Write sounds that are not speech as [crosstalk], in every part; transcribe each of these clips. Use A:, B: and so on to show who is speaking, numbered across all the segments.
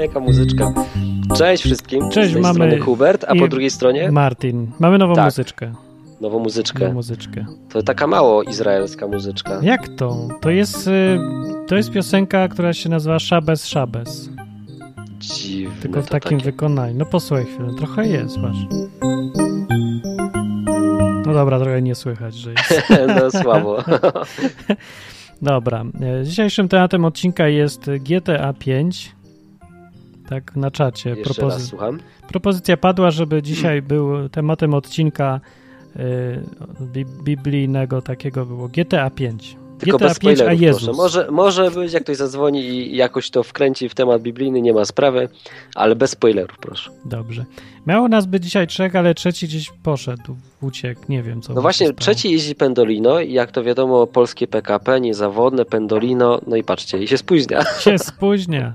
A: Jaka muzyczka. Cześć wszystkim.
B: Cześć,
A: Z tej
B: mamy-
A: strony Hubert, a po
B: i-
A: drugiej stronie
B: Martin, mamy nową
A: Tak.
B: muzyczkę.
A: nową
B: Nową
A: muzyczkę.
B: muzyczkę.
A: To taka mało izraelska muzyczka.
B: Jak to? To jest, y, to jest piosenka, która się nazywa Szabes Szabes.
A: Dziwne
B: Tylko w
A: to
B: takim
A: takie.
B: wykonaniu. No posłuchaj chwilę, trochę jest, masz. No dobra, trochę nie słychać, że
A: [laughs]
B: jest.
A: No
B: [laughs]
A: słabo.
B: Dobra, e, dzisiejszym tematem odcinka jest GTA 5. Tak na czacie.
A: Jeszcze
B: propozy-
A: raz słucham.
B: propozycja padła,
A: [clears throat]
B: żeby dzisiaj był tematem odcinka y, bi- biblijnego takiego było GTA 5.
A: Tylko
B: GTA
A: bez
B: 5, a
A: spoilerów, proszę.
B: Jezus.
A: Może, może być, jak ktoś zadzwoni i jakoś to wkręci w temat biblijny, nie ma sprawy, ale bez spoilerów, proszę. No
B: Dobrze. Miało nas być dzisiaj trzech, ale trzeci gdzieś poszedł, uciekł, nie wiem co. mu
A: No
B: się
A: właśnie,
B: stało.
A: trzeci jeździ Pendolino i jak to wiadomo, polskie PKP, niezawodne Pendolino, no i patrzcie, i się spóźnia.
B: [laughs]
A: [laughs]
B: się spóźnia,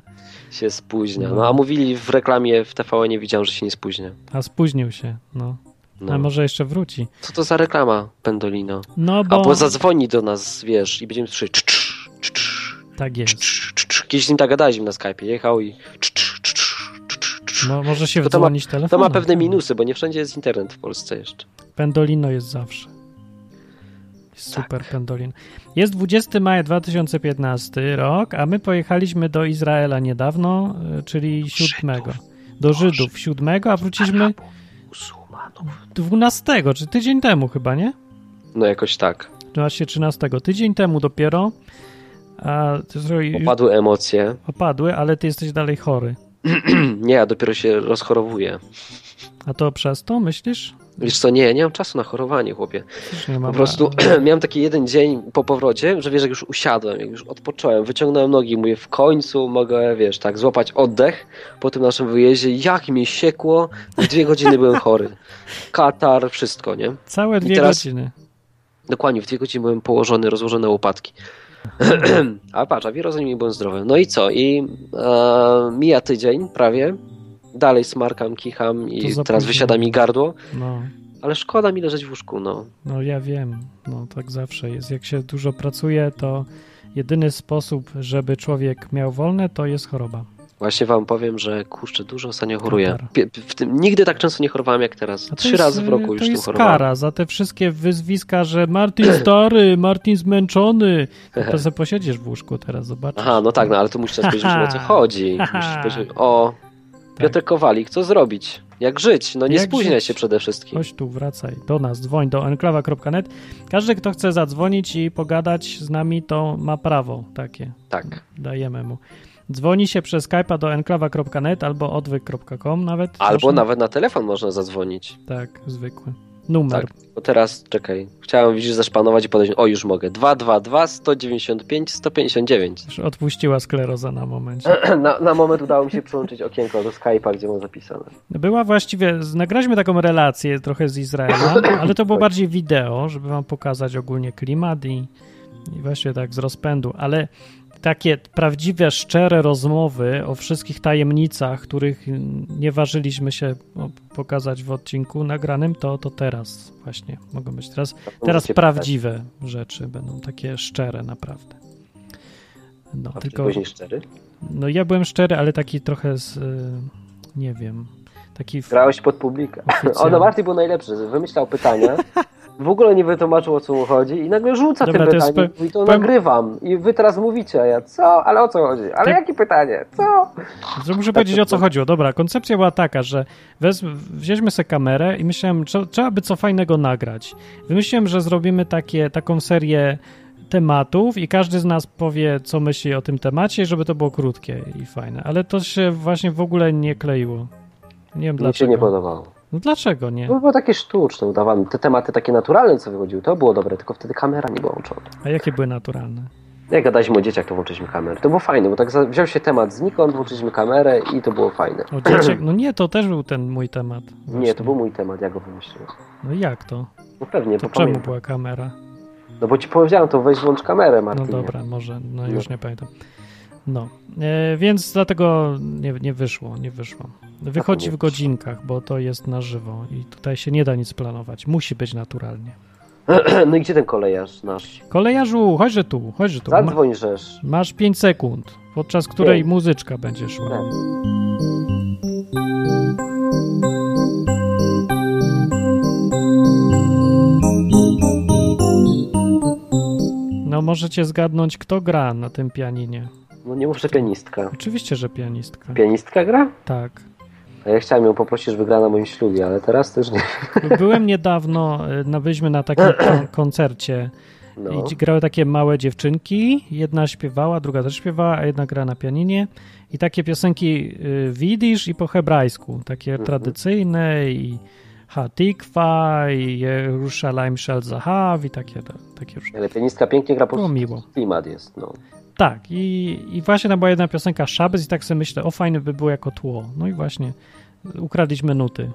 A: się spóźnia. No a mówili w reklamie w TVN, nie widziałem, że się nie spóźnia.
B: a spóźnił się, no.
A: No.
B: A może jeszcze wróci.
A: Co to za reklama, Pendolino?
B: No bo,
A: Albo zadzwoni do nas, wiesz, i będziemy słyszeć cz, cz, cz, cz,
B: tak
A: cz,
B: jest.
A: cz, cz, cz. Kiedyś z nim tak gadaliśmy na Skype, jechał i cz, cz, cz, cz, cz, cz.
B: No, może się
A: To to ma-
B: wdzwonić telefonem.
A: To ma pewne minusy, bo nie wszędzie jest internet w Polsce jeszcze.
B: Pendolino jest zawsze. Jest
A: Tak.
B: Super pendolin. Jest 20 maja 2015 rok, a my pojechaliśmy do Izraela niedawno, y, czyli 7. Do Żydów 7, a wróciliśmy
A: Arabów, muzułmanów.
B: 12, czy tydzień temu chyba, nie?
A: No jakoś tak.
B: Czy Właśnie 13. Tydzień temu dopiero. A ty zrobi-
A: Opadły emocje. [clears throat]
B: opadły, ale ty jesteś dalej chory.
A: nie, ja dopiero się rozchorowuję.
B: A to przez to myślisz?
A: Wiesz co, nie, nie mam czasu na chorowanie, chłopie.
B: Przecież nie mam.
A: Po prostu [clears throat] miałem taki jeden dzień po powrocie, że wiesz, jak już usiadłem, jak już odpocząłem, wyciągnąłem nogi i mówię, w końcu mogę, wiesz, tak złapać oddech po tym naszym wyjeździe. Jak mi siekło, dwie godziny byłem chory. Katar, wszystko, nie?
B: Całe dwie
A: teraz-
B: godziny.
A: Dokładnie, w dwie godziny byłem położony, rozłożony na łopatki. [clears throat] a patrz, a w Jerozolimie byłem zdrowy. No i co? I e, mija tydzień prawie, dalej smarkam, kicham
B: To
A: i
B: za
A: teraz
B: późno.
A: wysiada mi gardło,
B: No.
A: ale szkoda mi leżeć w łóżku, no.
B: No ja wiem, no tak zawsze jest. Jak się dużo pracuje, to jedyny sposób, żeby człowiek miał wolne, to jest choroba.
A: Właśnie wam powiem, że kurczę, dużo ostatnio choruję.
B: Katar.
A: Pie- W tym, nigdy tak często nie chorowałem jak teraz.
B: A to
A: Trzy
B: jest, e,
A: razy w roku
B: to
A: już tym
B: jest
A: chorowałem.
B: kara za te wszystkie wyzwiska, że Martin stary, Martin zmęczony. No
A: [laughs]
B: To sobie posiedziesz w łóżku teraz, zobaczysz.
A: Aha, no tak, no ale to musisz teraz powiedzieć, o
B: [laughs]
A: co chodzi. Musisz powiedzieć, o, Piotr Kowalik, co zrobić? Jak żyć? No nie
B: Tak. Jak
A: spóźniaj
B: żyć?
A: się przede wszystkim.
B: Chodź tu, wracaj do nas, dzwoń do enklawa.net. Każdy, kto chce zadzwonić i pogadać z nami, to ma prawo takie.
A: Tak.
B: Dajemy mu. Dzwoni się przez Skype'a do enklawa.net albo odwyk.com nawet.
A: Albo
B: Można-
A: nawet na telefon można zadzwonić.
B: Tak, zwykły. Numer.
A: Tak. Bo teraz, czekaj, chciałem, widzisz, zaszpanować i podejść. O, już mogę. 222 195 159.
B: Już odpuściła skleroza na momencie.
A: [clears throat] Na, na moment udało mi się przyłączyć okienko do Skype'a, gdzie mam zapisane.
B: Była właściwie, z- nagraliśmy taką relację trochę z
A: [coughs]
B: Izraela, ale to było
A: Tak.
B: bardziej wideo, żeby wam pokazać ogólnie klimat i, i właśnie tak z rozpędu, ale takie prawdziwe, szczere rozmowy o wszystkich tajemnicach, których mm, nie ważyliśmy się no, pokazać w odcinku nagranym, to, to teraz właśnie mogą być teraz Teraz
A: Możecie
B: prawdziwe rzeczy będą takie szczere, naprawdę. No,
A: pytać. A
B: tylko.
A: Później szczery.
B: No, ja byłem szczery, ale taki trochę z. y, Nie wiem. Taki. f-
A: Grałeś pod publikę.
B: Oficjalnie.
A: Ono Marty był najlepszy, wymyślał pytania, w ogóle nie wytłumaczył o co mu chodzi i nagle rzuca
B: Dobra,
A: te
B: to jest
A: pytanie i to
B: powiem-
A: nagrywam i wy teraz mówicie, a ja co? Ale o co chodzi? Ale
B: Ty-
A: jakie pytanie? Co?
B: Że Muszę powiedzieć o co chodziło. Dobra, koncepcja była taka, że wez... wzięliśmy sobie kamerę i myślałem, trze- trzeba by co fajnego nagrać. Wymyśliłem, że zrobimy takie, taką serię tematów i każdy z nas powie, co myśli o tym temacie, żeby to było krótkie i fajne. Ale to się właśnie w ogóle nie kleiło. Nie wiem
A: Mi się nie
B: dlaczego.
A: podobało.
B: No dlaczego nie?
A: To było takie sztuczne, udawałem. Te tematy takie naturalne, co wychodziły, to było dobre, tylko wtedy kamera nie była włączona.
B: A jakie były naturalne?
A: Jak gadaliśmy o dzieciach, to włączyliśmy kamerę. To było fajne, bo tak za- wziął się temat znikąd, włączyliśmy kamerę i to było fajne.
B: O
A: [clears throat]
B: dzieciak? No nie, to też był ten mój temat.
A: Nie,
B: właśnie.
A: to był mój temat, ja go wymyśliłem.
B: No jak to?
A: No pewnie,
B: To
A: bo
B: czemu
A: pamiętam.
B: była kamera?
A: No bo ci powiedziałem, to weź włącz kamerę,
B: No
A: Martin.
B: dobra, może, no
A: No.
B: już nie pamiętam. No, e, więc dlatego nie, nie wyszło, nie wyszło. Wychodzi w
A: wyszło.
B: godzinkach, bo to jest na żywo i tutaj się nie da nic planować. Musi być naturalnie.
A: [clears throat] No i gdzie ten kolejarz nasz?
B: Kolejarzu, chodźże tu, chodźże tu. Ma,
A: Zadzwoń rzesz.
B: masz 5 sekund, podczas której
A: Pięć.
B: muzyczka będzie szła. No możecie zgadnąć, kto gra na tym pianinie.
A: No nie muszę pianistka.
B: Oczywiście, że pianistka.
A: Pianistka gra?
B: Tak.
A: A ja chciałem ją poprosić, żeby gra na moim ślubie, ale teraz też nie.
B: Byłem niedawno, y, na, byliśmy na takim kon- koncercie
A: No.
B: I grały takie małe dziewczynki, jedna śpiewała, druga też śpiewała, a jedna gra na pianinie. I takie piosenki y, widzisz i po hebrajsku, takie tradycyjne i Hatikwa i Jerusalem Shel Zahav i takie, takie różne.
A: Ale pianistka pięknie gra po
B: Było
A: prostu.
B: miło.
A: Klimat jest, no.
B: Tak, i, i właśnie tam była jedna piosenka Szabes i tak sobie myślę, o fajny by było jako tło. No i właśnie, ukradliśmy nuty.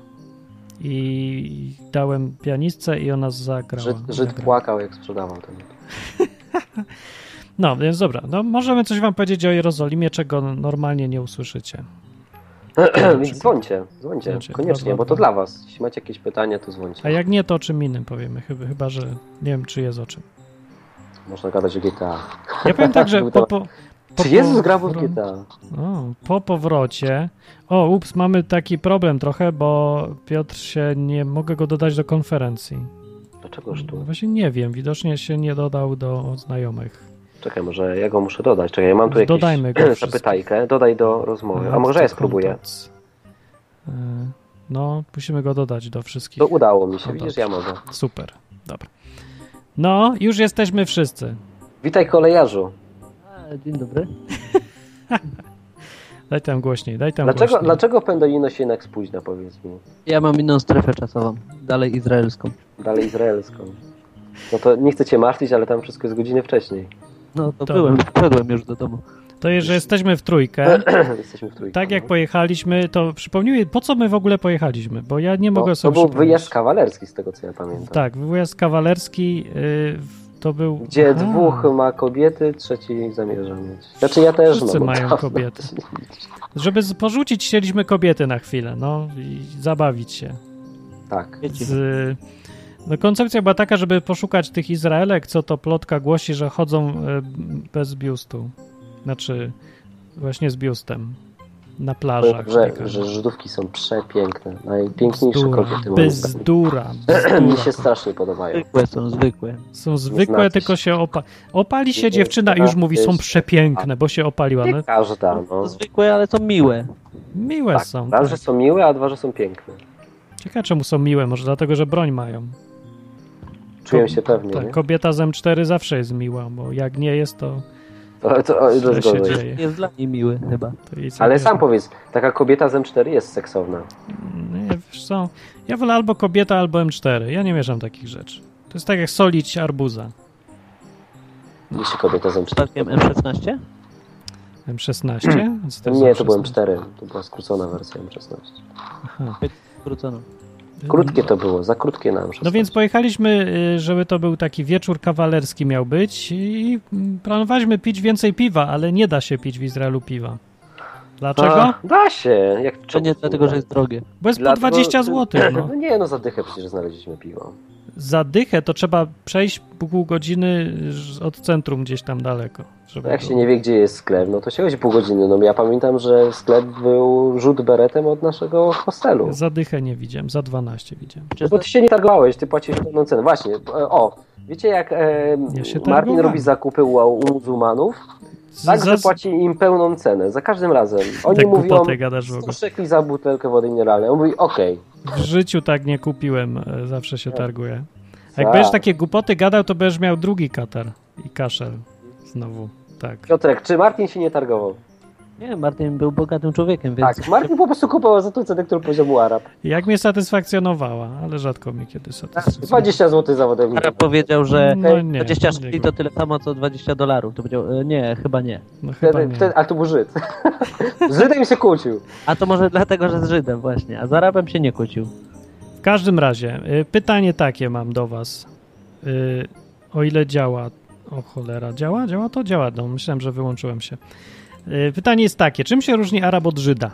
B: I dałem pianistce i ona zagrała.
A: Żyd, Żyd
B: zagrała.
A: płakał, jak sprzedawał ten.
B: No, więc dobra, no możemy coś wam powiedzieć o Jerozolimie, czego normalnie nie usłyszycie.
A: [clears throat] Więc dzwońcie, dzwońcie,
B: Dzwońcie,
A: koniecznie,
B: dwa,
A: bo
B: dwa,
A: to
B: dwa.
A: dla was. Jeśli macie jakieś pytania, to
B: A
A: dzwońcie.
B: jak nie, to o czym innym powiemy, chyba, chyba że nie wiem, czy jest o czym.
A: Można gadać o GTA.
B: Ja powiem
A: [laughs]
B: tak, że po, po, po,
A: Czy Jezus grał w
B: powro-
A: GTA?
B: O, po powrocie... O, ups, mamy taki problem trochę, bo Piotr się nie... Mogę go dodać do konferencji.
A: Dlaczegoż
B: No
A: tu?
B: Właśnie nie wiem, widocznie się nie dodał do znajomych.
A: Czekaj, może ja go muszę dodać. Czekaj, ja mam tu jakieś [clears throat]
B: Dodajmy go wszystkich. No,
A: zapytajkę. Dodaj do rozmowy. A może ja spróbuję.
B: Y, No, musimy go dodać do wszystkich.
A: To udało mi się,
B: No
A: widzisz,
B: dobrze.
A: ja mogę.
B: Super, dobra. No, już jesteśmy wszyscy.
A: Witaj kolejarzu.
C: Dzień dobry.
B: Daj tam głośniej, daj tam
A: Dlaczego,
B: głośniej.
A: dlaczego Pendolino się jednak spóźnia, powiedz mi?
C: Ja mam inną strefę czasową, dalej izraelską.
A: Dalej izraelską. No to nie chcę cię martwić, ale tam wszystko jest godzinę wcześniej. [clears throat]
C: No to
B: Dobra.
C: byłem, wszedłem już do domu.
B: To jest, że jesteśmy w
A: E-
B: trójkę.
A: Jesteśmy w trójkę.
B: Tak jak
A: no.
B: pojechaliśmy, to przypomnij, po co my w ogóle pojechaliśmy? Bo ja nie mogę
A: to, to
B: sobie
A: był
B: przypomnieć.
A: wyjazd kawalerski, z tego co ja pamiętam.
B: Tak, wyjazd kawalerski y, w- to był...
A: Gdzie
B: Aha.
A: dwóch ma kobiety, trzeci zamierza mieć. Znaczy ja też
B: Wszyscy
A: mam.
B: mają kobiety. Żeby z- porzucić, chcieliśmy kobiety na chwilę, no i zabawić się.
A: Tak.
C: Wiecie,
B: Z, no koncepcja była taka, żeby poszukać tych Izraelek, co to plotka głosi, że chodzą y, bez biustu. Znaczy, właśnie z biustem. Na plażach.
A: Że,
B: biegają.
A: że Żydówki są przepiękne. Najpiękniejsze
B: Bzdura,
A: kobiety moim zdaniem.
B: Bezdura.
A: [clears throat] Mi
B: Bezdura.
A: się strasznie podobają.
C: zwykłe są zwykłe. No,
B: Są zwykłe,
A: znacie
B: tylko się opa... opali się
A: Nie
B: dziewczyna i
A: znacie
B: już mówi,
A: się.
B: są przepiękne, bo się opaliła. No,
A: Nie każda, no.
C: Zwykłe, ale są miłe.
B: miłe
A: Tak,
B: są.
A: raz,
B: Tak.
A: że są miłe, a dwa, że są piękne.
B: Ciekawe czemu są miłe, może dlatego, że broń mają.
A: Czuję
B: Ko-
A: się pewnie,
B: Tak,
A: nie?
B: kobieta z M4 zawsze jest miła, bo jak nie jest, to,
A: To, to, o,
B: Co
A: to
B: się
A: zgodzę.
B: dzieje?
C: Jest dla niej miły chyba.
B: to jej
A: Ale
B: zabiera.
A: sam powiedz, taka kobieta z M4 jest seksowna.
B: Nie, wiesz co, ja wolę albo kobieta, albo M4. Ja nie mieszam takich rzeczy. To jest tak jak solić arbuza.
A: Jeśli kobieta z M4.
B: Tak,
C: Przypadkiem M16?
B: M16? Co jest
A: Hmm. Nie, to byłem
B: M16?
A: 4. To była skrócona wersja M16.
B: Aha.
C: Skrócono.
A: Krótkie to było, za krótkie na M16.
B: Y, No więc pojechaliśmy, y, żeby to był taki wieczór kawalerski miał być i mm, planowaliśmy pić więcej piwa, ale nie da się pić w Izraelu piwa. Dlaczego?
A: A, da się. Jak
C: Czy nie dlatego, że jest drogie?
B: Bo jest po
A: Dlatego- [clears throat]
B: 20 zł. No.
A: [laughs] No nie, no za dychę przecież znaleźliśmy piwo.
B: Za dychę to trzeba przejść pół godziny y, od centrum gdzieś tam daleko. Żeby
A: No jak
B: to-
A: się nie wie, gdzie jest sklep, no to się chodzi pół godziny. No ja pamiętam, że sklep był rzut beretem od naszego hostelu.
B: Za dychę nie widziałem, za 12 widziałem.
C: Czy
A: No bo ty się nie targowałeś, ty płaciłeś pełną cenę. Właśnie, e, o, wiecie jak e,
B: Ja się
A: Martin
B: targowałem.
A: robi zakupy u, u muzułmanów?
B: Z,
A: Tak, że
B: za,
A: płaci im pełną cenę, za każdym razem. Oni
B: Te
A: mówią,
B: głupoty gadasz w ogóle.
A: 100 szekli za butelkę wody mineralnej. On mówi, okej.
B: W życiu tak nie kupiłem, e, zawsze się targuję. A jak
A: Tak.
B: będziesz takie głupoty gadał, to będziesz miał drugi katar i kaszel. Znowu, tak.
A: Piotrek, czy Martin się nie targował?
C: Nie, Martin był bogatym człowiekiem, więc
A: Tak, Martin po prostu kupował za tą cenę, którą poziomu Arab.
B: Jak mnie satysfakcjonowała, ale rzadko mnie kiedy satysfakcjonowała.
A: 20 zł za wodę
C: Arab
A: mineralną.
C: powiedział, że
B: No nie,
C: 20
B: nie
C: szkli to tyle samo, co 20 dolarów. To powiedział, e, nie, chyba nie.
B: No chyba
A: Wtedy,
B: nie.
A: wtedy, a to był Żyd. [laughs] Z Żydem się kłócił.
C: A to może dlatego, że z Żydem właśnie, a z Arabem się nie kłócił.
B: W każdym razie, y, pytanie takie mam do was. Y, O ile działa... O cholera, działa? Działa to? Działa. No, myślałem, że wyłączyłem się. Y, Pytanie jest takie. Czym się różni Arab od Żyda?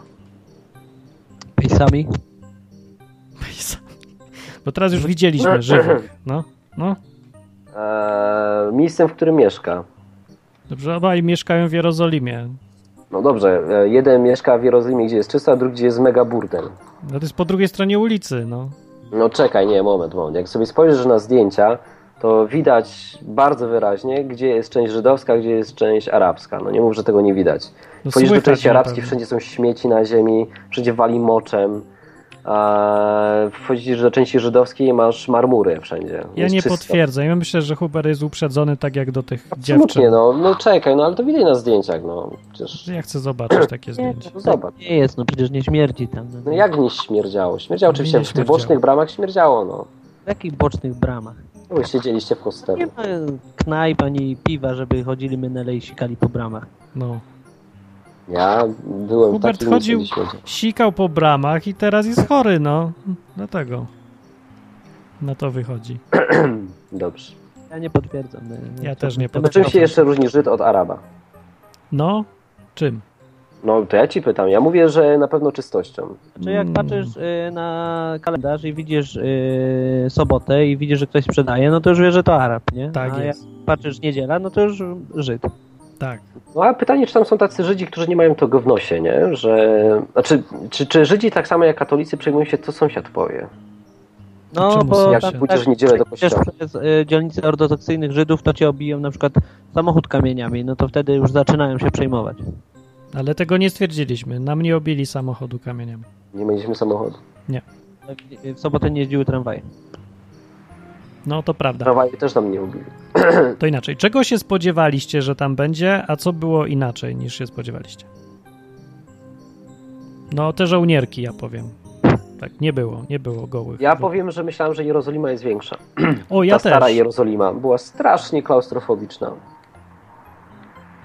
C: Pisami.
A: [laughs]
B: Bo teraz już widzieliśmy żywo. No. No,
A: Eee, miejscem, w którym mieszka.
B: dobrze, obaj mieszkają w Jerozolimie.
A: No dobrze, e, jeden mieszka w Jerozolimie, gdzie jest czysto, a drugi, gdzie jest mega burdel.
B: No to jest po drugiej stronie ulicy, no.
A: No czekaj, nie, moment, moment. Jak sobie spojrzysz na zdjęcia, to widać bardzo wyraźnie, gdzie jest część żydowska, gdzie jest część arabska. No nie mów, że tego nie widać.
B: no
A: Wchodzisz do
B: słychać
A: części
B: na
A: arabskiej,
B: pewno.
A: wszędzie są śmieci na ziemi, wszędzie wali moczem. Eee, Wchodzisz do części żydowskiej i masz marmury wszędzie.
B: Ja
A: Jest
B: nie
A: czysto.
B: potwierdzę. Ja myślę, że Huber jest uprzedzony tak jak do tych
A: Absolutnie,
B: dziewczyn.
A: no, no czekaj, no ale to widać na zdjęciach, no. Przecież...
B: Ja chcę
A: [clears throat]
B: zobaczyć takie
C: Nie,
B: zdjęcie.
C: to
A: Zobacz.
C: tak nie jest, no przecież nie śmierdzi tam.
A: No jak nie śmierdziało? Śmierdziało oczywiście,
B: Nie
A: w tych
B: śmierdziało.
A: bocznych bramach śmierdziało, no.
C: W jakich bocznych bramach?
A: Wy siedzieliście w
C: Nie
A: hostelu.
C: ma knajp ani piwa, żeby chodzili menele i sikali po bramach.
B: No.
A: Ja byłem
B: Hubert
A: taki,
B: chodził-
A: nie śmierdział.
B: Sikał po bramach i teraz jest chory, no. Dlatego. Na to wychodzi.
A: Dobrze.
C: Ja nie potwierdzam. no,
B: Ja też nie
C: to-
A: No
B: potwierdzam.
A: czym się jeszcze różni Żyd od Araba?
B: No, czym?
A: No to ja ci pytam. Ja mówię, że na pewno czystością.
C: Czy Znaczy, jak
B: Mm.
C: patrzysz y, na kalendarz i widzisz y, sobotę i widzisz, że ktoś sprzedaje, no to już wiesz, że to Arab, nie?
B: Tak
C: A
B: jest.
C: jak patrzysz niedziela, no to już Żyd.
B: Tak.
A: No a pytanie, czy tam są tacy Żydzi, którzy nie mają tego w nosie, nie? Że... Znaczy, czy, czy Żydzi tak samo jak katolicy przejmują się, co sąsiad powie?
C: No,
B: Czemu
C: bo
B: sąsiad?
A: Jak
C: tam
A: pójdziesz w niedzielę do
C: Przecież
A: kościoła.
C: przez y, dzielnicę ortodoksyjnych Żydów to cię obiją na przykład samochód kamieniami, no to wtedy już zaczynają się przejmować.
B: Ale tego nie stwierdziliśmy. Nam nie obili samochodu kamieniem.
A: Nie mieliśmy samochodu.
C: E, W- W sobotę nie jeździły tramwaje.
B: No to prawda.
A: Prawaje też nam nie ubili.
B: To inaczej. Czego się spodziewaliście, że tam będzie, a co było inaczej niż się spodziewaliście? No, te żołnierki, ja powiem. Tak, nie było, nie było gołych.
A: Ja powiem, że myślałem, że Jerozolima jest większa.
B: O,
A: Ta
B: ja
A: stara
B: też.
A: Jerozolima była strasznie klaustrofobiczna.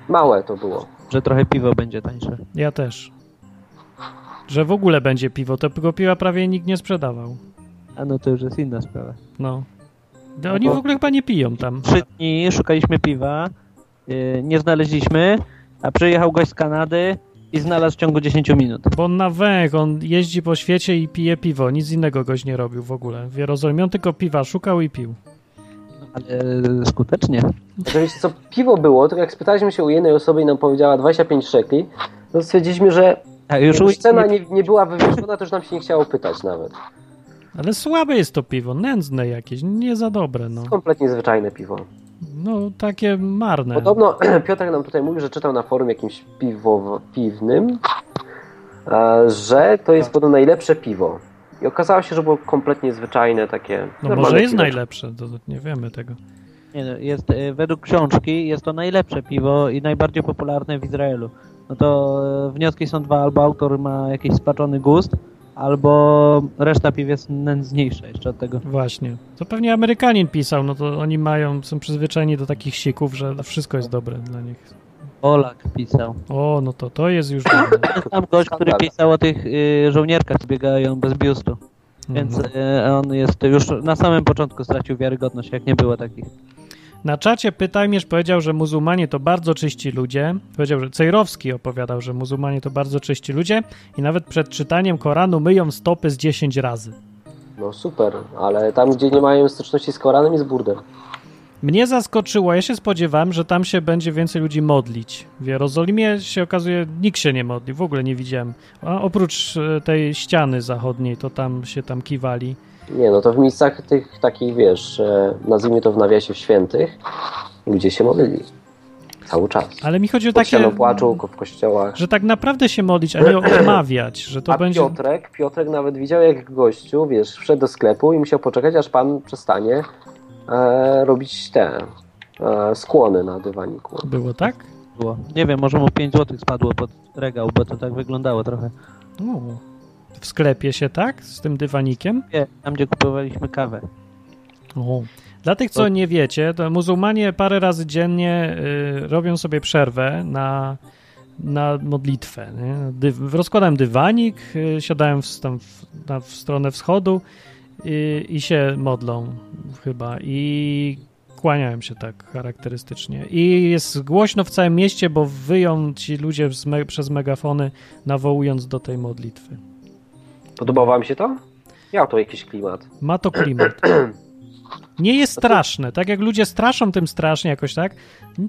A: Małe to było.
C: Że trochę piwo będzie tańsze.
B: Ja też. Że w ogóle będzie piwo, to tego piwa prawie nikt nie sprzedawał.
C: A no to już jest inna sprawa.
B: No.
C: No
B: no oni
C: bo-
B: w ogóle chyba nie piją tam.
C: Trzy dni szukaliśmy piwa, y, nie znaleźliśmy, a przyjechał gość z Kanady i znalazł w ciągu 10 minut.
B: Bo on na węch, on jeździ po świecie i pije piwo. Nic innego goś nie robił w ogóle. W Jerozolimie on tylko piwa szukał i pił.
C: Ale y, skutecznie.
A: Że wiecie co, piwo było, tylko jak spytaliśmy się u jednej osoby i nam powiedziała 25 szekli, to stwierdziliśmy, że
C: A już u
A: już cena nie, nie była wywieszona, to już nam się nie chciało pytać nawet.
B: Ale słabe jest to piwo, nędzne jakieś, nie za dobre, no.
A: Kompletnie zwyczajne piwo.
B: No, takie marne.
A: Podobno [clears throat] Piotr nam tutaj mówi, że czytał na forum jakimś piwo, piwnym, e, że to
B: Tak.
A: jest podobno najlepsze piwo. I okazało się, że było kompletnie zwyczajne takie.
B: No
A: normalne
B: może jest
A: piwo.
B: najlepsze, to to nie wiemy tego.
C: Nie, no, jest, y, według książki jest to najlepsze piwo i najbardziej popularne w Izraelu. No to y, wnioski są dwa, albo autor ma jakiś spaczony gust, albo reszta piw jest nędzniejsza jeszcze od tego.
B: Właśnie. To pewnie Amerykanin pisał, no to oni mają, są przyzwyczajeni do takich sików, że wszystko jest dobre dla nich.
C: Polak pisał.
B: O, no to to jest już dobre.
C: Tam gość, który pisał o tych y, żołnierkach, co biegają bez biustu. [laughs] Więc
B: Mhm.
C: y, on jest już na samym początku stracił wiarygodność, jak nie było takich.
B: Na czacie Pytajmierz powiedział, że muzułmanie to bardzo czyści ludzie. Powiedział, że Cejrowski opowiadał, że muzułmanie to bardzo czyści ludzie i nawet przed czytaniem Koranu myją stopy z 10 razy.
A: No super, ale tam, gdzie nie mają styczności z Koranem, jest burdel.
B: Mnie zaskoczyło, ja się spodziewałem, że tam się będzie więcej ludzi modlić. W Jerozolimie się okazuje, nikt się nie modli, w ogóle nie widziałem. A oprócz e, tej ściany zachodniej, to tam się tam kiwali.
A: Nie, no to w miejscach tych takich, wiesz, e, nazwijmy to w nawiasie świętych, ludzie się modlili. Cały czas.
B: Ale mi chodzi o
A: Pod
B: takie,
A: ścianą płaczu, ko- w kościołach.
B: że tak naprawdę się modlić, a nie omawiać, że to
A: A
B: będzie...
A: Piotrek, Piotrek nawet widział, jak gościu, wiesz, wszedł do sklepu i musiał poczekać, aż pan przestanie e, robić te e, skłony na dywaniku.
B: Było tak?
C: Było. Nie wiem, może mu 5 zł spadło pod regał, bo to tak wyglądało trochę.
B: U. W sklepie się tak? Z tym dywanikiem?
C: Nie, tam gdzie kupowaliśmy kawę.
B: O. Dla tych, co nie wiecie, to muzułmanie parę razy dziennie y, robią sobie przerwę na, na modlitwę. Nie? Dyw, rozkładałem dywanik, y, siadałem w, tam w, na, w stronę wschodu y, i się modlą chyba i kłaniałem się tak charakterystycznie. I jest głośno w całym mieście, bo wyją ci ludzie z me, przez megafony, nawołując do tej modlitwy.
A: Podobało wam się to? Miał to jakiś klimat.
B: Ma to klimat. Nie jest straszne. Tak jak ludzie straszą tym strasznie jakoś, tak?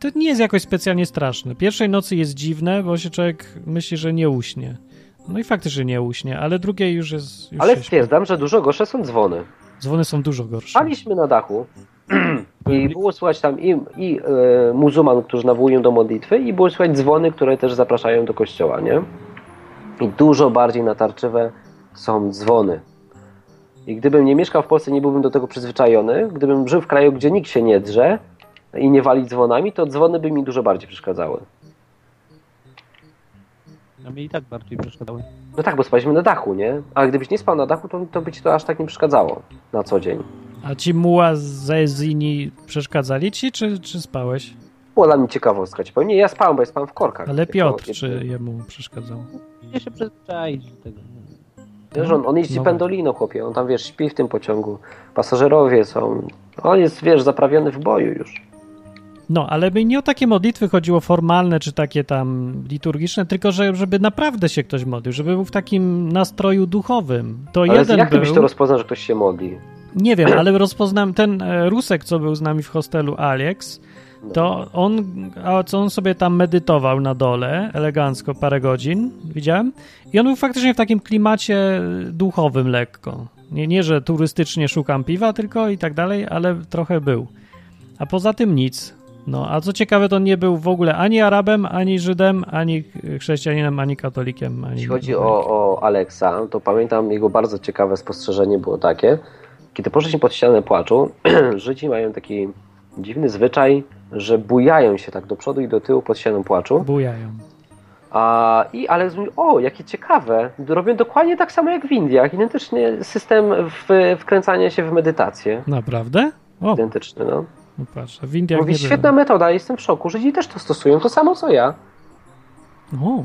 B: To nie jest jakoś specjalnie straszne. Pierwszej nocy jest dziwne, bo się człowiek myśli, że nie uśnie. No i faktycznie nie uśnie, ale drugiej już jest... Już
A: Ale
B: się śpi.
A: stwierdzam, że dużo gorsze są dzwony.
B: Dzwony są dużo gorsze.
A: Spaliśmy na dachu i było słychać tam i, i e, muzułman, którzy nawołują do modlitwy i było słychać dzwony, które też zapraszają do kościoła, nie? I dużo bardziej natarczywe są dzwony. I gdybym nie mieszkał w Polsce, nie byłbym do tego przyzwyczajony. Gdybym żył w kraju, gdzie nikt się nie drze i nie wali dzwonami, to dzwony by mi dużo bardziej przeszkadzały.
C: A mi i tak bardziej przeszkadzały.
A: No tak, bo spaliśmy na dachu, nie? Ale gdybyś nie spał na dachu, to, to by ci to aż tak nie przeszkadzało na co dzień.
B: A ci muazezini przeszkadzali ci, czy, czy spałeś?
A: Była dla mnie ciekawostka, ci powiem. Nie, ja spałem, bo ja spałem w korkach.
B: Ale
A: Jako-
B: Piotr, czy jemu przeszkadzał?
C: Nie się przyzwyczaić do tego.
A: Wiesz, on, on jeździ
B: No.
A: pendolino, chłopie. On tam, wiesz, śpi w tym pociągu. Pasażerowie są. On jest, wiesz, zaprawiony w boju już.
B: No, ale by nie o takie modlitwy chodziło formalne, czy takie tam liturgiczne, tylko że, żeby naprawdę się ktoś modlił, żeby był w takim nastroju duchowym. To
A: Ale
B: jeden
A: jak ty
B: był.
A: byś to rozpoznał, że ktoś się modli?
B: Nie wiem, ale rozpoznam ten e, Rusek, co był z nami w hostelu, Alex,
A: No.
B: to on, a co on sobie tam medytował na dole, elegancko, parę godzin, widziałem, i on był faktycznie w takim klimacie duchowym lekko. Nie, nie że turystycznie szukam piwa tylko i tak dalej, ale trochę był. A poza tym nic. No, a co ciekawe, to nie był w ogóle ani Arabem, ani Żydem, ani chrześcijaninem, ani katolikiem. Ani
A: Jeśli chodzi o, o Alexa, to pamiętam jego bardzo ciekawe spostrzeżenie było takie. Kiedy poszliśmy pod ścianę płaczu, [clears throat] Żydzi mają taki dziwny zwyczaj, że bujają się tak do przodu i do tyłu pod ścianą płaczu.
B: Bujają.
A: A, I Alex mówi, o, jakie ciekawe, robią dokładnie tak samo jak w Indiach, identycznie system w, wkręcania się w medytację,
B: Naprawdę? O,
A: identyczny, no.
B: no patrz, w Indiach
A: mówi,
B: nie byłem.
A: świetna metoda, jestem w szoku, Żydzi też to stosują, to samo co ja.
B: O. No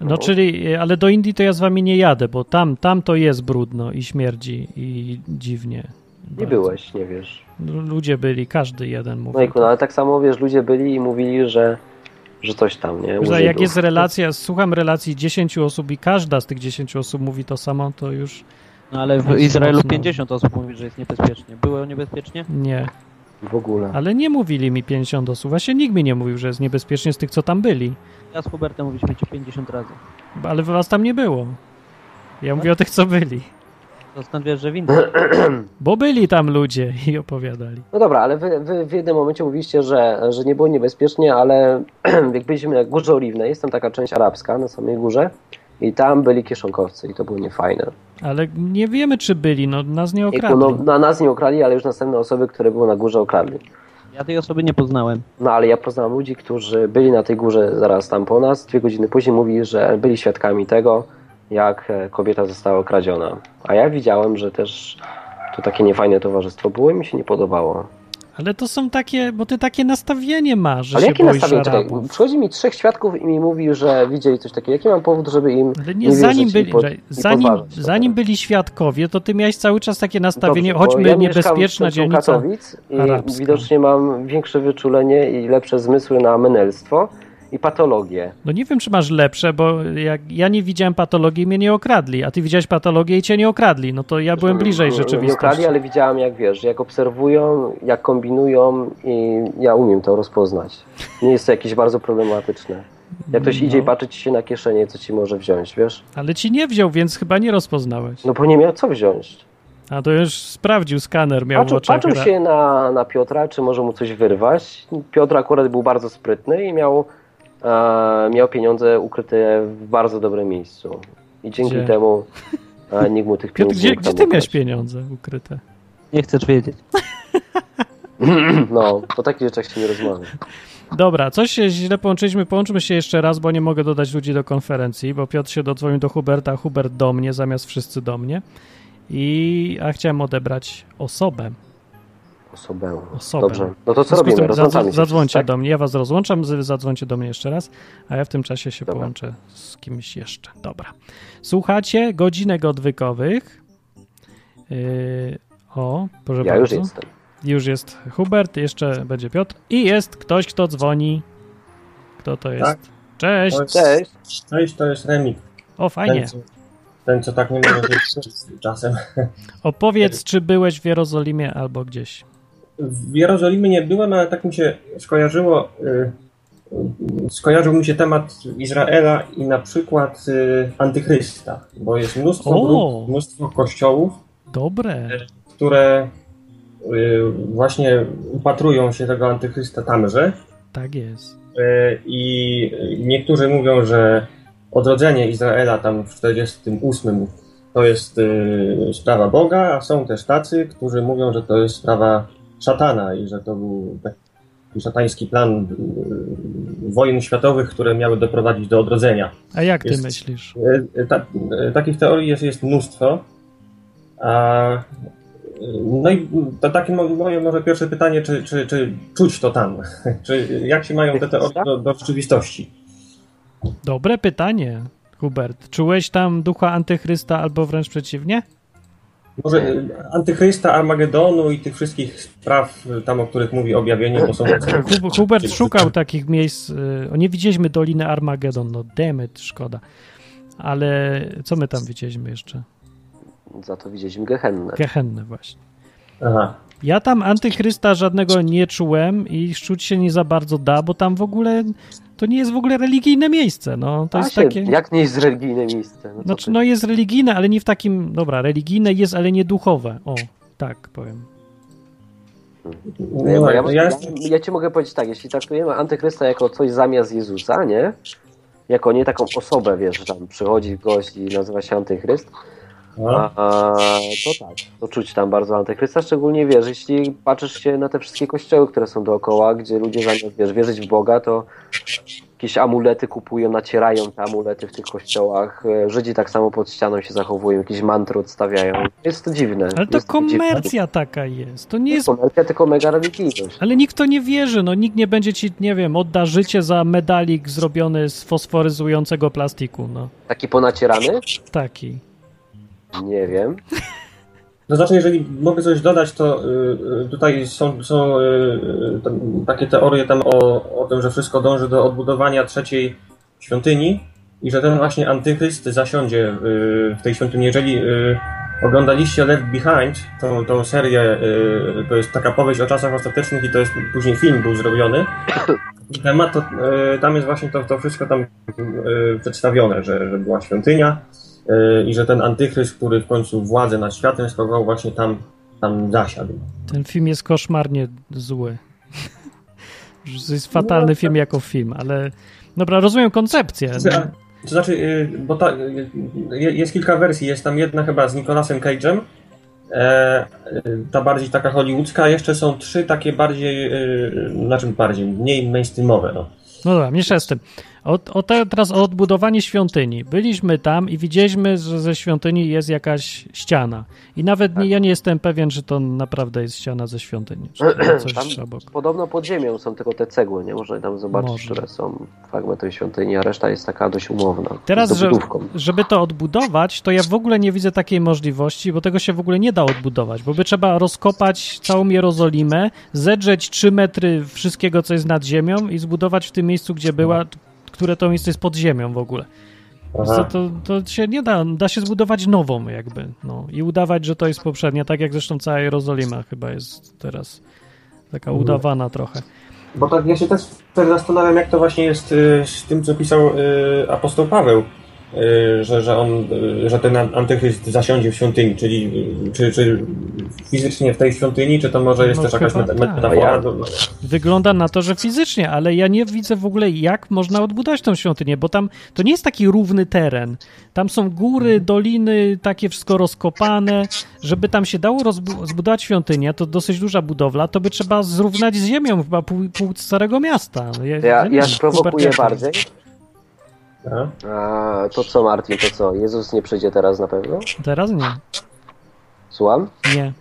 A: No.
B: czyli, e, ale do Indii to ja z wami nie jadę, bo tam, tam to jest brudno i śmierdzi i dziwnie.
A: Nie
B: Bardzo.
A: byłeś, nie wiesz.
B: Ludzie byli, każdy jeden
A: No i
B: mówił.
A: no, ale tak samo, wiesz, ludzie byli i mówili, że, że coś tam, nie? u
B: Że jak
A: Żydów.
B: jest relacja, słucham relacji 10 osób i każda z tych 10 osób mówi to samo, to już
C: No ale
B: No,
C: w Izraelu
B: mocno.
C: 50 osób mówi, że jest niebezpiecznie. Było niebezpiecznie?
B: nie.
A: W ogóle.
B: Ale nie mówili mi 50 osób, właśnie nikt mi nie mówił, że jest niebezpiecznie z tych, co tam byli.
C: Ja z Hubertem mówiliśmy ci 50 razy.
B: Ale was tam nie było. Ja mówię o tych, co byli.
C: To skąd wiesz, że winny?
B: Bo byli tam ludzie i opowiadali.
A: No dobra, ale wy, wy w jednym momencie mówiliście, że, że nie było niebezpiecznie, ale [clears throat] jak byliśmy na Górze Oliwnej, jest tam taka część arabska na samej górze i tam byli kieszonkowcy i to było niefajne.
B: Ale nie wiemy, czy byli, no nas nie
A: I,
B: okradli.
A: no, na nas nie okradli, ale już następne osoby, które były na górze okradli.
C: Ja tej osoby nie poznałem.
A: No ale ja poznałem ludzi, którzy byli na tej górze zaraz tam po nas, dwie godziny później mówili, że byli świadkami tego, jak e, kobieta została okradziona. A ja widziałem, że też to takie niefajne towarzystwo było i mi się nie podobało.
B: Ale to są takie, bo ty takie nastawienie masz, że
A: Ale
B: się
A: jakie
B: boisz
A: nastawienie? Czekaj,
B: Arabów.
A: przychodzi mi trzech świadków i mi mówi, że widzieli coś takiego. Jaki mam powód, żeby im
B: Ale
A: nie
B: nie, zanim
A: wierzyć i
B: byli,
A: pod-
B: że-
A: i
B: zanim,
A: podważać to
B: zanim
A: teraz.
B: byli świadkowie, to ty miałeś cały czas takie nastawienie,
A: Dobrze, bo
B: chodźmy,
A: ja mieszkam
B: niebezpieczna
A: w centrum
B: dzielnica.
A: Katowic i
B: arabska.
A: widocznie mam większe wyczulenie i lepsze zmysły na menelstwo i patologię.
B: No nie wiem, czy masz lepsze, bo jak ja nie widziałem patologii i mnie nie okradli, a ty widziałeś patologię i cię nie okradli, no to ja byłem bliżej
A: Nie
B: rzeczywistości.
A: okradli, ale widziałam jak wiesz, jak obserwują, jak kombinują i ja umiem to rozpoznać. Nie jest to jakieś bardzo problematyczne. Jak ktoś
B: No.
A: idzie i patrzy ci się na kieszenie, co ci może wziąć, wiesz?
B: Ale ci nie wziął, więc chyba nie rozpoznałeś.
A: No bo nie miał co wziąć.
B: A to już sprawdził skaner, miał tak. w
A: Patrzył,
B: oczach.
A: patrzył
B: ra-
A: się na, na Piotra, czy może mu coś wyrwać. Piotr akurat był bardzo sprytny i miał, e, miał pieniądze ukryte w bardzo dobrym miejscu. I dzięki
B: Gdzie?
A: temu e, nikt mu tych
B: Piotr,
A: pieniędzy
B: gdzie,
A: nie
B: gdzie
A: ukradł.
B: ty miałeś pieniądze ukryte?
C: Nie chcesz wiedzieć.
A: No, o takich rzeczach się nie rozmawia.
B: Dobra, coś się źle połączyliśmy. Połączmy się jeszcze raz, bo nie mogę dodać ludzi do konferencji, bo Piotr się dodzwonił do Huberta, a Hubert do mnie, zamiast wszyscy do mnie. I a chciałem odebrać osobę.
A: Osobę.
B: Osobę.
A: Dobrze. No to
B: W
A: co
B: związku
A: robimy?
B: z tym
A: Rozłączamy
B: zadz-
A: się
B: Zadzwońcie
A: wszyscy, tak?
B: do mnie, ja was rozłączam, zy- zadzwońcie do mnie jeszcze raz, a ja w tym czasie się
A: Dobra.
B: połączę z kimś jeszcze. Dobra. Słuchacie godzinek odwykowych. Yy, o, proszę
A: Ja
B: bardzo.
A: już jestem.
B: Już jest Hubert, jeszcze będzie Piotr i jest ktoś, kto dzwoni. Kto to jest? Cześć!
A: Cześć.
D: Cześć, to No jest Remik.
B: O, fajnie.
D: Ten, co tak nie może żyć [laughs] czasem.
B: Opowiedz, czy byłeś w Jerozolimie albo gdzieś.
D: W Jerozolimie nie byłem, ale tak mi się skojarzyło. y, y, Skojarzył mi się temat Izraela i na przykład y, antychrysta, bo jest mnóstwo
B: O!
D: grup, mnóstwo kościołów,
B: Dobre.
D: które y, właśnie upatrują się tego antychrysta tamże.
B: Tak jest.
D: Y, I niektórzy mówią, że odrodzenie Izraela tam w 48 to jest y, sprawa Boga, a są też tacy, którzy mówią, że to jest sprawa szatana i że to był taki szatański plan y, wojen światowych, które miały doprowadzić do odrodzenia.
B: A jak ty
D: Jest-
B: myślisz?
D: Y, y, Ta, y, takich teorii jest, jest mnóstwo. A, y, no i to takie mo- moje może pierwsze pytanie, czy, czy, czy czuć to tam? [laughs] Czy jak się mają te teorie do, do rzeczywistości?
B: Dobre pytanie, Hubert. Czułeś tam ducha antychrysta albo wręcz przeciwnie?
D: Może y, antychrysta, Armagedonu i tych wszystkich spraw y, tam, o których mówi objawienie,
A: [clears throat]
D: bo są...
B: Hub- Hubert szukał takich miejsc. y, O, nie widzieliśmy Doliny Armagedon. No demet, szkoda. Ale co my tam widzieliśmy jeszcze?
A: Za to widzieliśmy Gehennę.
B: Gehenne właśnie.
D: Aha.
B: Ja tam antychrysta żadnego nie czułem i szczuć się nie za bardzo da, bo tam w ogóle to nie jest w ogóle religijne miejsce. No, to
A: A
B: jest
A: się,
B: takie...
A: Jak nie jest religijne miejsce? No, co
B: Znaczy,
A: ty?
B: no jest religijne, ale nie w takim. Dobra, religijne jest, ale nie duchowe. O, tak powiem.
A: Nie, bo
D: No,
A: ja,
D: no, ja
A: ja,
D: jestem-
A: ja ci mogę powiedzieć tak, jeśli traktujemy antychrysta jako coś zamiast Jezusa, nie? Jako nie taką osobę, wiesz, że tam przychodzi gość i nazywa się antychryst,
D: no,
A: a, to tak, to czuć tam bardzo antychrysta, szczególnie, wiesz, jeśli patrzysz się na te wszystkie kościoły, które są dookoła, gdzie ludzie zamiast, wiesz, wierzyć w Boga, to jakieś amulety kupują, nacierają te amulety w tych kościołach, E, Żydzi tak samo pod ścianą się zachowują, jakieś mantry odstawiają, jest to dziwne.
B: Ale to
A: jest No dziwne.
B: komercja taka jest. To nie jest.
A: Komercja, tylko mega religijność.
B: Ale nikt w to nie wierzy. No nikt nie będzie ci, nie wiem, odda życie za medalik zrobiony z fosforyzującego plastiku. No
A: Taki ponacierany?
B: taki.
A: Nie wiem.
D: to znaczy, jeżeli mogę coś dodać, to y, y, tutaj są, są y, y, tam, takie teorie tam o, o tym, że wszystko dąży do odbudowania trzeciej świątyni i że ten właśnie antychryst zasiądzie y, w tej świątyni. Jeżeli y, oglądaliście Left Behind, tą, tą serię, y, to jest taka powieść o czasach ostatecznych i to jest później film był zrobiony, [coughs] I temat to, y, tam jest właśnie to, to wszystko tam y, przedstawione, że, że była świątynia y, i że ten antychryst, który w końcu władzę nad światem sprawował, właśnie tam, tam zasiadł.
B: Ten film jest koszmarnie zły. To jest fatalny film jako film, ale. Dobra, rozumiem koncepcję.
D: Znaczy, a- To znaczy, y, bo ta, y, y, jest kilka wersji. Jest tam jedna chyba z Nicolasem Cage'em, e, y, ta bardziej taka hollywoodzka, a jeszcze są trzy takie bardziej, y, na czym bardziej, mniej mainstreamowe. No.
B: No dobra, mniejsza z tym. O, o te, teraz o odbudowanie świątyni. Byliśmy tam i widzieliśmy, że ze świątyni jest jakaś ściana. I nawet nie, ja nie jestem pewien, czy to naprawdę jest ściana ze świątyni. Czy to coś
A: Tam
B: trzeba.
A: podobno pod ziemią są tylko te cegły, nie? Można tam zobaczyć,
B: Może.
A: które są fragmentem świątyni, a reszta jest taka dość umowna.
B: Teraz,
A: z
B: że,
A: dobudówką.
B: żeby to odbudować, to ja w ogóle nie widzę takiej możliwości, bo tego się w ogóle nie da odbudować, bo by trzeba rozkopać całą Jerozolimę, zedrzeć 3 metry wszystkiego, co jest nad ziemią i zbudować w tym miejscu, gdzie była, które to miejsce jest pod ziemią w ogóle. Wiesz co,
D: Aha.
B: to, to się nie da, da się zbudować nową jakby, no i udawać, że to jest poprzednia, tak jak zresztą cała Jerozolima chyba jest teraz taka udawana trochę.
D: Bo tak ja się też, też zastanawiam, jak to właśnie jest y, z tym, co pisał y, apostoł Paweł, y, że, że, on, y, że ten an- antychryst zasiądzie w świątyni, czyli y, czy, czy fizycznie w tej świątyni, czy to może jest
B: No
D: też jakaś
B: chyba
D: meta-
B: tak.
D: metafora? No,
A: Ja-
D: Do-
B: Wygląda na to, że fizycznie, ale ja nie widzę w ogóle, jak można odbudować tą świątynię, bo tam to nie jest taki równy teren. Tam są
A: Mhm.
B: góry, doliny, takie wszystko rozkopane. Żeby tam się dało rozbu- zbudować świątynię, to dosyć duża budowla, to by trzeba zrównać z ziemią chyba pół, pół starego miasta. No
A: Ja,
B: nie
A: ja
B: wiem, Hubert,
A: sprowokuję
B: jak to
A: bardziej.
D: A?
A: A, to co, Martin, to co? Jezus nie przyjdzie teraz na pewno?
B: jest. Teraz nie.
A: Słucham?
B: Nie,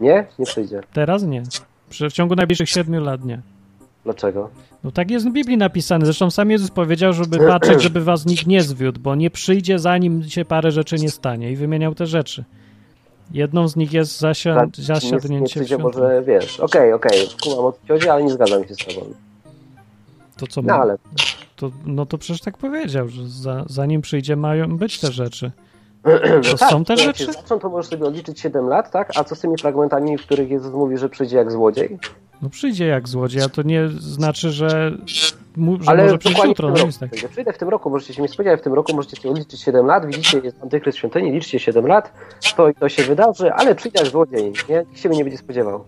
A: Nie? Nie przyjdzie.
B: teraz nie. Przy, w ciągu najbliższych siedmiu lat nie.
A: Dlaczego?
B: No tak jest w Biblii napisane. Zresztą sam Jezus powiedział, żeby
A: Tak
B: patrzeć, żeby was nikt nie zwiódł, bo nie przyjdzie, zanim się parę rzeczy nie stanie. I wymieniał te rzeczy. Jedną z nich jest
A: Dla-
B: zasia-
A: Tak, nie, nie
B: zasiadnięcie w
A: przyjdzie,
B: świątyni.
A: może wiesz. Okej, okej, kumam o co ci chodzi, ale nie zgadzam się z tobą.
B: To co
A: No
B: ma-
A: ale [clears throat]
B: to, No to przecież tak powiedział, że za, zanim przyjdzie mają być te rzeczy. To są te
A: jak
B: rzeczy?
A: się zaczną, to możesz sobie odliczyć 7 lat, tak? A co z tymi fragmentami, w których Jezus mówi, że przyjdzie jak złodziej?
B: No przyjdzie jak złodziej, a to nie znaczy, że, mu, że
A: Ale
B: może przyjść
A: dokładnie
B: jutro.
A: w
B: No
A: tym
B: nic tak.
A: roku. Przyjdę w tym roku, możecie się nie spodziewać, w tym roku możecie sobie odliczyć 7 lat, widzicie, jest antykryst świątyni, liczcie 7 lat, to i to się wydarzy, ale przyjdzie jak złodziej, nie? Nikt się mnie nie będzie spodziewał.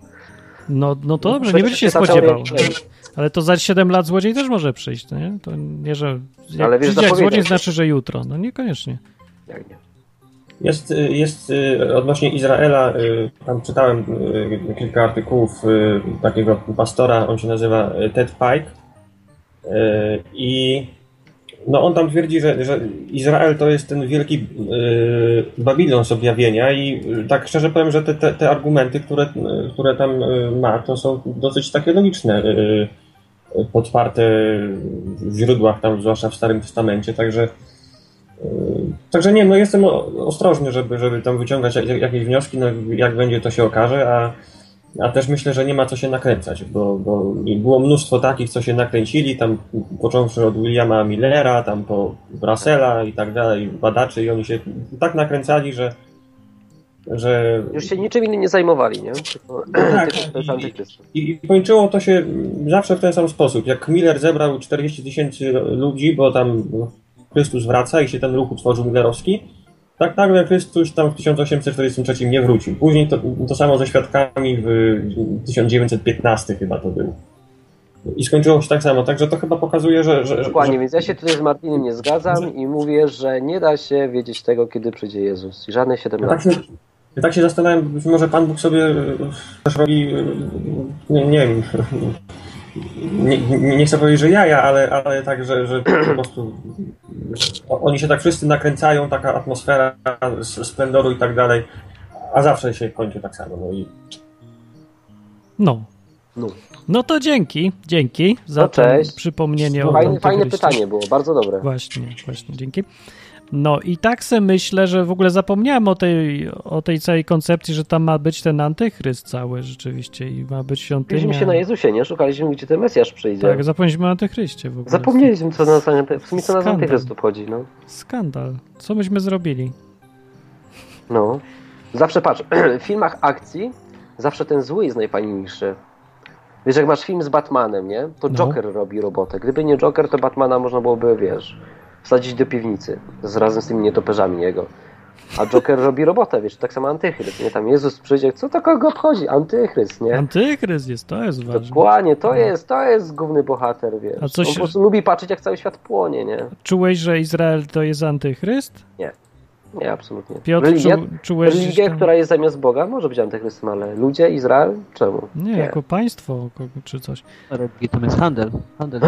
B: No, no to dobrze,
A: Przecież
B: nie będzie
A: ta
B: się
A: teoria
B: spodziewał.
A: istnieje.
B: Ale to za 7 lat złodziej też może przyjść, no nie? To nie, że jak
A: Ale wiesz,
B: przyjdzie jak
A: zapowiedział
B: złodziej
A: się.
B: znaczy, że jutro. No niekoniecznie.
A: Jak nie?
D: Jest, y, jest y, odnośnie Izraela, y, tam czytałem y, kilka artykułów y, takiego pastora, on się nazywa y, Ted Pike Y, i no on tam twierdzi, że, że Izrael to jest ten wielki y, Babilon z objawienia i y, tak szczerze powiem, że te, te, te argumenty, które, y, które tam y, ma, to są dosyć takie logiczne, y, y, podparte w źródłach tam, zwłaszcza w Starym Testamencie, także y, Także nie, no jestem o- ostrożny, żeby, żeby tam wyciągać jak- jakieś wnioski, no jak będzie to się okaże, a, a też myślę, że nie ma co się nakręcać, bo, bo było mnóstwo takich, co się nakręcili, tam począwszy od Williama Millera, tam po Russella i tak dalej, badaczy i oni się tak nakręcali, że, że
A: Już się niczym innym nie zajmowali, nie? Tylko, [clears throat]
D: tak.
A: tylko to jest antykryst.
D: I i kończyło to się mm, zawsze w ten sam sposób. Jak Miller zebrał 40 tysięcy ludzi, bo tam no, Chrystus wraca i się ten ruch utworzył Millerowski, tak nagle Chrystus tam w 1843 nie wrócił. Później to, to samo ze świadkami w y, 1915 chyba to było. I skończyło się tak samo. Także to chyba pokazuje, że. że, że
A: Dokładnie, więc ja się tutaj z Martinem nie zgadzam i mówię, że nie da się wiedzieć tego, kiedy przyjdzie Jezus. I żadne 7
D: Ja
A: lat.
D: tak się, ja tak się zastanawiam, być może Pan Bóg sobie y, też robi, y, nie, nie wiem, [laughs] nie, nie, nie chcę powiedzieć, że jaja, ale, ale tak, że, że po prostu o- oni się tak wszyscy nakręcają, taka atmosfera s- splendoru i tak dalej, a zawsze się kończy tak samo. No i
B: No.
A: No.
B: No to dzięki, dzięki za
A: No,
B: to
A: cześć.
B: przypomnienie o
A: Fajne, fajne
B: Antygryście.
A: pytanie było, bardzo dobre.
B: Tak, Właśnie, właśnie, dzięki. No i tak se myślę, że w ogóle zapomniałem o tej, o tej całej koncepcji, że tam ma być ten antychryst cały rzeczywiście i ma być świątynia.
A: Skupiliśmy się na Jezusie, nie? Szukaliśmy, gdzie ten Mesjasz przyjdzie.
B: Tak, zapomnieliśmy o antychryście w ogóle.
A: Zapomnieliśmy, co nas, w sumie co nas
B: Skandal.
A: antykryst obchodzi, no.
B: Skandal. Co myśmy zrobili?
A: No. Zawsze patrz, [clears throat] w filmach akcji zawsze ten zły jest najfajniejszy. Wiesz, jak masz film z Batmanem, nie? To
B: No.
A: Joker robi robotę. Gdyby nie Joker, to Batmana można byłoby, wiesz, wsadzić do piwnicy z razem z tymi nietoperzami jego. A Joker robi robotę, wiesz, tak samo antychryst, nie? Tam Jezus przyjdzie, co to kogo obchodzi? Antychryst, nie?
B: Antychryst jest, to jest ważne.
A: Dokładnie, to
B: No.
A: jest, to jest główny bohater, wiesz.
B: A coś-
A: On po prostu lubi patrzeć, jak cały świat płonie, nie?
B: Czułeś, że Izrael to jest antychryst?
A: Nie, absolutnie.
B: Piotr,
A: Religia,
B: czu, czułeś gdzieś
A: religia
B: tam...
A: która jest zamiast Boga, może być antychrystem, ale ludzie, Izrael, czemu?
B: Nie, jako państwo ko- czy coś.
C: Religia to jest handel. handel.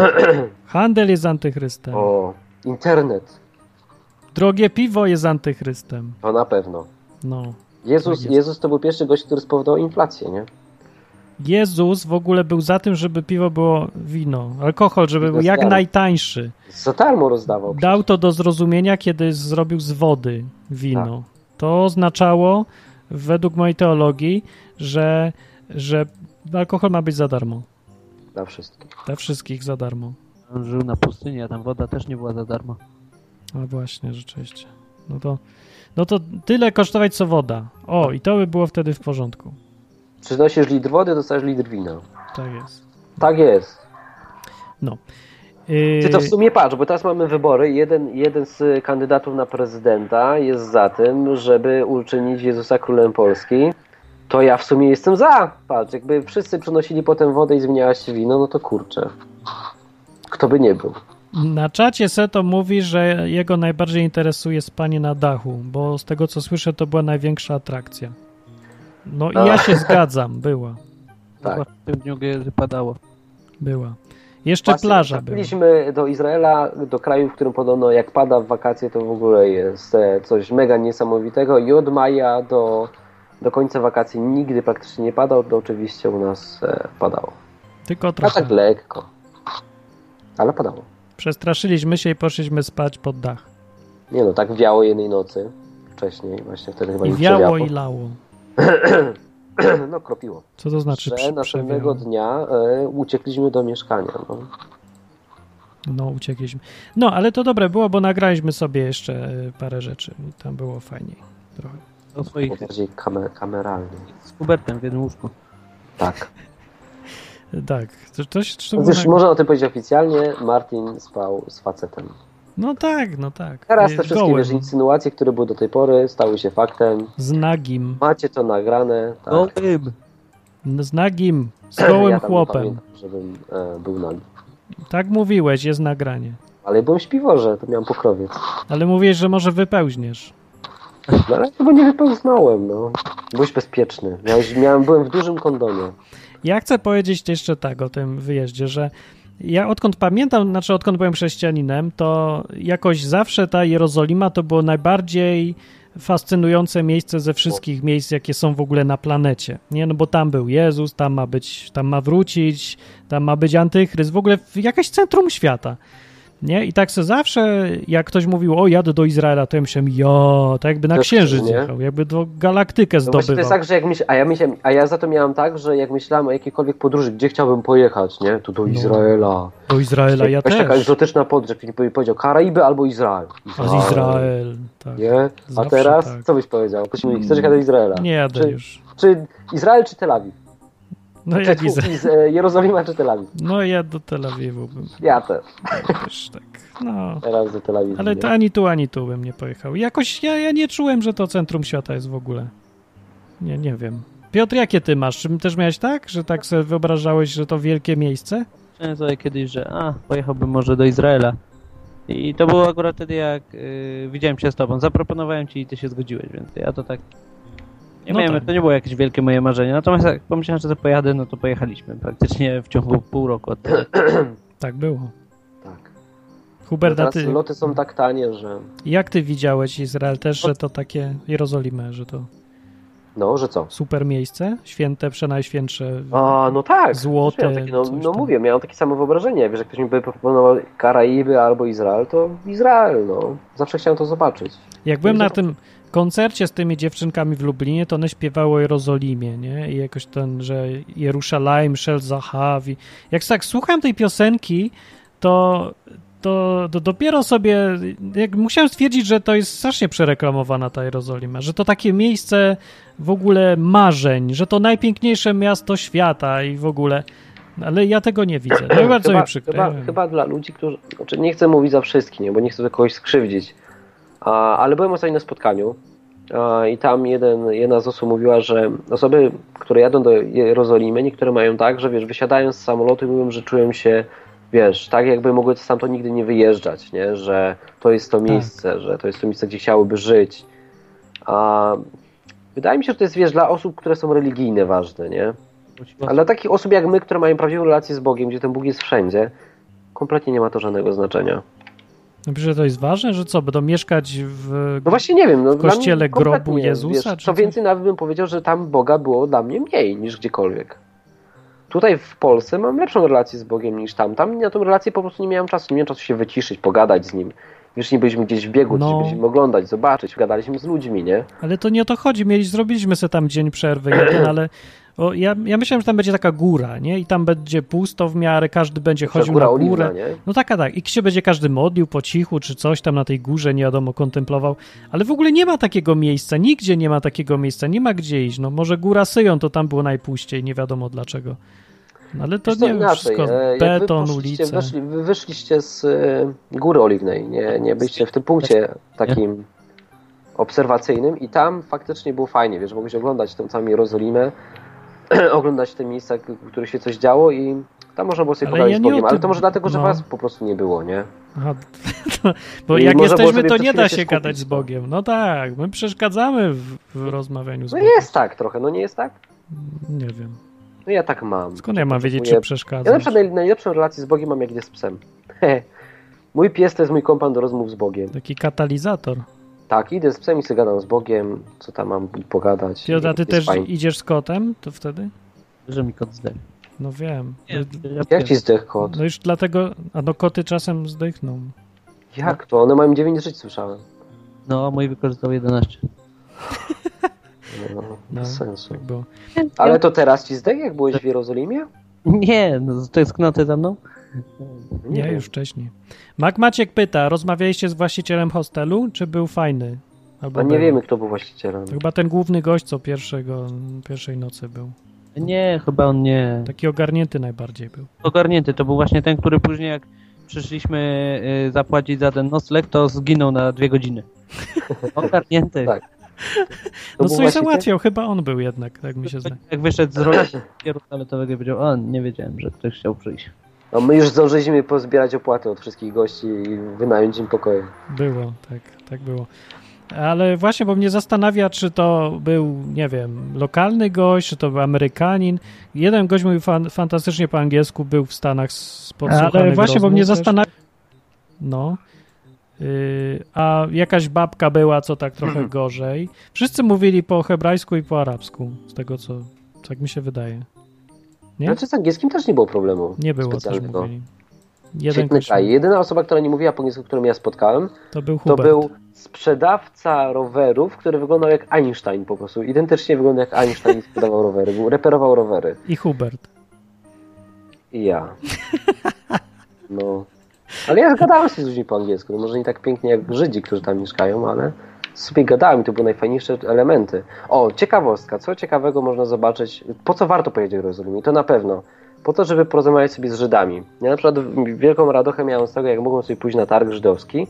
B: Handel jest antychrystem.
A: O, internet,
B: Drogie piwo jest antychrystem.
A: to na pewno.
B: No.
A: Jezus,
B: Tak jest.
A: Jezus to był pierwszy gość, który spowodował inflację, nie?
B: Jezus w ogóle był za tym, żeby piwo było wino, alkohol, żeby był jak
A: Zgadzam.
B: najtańszy.
A: Za darmo rozdawał.
B: Dał to do zrozumienia, kiedy zrobił z wody wino.
A: Tak.
B: To oznaczało, według mojej teologii, że, że alkohol ma być za darmo.
A: Dla wszystkich.
B: Dla wszystkich za darmo.
C: On żył na pustyni, a tam woda też nie była za darmo.
B: A właśnie, rzeczywiście. No to, no to tyle kosztować, co woda. O, i to by było wtedy w porządku.
A: Przynosisz litr wody, dostajesz litr wina.
B: Tak jest.
A: Tak jest.
B: Yy,
A: Ty to w sumie patrz, bo teraz mamy wybory. i Jeden, jeden z kandydatów na prezydenta jest za tym, żeby uczynić Jezusa królem Polski. To ja w sumie jestem za. Patrz, jakby wszyscy przynosili potem wodę i zmieniała się wino, no to kurczę. Kto by nie był.
B: Na czacie Seto mówi, że jego najbardziej interesuje spanie na dachu, bo z tego co słyszę, to była największa atrakcja. No i ja się zgadzam, była,
A: Tak.
C: Zwłaszcza w tym dniu, gdy padało.
B: była. Jeszcze
A: Właśnie,
B: plaża była.
A: Trafiliśmy do Izraela, do kraju, w którym podobno jak pada w wakacje, to w ogóle jest e, coś mega niesamowitego. I od maja do, do końca wakacji nigdy praktycznie nie padał, to oczywiście u nas e, padało.
B: Tylko
A: A tak
B: trochę.
A: lekko. Ale padało.
B: Przestraszyliśmy się i poszliśmy spać pod dach.
A: Nie no, tak wiało jednej nocy wcześniej, właśnie wtedy chyba
B: I
A: nie
B: wiało
A: przewiało.
B: i lało.
A: [clears throat] No kropiło.
B: Co to znaczy
A: że
B: przy,
A: następnego
B: przewiało?
A: dnia e, uciekliśmy do mieszkania. No.
B: no uciekliśmy. No, ale to dobre było, bo nagraliśmy sobie jeszcze y, parę rzeczy. Tam było fajniej trochę.
C: O swoich
A: Bardziej kamer- kameralnie.
C: z Hubertem w jednym łóżku.
A: Tak.
B: Tak, to, to, się- to, było
A: Chociaż
B: na-
A: można o tym powiedzieć oficjalnie, Martin spał z facetem.
B: No tak, no tak.
A: Teraz
B: Y,
A: te wszystkie
B: gołem,
A: wiesz, insynuacje, które były do tej pory, stały się faktem.
B: Z nagim,
A: Macie to nagrane. Tak.
C: No tym.
B: z nagim, z
A: [clears throat] Ja
B: gołym
A: tam nie
B: chłopem.
A: Pamiętam, żebym e, był nagi.
B: Tak mówiłeś, jest nagranie.
A: Ale byłem śpiworze, to miałem pokrowiec.
B: Ale mówiłeś, że może wypełźniesz.
A: No ale chyba nie wypełznałem, no. Byłeś bezpieczny. Miałeś, miałem, byłem w dużym kondomie.
B: Ja chcę powiedzieć jeszcze tak o tym wyjeździe, że ja odkąd pamiętam, znaczy odkąd byłem chrześcijaninem, to jakoś zawsze ta Jerozolima to było najbardziej fascynujące miejsce ze wszystkich miejsc, jakie są w ogóle na planecie. Nie, no bo tam był Jezus, tam ma być, tam ma wrócić, tam ma być antychryst, w ogóle w- jakieś centrum świata. Nie? I tak se zawsze, jak ktoś mówił, o jadę do Izraela, to ja myślałem, jo, tak jakby na
A: Też,
B: księżyc
A: nie?
B: jechał, jakby do galaktykę
A: No właśnie to jest
B: zdobywał.
A: tak, że jak myśl, a, ja myślałem, a ja za to miałem tak, że jak myślałem o jakiejkolwiek podróży, gdzie chciałbym pojechać, nie? To do Izraela.
B: Do No. Izraela ja
A: Jakaś taka
B: też.
A: egzotyczna podróż, jak mi powiedział Karaiby albo Izrael.
B: A z Izrael, tak.
A: Nie? A
B: Zawsze
A: teraz
B: tak. Mm.
A: co byś powiedział? Ktoś mówi, chcesz jechać do Izraela?
B: Nie jadę
A: Czy-
B: już.
A: Czy Izrael czy Tel Awiw?
B: No
A: Czy
B: jak
A: tu,
B: Izrael.
A: z, [laughs] e, Jerozolima czy Tel Awiw?
B: No ja do Tel Awiwu bym
A: Ja też.
B: też tak. No.
A: Teraz do Tel Awiwu.
B: Ale tak.
A: nie?
B: to ani tu, ani tu bym nie pojechał. Jakoś ja, ja nie czułem, że to centrum świata jest w ogóle. Nie, nie wiem. Piotr, jakie ty masz? Czy też miałeś tak, że tak sobie wyobrażałeś, że to wielkie miejsce?
C: Myślałem sobie kiedyś, że a, pojechałbym może do Izraela. I to było akurat wtedy, jak y, widziałem się z tobą. Zaproponowałem ci i ty się zgodziłeś, więc ja to tak... Nie
B: No
C: miałem,
B: tak.
C: to nie było jakieś wielkie moje marzenie. Natomiast jak pomyślałem, że to pojadę, no to pojechaliśmy praktycznie w ciągu pół roku od tego.
B: Tak było.
A: Tak.
B: Hubert, a
A: Teraz
B: ty,
A: loty są tak tanie, że...
B: jak ty widziałeś Izrael też, że to takie Jerozolimę, że to
A: No, że co?
B: super miejsce, święte, przenajświętsze.
A: A, no tak.
B: Złote,
A: Też miałem Takie, no,
B: coś
A: no
B: tam.
A: mówię, miałem takie samo wyobrażenie. Wiesz, jak ktoś mi by proponował Karaiby albo Izrael, to Izrael, no. Zawsze chciałem to zobaczyć.
B: Jak byłem na tym koncercie z tymi dziewczynkami w Lublinie, to one śpiewały o Jerozolimie, nie? I jakoś ten, że Jerusalem, Szel Zahawi. Jak tak słucham tej piosenki, to, to, to dopiero sobie jak musiałem stwierdzić, że to jest strasznie przereklamowana ta Jerozolima, że to takie miejsce w ogóle marzeń, że to najpiękniejsze miasto świata i w ogóle... Ale ja tego nie widzę. [clears throat] To
A: [clears throat]
B: jest bardzo
A: chyba,
B: mi przykro.
A: Chyba,
B: Ja wiem.
A: chyba dla ludzi, którzy. Znaczy nie chcę mówić za wszystkich, nie, bo nie chcę tu kogoś skrzywdzić. A, ale byłem ostatnio na spotkaniu a, i tam jeden, jedna z osób mówiła, że osoby, które jadą do Jerozolimy, niektóre mają tak, że wiesz, wysiadają z samolotu i mówią, że czują się. Wiesz, tak jakby mogły stamtąd nigdy nie wyjeżdżać, nie? że to jest to miejsce, że to jest to miejsce, gdzie chciałyby żyć. A wydaje mi się, że to jest wiesz, dla osób, które są religijne ważne, nie?
B: No.
A: A dla takich osób jak my, które mają prawdziwą relację z Bogiem, gdzie ten Bóg jest wszędzie, kompletnie nie ma to żadnego znaczenia.
B: No, że to jest ważne, że co, będą mieszkać w
A: No właśnie nie wiem. No, dla
B: kościele
A: mnie
B: grobu
A: kompletnie,
B: Jezusa,
A: Wiesz,
B: czy
A: co
B: coś?
A: więcej, nawet bym powiedział, że tam Boga było dla mnie mniej niż gdziekolwiek. Tutaj w Polsce mam lepszą relację z Bogiem niż tam. Tam na tą relację po prostu nie miałem czasu. Nie miałem czasu się wyciszyć, pogadać z Nim. Wiesz, nie byliśmy gdzieś w biegu,
B: No.
A: no. byliśmy oglądać, zobaczyć, gadaliśmy z ludźmi, nie?
B: Ale to nie o to chodzi. Mieli, zrobiliśmy sobie tam dzień przerwy jeden, ale o, ja, ja myślałem, że tam będzie taka góra, nie? I tam będzie pusto w miarę, każdy będzie chodził
A: Góra
B: na górę.
A: Oliwna, nie?
B: No taka, tak. I się będzie każdy modlił po cichu, czy coś tam na tej górze, nie wiadomo, kontemplował. Ale w ogóle nie ma takiego miejsca, nigdzie nie ma takiego miejsca, nie ma gdzie iść. No może góra Syjon to tam było najpuściej, nie wiadomo dlaczego. No, ale to
A: Wiesz co,
B: nie wiem,
A: inaczej,
B: wszystko
A: e, jak wy
B: beton,
A: poszliście-
B: ulice.
A: Weszli, wy wyszliście z e, Góry Oliwnej, nie, nie byliście w tym punkcie takim obserwacyjnym i tam faktycznie było fajnie, wiesz, mogłeś oglądać tą całą Jerozolimę, [clears throat] oglądać te miejsca, k- w których się coś działo i tam można było sobie
B: Ale
A: pogadać
B: ja
A: z
B: nie o
A: Bogiem, ale
B: tym-
A: to może dlatego, że
B: no.
A: was po prostu nie było, nie? No
B: Aha, to, [laughs] bo
A: I
B: jak
A: można było
B: jesteśmy,
A: sobie
B: to
A: przez
B: nie
A: chwilę
B: da
A: się
B: się
A: skupić,
B: gadać z
A: no.
B: Bogiem. No tak, my przeszkadzamy w, w rozmawianiu z
A: No
B: Bogiem.
A: jest tak trochę, no nie jest tak?
B: Nie wiem.
A: No ja tak mam.
B: Skąd ja mam wiedzieć, czy
A: potrzebuję- Ja na
B: przeszkadzam?
A: przykład naj- najlepszą relację z Bogiem mam jak idę z psem. [laughs] Mój pies to jest mój kompan do rozmów z Bogiem.
B: Taki katalizator.
A: Tak, idę z psem i sobie gadam z Bogiem, co tam mam pogadać.
B: Piotr, a ty
A: Jest
B: też
A: fajnie.
B: idziesz z kotem? To wtedy?
C: Że mi kot zdechł.
B: No wiem.
A: Jak ci zdech kot?
B: No już dlatego... A no koty czasem zdychną.
A: Jak to? One mają 9 żyć, słyszałem.
C: No, mój wykorzystał [laughs] 11.
A: No,
B: No.
A: bez sensu.
B: Tak było.
A: Ale to teraz ci zdech, jak byłeś w Jerozolimie?
C: Nie, no, to jest knoty za mną.
B: Nie, już wcześniej. Mac Maciek pyta, rozmawialiście z właścicielem hostelu, czy był fajny? Albo
A: A No nie
B: był?
A: wiemy, kto był właścicielem.
B: To chyba ten główny gość, co pierwszego, pierwszej nocy był.
C: Nie, chyba on nie.
B: Taki ogarnięty najbardziej był.
C: Ogarnięty, to był właśnie ten, który później jak przyszliśmy y, zapłacić za ten nocleg, to zginął na dwie
A: [laughs]
C: godziny. Ogarnięty.
A: Tak. To
B: No
A: był
B: coś
A: właściciel?
B: załatwiał, chyba on był jednak, tak mi się zdaje.
C: Jak wyszedł z roli toaletowego i powiedział, o, nie wiedziałem, że ktoś chciał przyjść.
A: No my już zdążyliśmy pozbierać opłaty od wszystkich gości i wynająć im pokoje.
B: Było, tak, tak było. Ale właśnie, bo mnie zastanawia, czy to był, nie wiem, lokalny gość, czy to był Amerykanin. Jeden gość mówił fan, fantastycznie po angielsku, był w Stanach z
C: Ale
B: właśnie, bo mnie
C: zastanawia.
B: zastanawia. No. Yy, a jakaś babka była, co tak trochę
A: Mhm.
B: gorzej. Wszyscy mówili po hebrajsku i po arabsku, z tego co, tak mi się wydaje. Nie?
A: Znaczy z angielskim też nie było problemu.
B: Nie było, też
A: specjalnego.
B: mówili. Jeden
A: no. Świetny
B: gość,
A: kraj. Jedyna osoba, która nie mówiła po angielsku, którą ja spotkałem,
B: to był
A: to
B: Hubert.
A: był sprzedawca rowerów, który wyglądał jak Einstein po prostu. Identycznie wyglądał jak Einstein i sprzedawał rowery. Był, reperował rowery.
B: I Hubert.
A: I ja. No. Ale ja gadałem się z ludźmi po angielsku. No może nie tak pięknie jak Żydzi, którzy tam mieszkają, ale sobie gadałem i to były najfajniejsze elementy. O, ciekawostka. Co ciekawego można zobaczyć? Po co warto pojechać do Jerozolimy? To na pewno. Po to, żeby porozmawiać sobie z Żydami. Ja na przykład wielką radochę miałem z tego, jak mogłem sobie pójść na targ żydowski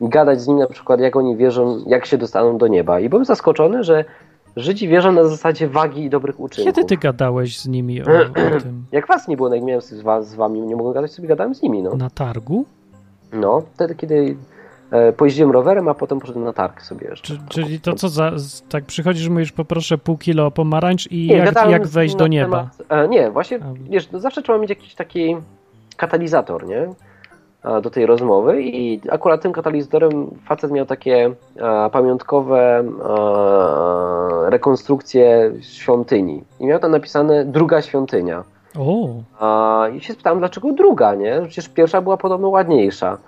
A: i gadać z nimi na przykład, jak oni wierzą, jak się dostaną do nieba. I byłem zaskoczony, że Żydzi wierzą na zasadzie wagi i dobrych uczynków.
B: Kiedy ty gadałeś z nimi o,
A: [clears throat]
B: o tym?
A: Jak was nie było, no jak miałem z, was, z wami, nie mogłem gadać, sobie gadałem z nimi, no.
B: Na targu?
A: No, wtedy, kiedy e, pojeździłem rowerem, a potem poszedłem na targ sobie jeszcze.
B: Czy, czyli to co za... z- Tak przychodzisz, mówisz poproszę pół kilo pomarańcz i jak,
A: gadałem
B: jak
A: z-
B: wejść
A: na
B: do nieba.
A: temat- e, nie, właśnie,
B: A.
A: wiesz, no zawsze trzeba mieć jakiś taki katalizator, nie? E, do tej rozmowy i akurat tym katalizatorem facet miał takie e, pamiątkowe e, rekonstrukcje świątyni. I miał tam napisane druga świątynia.
B: O,
A: A, I się spytałem, dlaczego druga, nie? Przecież pierwsza była podobno ładniejsza.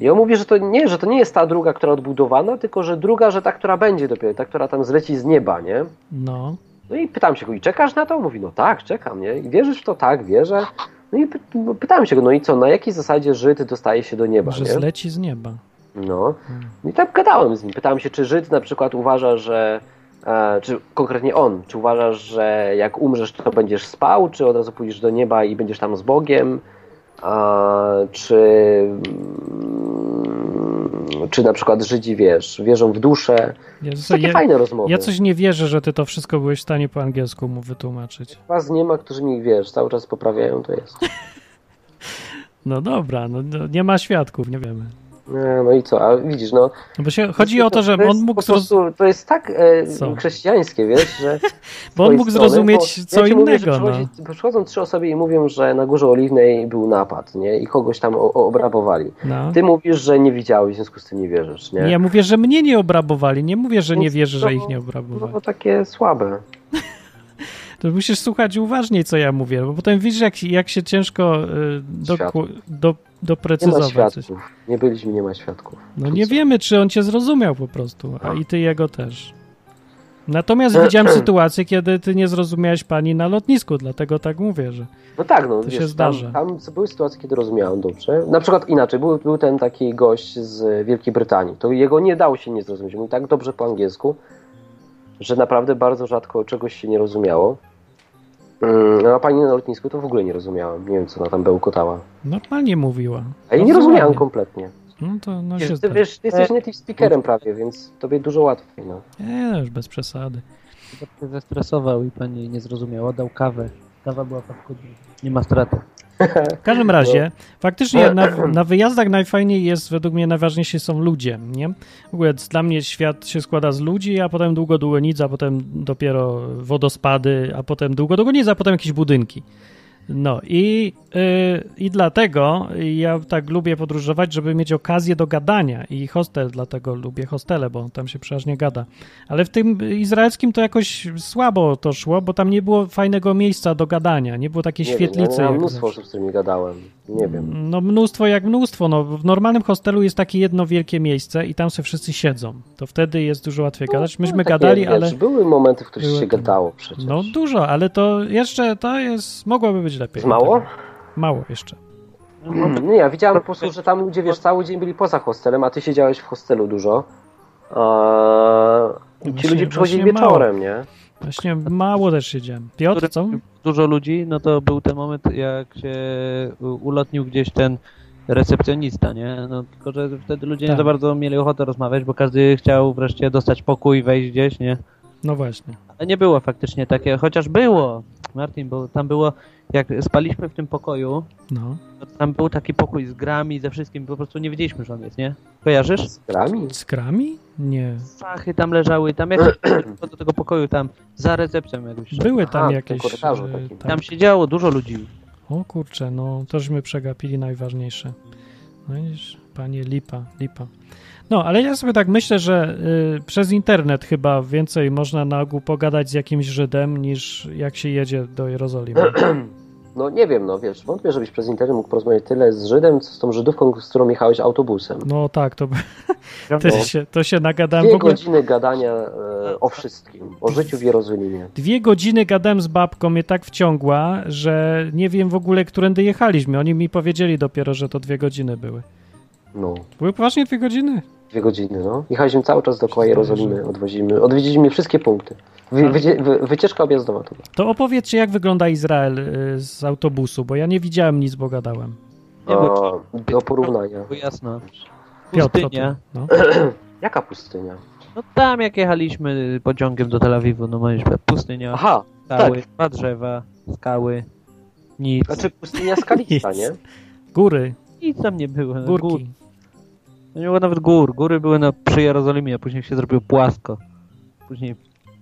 A: I on mówi, że to nie, że to nie jest ta druga, która odbudowana, tylko że druga, że ta, która będzie dopiero, ta, która tam zleci z nieba, nie?
B: no.
A: No i pytam się go, i czekasz na to? Mówi, no tak, czekam, nie? I wierzysz w to? Tak, wierzę. No i py- pytałem się go, no i co, na jakiej zasadzie Żyd dostaje się do nieba,
B: Że
A: nie?
B: zleci z nieba.
A: No.
B: Hmm.
A: I tak gadałem z nim. Pytałem się, czy Żyd na przykład uważa, że. E, czy konkretnie on, czy uważasz, że jak umrzesz, to będziesz spał, czy od razu pójdziesz do nieba i będziesz tam z Bogiem? A, czy. mm, Czy na przykład Żydzi wiesz, wierzą w duszę? To
B: Jezu,
A: są takie
B: ja,
A: fajne rozmowy.
B: ja coś nie wierzę, że ty to wszystko byłeś w stanie po angielsku mu wytłumaczyć.
A: Was nie ma, którzy mi wiesz, cały czas poprawiają, to jest.
B: No dobra, no, no nie ma świadków, nie wiemy.
A: E, No i co, a widzisz, no.
B: No bo się, chodzi o to, że
A: to jest
B: on mógł,
A: po
B: zroz...
A: prostu, To jest tak e,
B: Co?
A: chrześcijańskie, wiesz,
B: [laughs]
A: że.
B: bo on
A: swojej
B: mógł
A: strony,
B: zrozumieć
A: bo
B: co
A: ja ci Mówię, że
B: innego. No.
A: przychodzi, Przychodzą trzy osoby i mówią, że na Górze Oliwnej był napad, nie? I kogoś tam o- o- obrabowali.
B: No.
A: Ty mówisz, że nie widziałeś, w związku z tym nie wierzysz, nie?
B: Ja mówię, że mnie nie obrabowali, nie mówię, że nie
A: Więc
B: wierzę,
A: to-
B: że ich nie
A: No
B: obrabowali.
A: bo takie słabe.
B: To musisz słuchać uważniej, co ja mówię, bo potem widzisz, jak, jak się ciężko y, doku, do,
A: Nie ma
B: doprecyzować. coś.
A: świadków. Nie byliśmy, nie ma świadków.
B: No nie
A: Trudno.
B: wiemy, czy on cię zrozumiał po prostu, a
A: No.
B: i ty jego też. Natomiast
A: E,
B: widziałem sytuację, kiedy ty nie zrozumiałeś pani na lotnisku, dlatego tak mówię, że
A: No tak, no
B: To
A: wiesz,
B: się zdarza.
A: Tam, tam były sytuacje, kiedy rozumiałem dobrze. Na przykład inaczej, był, był ten taki gość z Wielkiej Brytanii. To jego nie dało się nie zrozumieć. Mówił tak dobrze po angielsku, że naprawdę bardzo rzadko czegoś się nie rozumiało. Mm, no A pani na lotnisku to w ogóle nie rozumiałem. Nie wiem, co ona tam bełkotała.
B: normalnie mówiła.
A: A ja nie
B: Bardzo
A: rozumiałem
B: ładnie.
A: kompletnie.
B: No to no się
A: Wiesz, ty,
B: zdarza.
A: wiesz, ty jesteś native
B: no.
A: speakerem prawie, więc tobie dużo łatwiej. No.
B: Nie, no już bez przesady.
C: Hubert się zestresował i pani nie zrozumiała, dał kawę. Kawa była paskudna. Nie ma straty.
B: W
A: No.
B: każdym razie,
A: [clears throat]
B: faktycznie na, na wyjazdach najfajniej jest, według mnie najważniejsi są ludzie, nie? W ogóle dla mnie świat się składa z ludzi, a potem długo, długo nic, a potem dopiero wodospady, a potem długo, długo nic, a potem jakieś budynki. No i, y, i dlatego ja tak lubię podróżować, żeby mieć okazję do gadania i hostel, dlatego lubię hostele, bo tam się przeważnie gada. Ale w tym izraelskim to jakoś słabo to szło, bo tam nie było fajnego miejsca do gadania, nie było takiej
A: Nie
B: świetlicy.
A: Wiem, ja
B: jak
A: miałem mnóstwo
B: zawsze.
A: osób, z którymi gadałem. Nie wiem.
B: No mnóstwo jak mnóstwo. No, w normalnym hostelu jest takie jedno wielkie miejsce i tam sobie wszyscy siedzą. To wtedy jest dużo łatwiej gadać. Myśmy
A: Były No, takie,
B: gadali,
A: wiesz,
B: ale... No,
A: Były momenty, w których
B: Były
A: się
B: tam.
A: gadało przecież.
B: No dużo, ale to jeszcze to jest... Mogłoby być lepiej.
A: Jest mało?
B: Mało jeszcze.
A: Mhm. Nie, ja widziałem po prostu, że tam ludzie, wiesz, cały dzień byli poza hostelem, a ty siedziałeś w hostelu dużo. Eee, ci
B: Właśnie-
A: ludzie przychodzili
B: właśnie mało.
A: wieczorem, nie?
B: Właśnie mało też siedziałem. Piotr, co?
C: dużo ludzi, no to był ten moment, jak się u- ulotnił gdzieś ten recepcjonista, nie? No, tylko, że wtedy ludzie
B: Tak.
C: nie za bardzo mieli ochotę rozmawiać, bo każdy chciał wreszcie dostać pokój, wejść gdzieś, nie?
B: No właśnie.
C: Ale nie było faktycznie takie, chociaż było, Martin, bo tam było, jak spaliśmy w tym pokoju,
B: No.
C: to tam był taki pokój z grami, ze wszystkim, po prostu nie wiedzieliśmy, że on jest, nie? Kojarzysz?
A: Grami?
B: Z grami? Nie.
C: Sachy tam leżały, tam jak do tego pokoju, tam za recepcją jakbyś szedł.
B: Były tam
A: Aha, w tym
B: jakieś...
A: korytarzu
B: e,
A: takim.
B: tak.
C: Tam siedziało dużo ludzi.
B: O kurczę, no tożmy przegapili najważniejsze. No widzisz, panie Lipa, Lipa. No, ale ja sobie tak myślę, że y, przez internet chyba więcej można na ogół pogadać z jakimś Żydem niż jak się jedzie
A: [clears throat]
B: do Jerozolimy.
A: No nie wiem, no wiesz, wątpię, żebyś przez internet mógł porozmawiać tyle z Żydem, co z tą Żydówką, z którą jechałeś autobusem.
B: No tak, to,
A: No.
B: to, się, to się nagadałem. W
A: Dwie
B: ogóle
A: godziny gadania e, o wszystkim, o życiu w Jerozolimie.
B: dwie godziny gadałem z babką, mnie tak wciągła, że nie wiem w ogóle, którędy jechaliśmy. Oni mi powiedzieli dopiero, że to dwie godziny były.
A: No,
B: Były poważnie dwie godziny?
A: dwie godziny, no. Jechaliśmy cały czas dookoła Jerozolimy, odwoziliśmy, odwiedziliśmy wszystkie punkty. Wy,
B: Tak.
A: wycie- wy, wycieczka objazdowa to była.
B: To opowiedzcie, jak wygląda Izrael y, z autobusu, bo ja nie widziałem nic, bo gadałem.
C: Nie było,
A: A, Do porównania.
C: było jasno.
B: Piotr, o
C: Pustynia.
B: tym.
A: [clears throat]
B: no.
A: Jaka pustynia?
C: No tam jak jechaliśmy pociągiem do Tel Awiwu, no mieliśmy pustynia,
A: Aha,
C: skały,
B: tak.
C: dwa drzewa, skały, nic.
A: znaczy pustynia skalista, nie?
B: Góry,
C: Nic tam nie
A: y,
C: było.
B: górki.
C: Gór, no nie było nawet gór. Góry były na, przy Jerozolimie, a później się zrobiło płasko. Później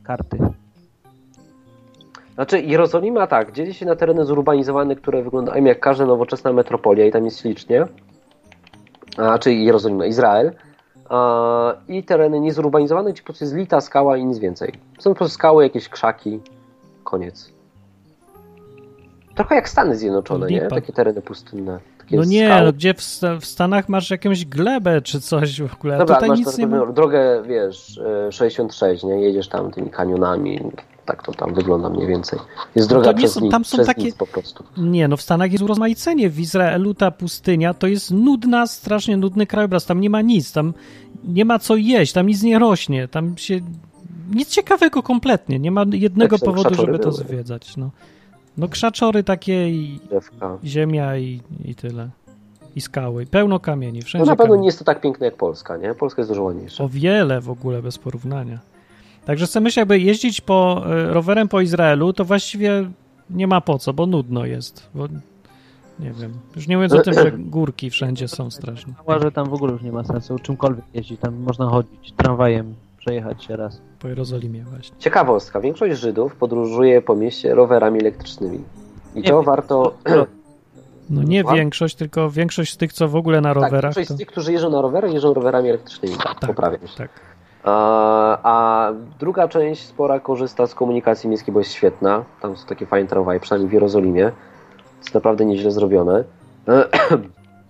C: karty.
A: Znaczy Jerozolima tak, dzieli się na tereny zurbanizowane, które wyglądają jak każda nowoczesna metropolia i tam jest licznie. A, czyli Jerozolima, Izrael. A, I tereny niezurbanizowane, gdzie po prostu jest lita skała i nic więcej. Są po prostu skały, jakieś krzaki, koniec. Trochę jak Stany Zjednoczone, nie?
B: Lipa.
A: Takie tereny pustynne. Takie
B: No nie,
A: skały.
B: no gdzie w, Sta- w Stanach masz jakąś glebę czy coś w ogóle, a
A: Dobra,
B: E, tutaj
A: masz
B: nic
A: tę
B: nie ma.
A: drogę, wiesz, e, 66, nie? Jedziesz tam tymi kanionami, tak to tam wygląda mniej więcej. Jest droga
B: tam nie
A: przez,
B: są-
A: nic,
B: tam są
A: przez
B: takie-
A: nic po prostu.
B: Nie, no w Stanach jest urozmaicenie, w Izraelu ta pustynia to jest nudna, strasznie nudny krajobraz, tam nie ma nic, tam nie ma co jeść, tam nic nie rośnie, tam się... Nic ciekawego kompletnie, nie ma jednego
A: Tak, są
B: powodu,
A: krzaczory
B: żeby to
A: były.
B: zwiedzać, no. No krzaczory takie i
A: Drzewka. No,
B: ziemia i, i tyle. I skały, pełno kamieni, wszędzie
A: No na pewno
B: kamienie.
A: nie jest to tak piękne jak Polska, nie? Polska jest dużo ładniejsza.
B: O wiele w ogóle bez porównania. Także chcemy się, jakby jeździć po y, rowerem po Izraelu, to właściwie nie ma po co, bo nudno jest. Bo, nie wiem. Już nie mówiąc o tym, że górki wszędzie są straszne.
C: Mała, że tam w ogóle już nie ma sensu czymkolwiek jeździć. Tam można chodzić tramwajem, przejechać się raz.
B: Po Jerozolimie właśnie.
A: Ciekawostka, większość Żydów podróżuje po mieście rowerami elektrycznymi. I
C: Nie,
A: to
C: nie,
A: warto... [clears throat] tak,
B: No nie
A: Ła-
B: większość, tylko większość z tych, co w ogóle na
A: Tak,
B: rowerach.
A: większość
B: To...
A: z tych, którzy jeżdżą na rowerach, jeżdżą rowerami elektrycznymi. Tak,
B: Tak,
A: poprawiam się.
B: tak.
A: A, a druga część spora korzysta z komunikacji miejskiej, bo jest świetna. Tam są takie fajne tramwaje, przynajmniej w Jerozolimie. Jest naprawdę nieźle zrobione. [clears throat]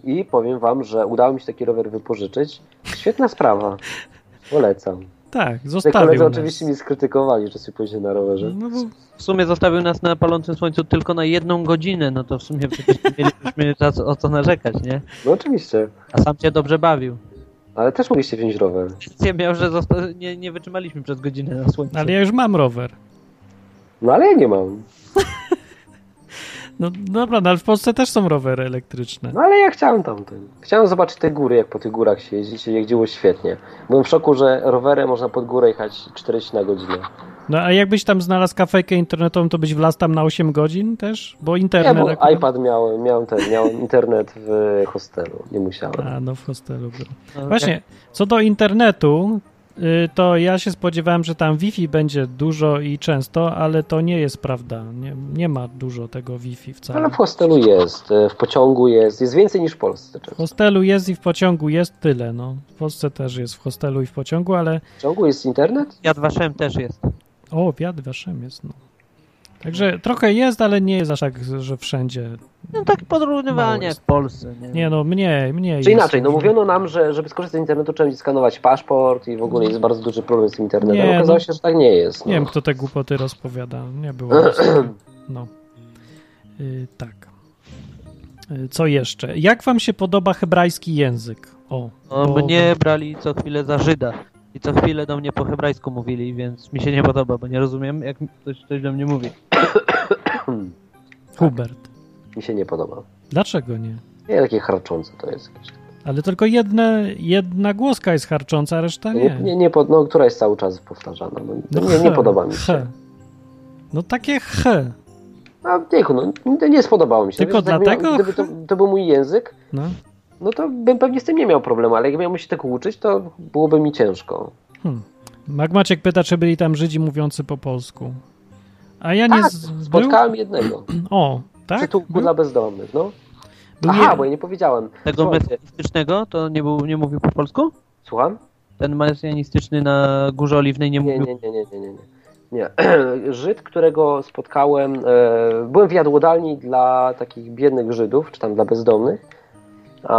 A: I powiem wam, że udało mi się taki rower wypożyczyć. Świetna sprawa. Polecam.
B: Tak,
A: Te
B: zostawił
A: koledzy
B: nas.
A: oczywiście mi skrytykowali, że sobie później na rowerze.
B: No bo
C: W sumie zostawił nas na palącym słońcu tylko na jedną godzinę, no to w sumie [laughs] przecież nie mielibyśmy za co- o co narzekać, nie?
A: No oczywiście.
C: A sam się dobrze bawił.
A: Ale też mogliście wziąć rower.
C: Ja miał, że zosta- nie, nie wytrzymaliśmy przez godzinę na słońcu.
B: ale ja już mam rower.
A: No ale ja nie mam.
B: No dobra, no ale w Polsce też są rowery elektryczne.
A: No ale ja chciałem tamten. Chciałem zobaczyć te góry, jak po tych górach się jeździ, się jeździło świetnie. Byłem w szoku, że rowerem można pod górę jechać 40 na godzinę.
B: No a jakbyś tam znalazł kafejkę internetową, to byś wlazł tam na 8 godzin też? Bo internet...
A: nie, bo
B: akurat-
A: iPad miałem, miałem ten, miałem internet w hostelu, nie musiałem.
B: A, no w hostelu był.
C: No,
B: Właśnie, co do internetu, y, to ja się spodziewałem, że tam Wi-Fi będzie dużo i często, ale to nie jest prawda. Nie, nie ma dużo tego Wi-Fi wcale.
A: No, Ale w hostelu jest, e, w pociągu jest, jest więcej niż w Polsce. Znaczy,
B: W
A: często.
B: hostelu jest i w pociągu jest tyle, no. W Polsce też jest w hostelu i w pociągu, ale
A: W pociągu jest internet?
C: Jad Waszem też jest.
B: o, wiatr waszym jest, no. Także trochę jest, ale nie jest aż tak, że wszędzie.
C: No tak
B: Mało
C: porównywalnie jak
B: jest.
C: w Polsce. Nie,
B: Nie no, mniej, mniej
A: Czy
B: jest.
A: inaczej, no mówiono nam, że żeby skorzystać z internetu trzeba będzie skanować paszport i w ogóle jest bardzo duży problem z internetem.
B: Nie,
A: Okazało
B: no.
A: się, że tak nie jest.
B: Nie
A: No.
B: wiem, kto te głupoty
A: [clears throat]
B: rozpowiada. Nie było. nic takiego. No. Y, tak. Co jeszcze? Jak wam się podoba hebrajski język? O,
C: No,
B: bo-
C: mnie brali co chwilę za Żyda i co chwilę do mnie po hebrajsku mówili, więc mi się nie podoba, bo nie rozumiem, jak ktoś, ktoś do mnie mówi.
B: Hubert.
A: Mi się nie podoba.
B: Dlaczego nie?
A: Nie, takie harczące to jest. jakieś.
B: Ale tylko jedne, jedna głoska jest harcząca, a reszta
A: Nie, nie, nie, pod- no, która jest cały czas powtarzana. No, nie, nie
B: he,
A: podoba mi się.
B: he. No takie he.
A: A wieku, no, nie- nie spodobało mi się.
B: Tylko
A: jakbym miał-
B: dlatego?
A: Gdyby to, to był mój język,
B: No.
A: no to bym pewnie z tym nie miał problemu, ale jak miałbym się tego uczyć, to byłoby mi ciężko.
B: Hmm. Magmaciek pyta, czy byli tam Żydzi mówiący po polsku. A ja nie...
A: Tak,
B: z... był-
A: Spotkałem jednego.
B: O,
A: Tak?
B: tak?
A: Przytułku
B: Był-
A: dla bezdomnych, no.
B: był
A: Aha,
B: jeden-
A: bo ja nie powiedziałem.
C: Tego
A: Słuchajcie,
C: mesjanistycznego to nie, był, nie mówił po polsku?
A: Słucham?
C: Ten mesjanistyczny na Górze Oliwnej nie
A: Nie,
C: mówił
A: nie, nie, nie, nie, nie. nie. Nie. [clears throat] Żyd, którego spotkałem, e, byłem w jadłodalni dla takich biednych Żydów, czy tam dla bezdomnych. E,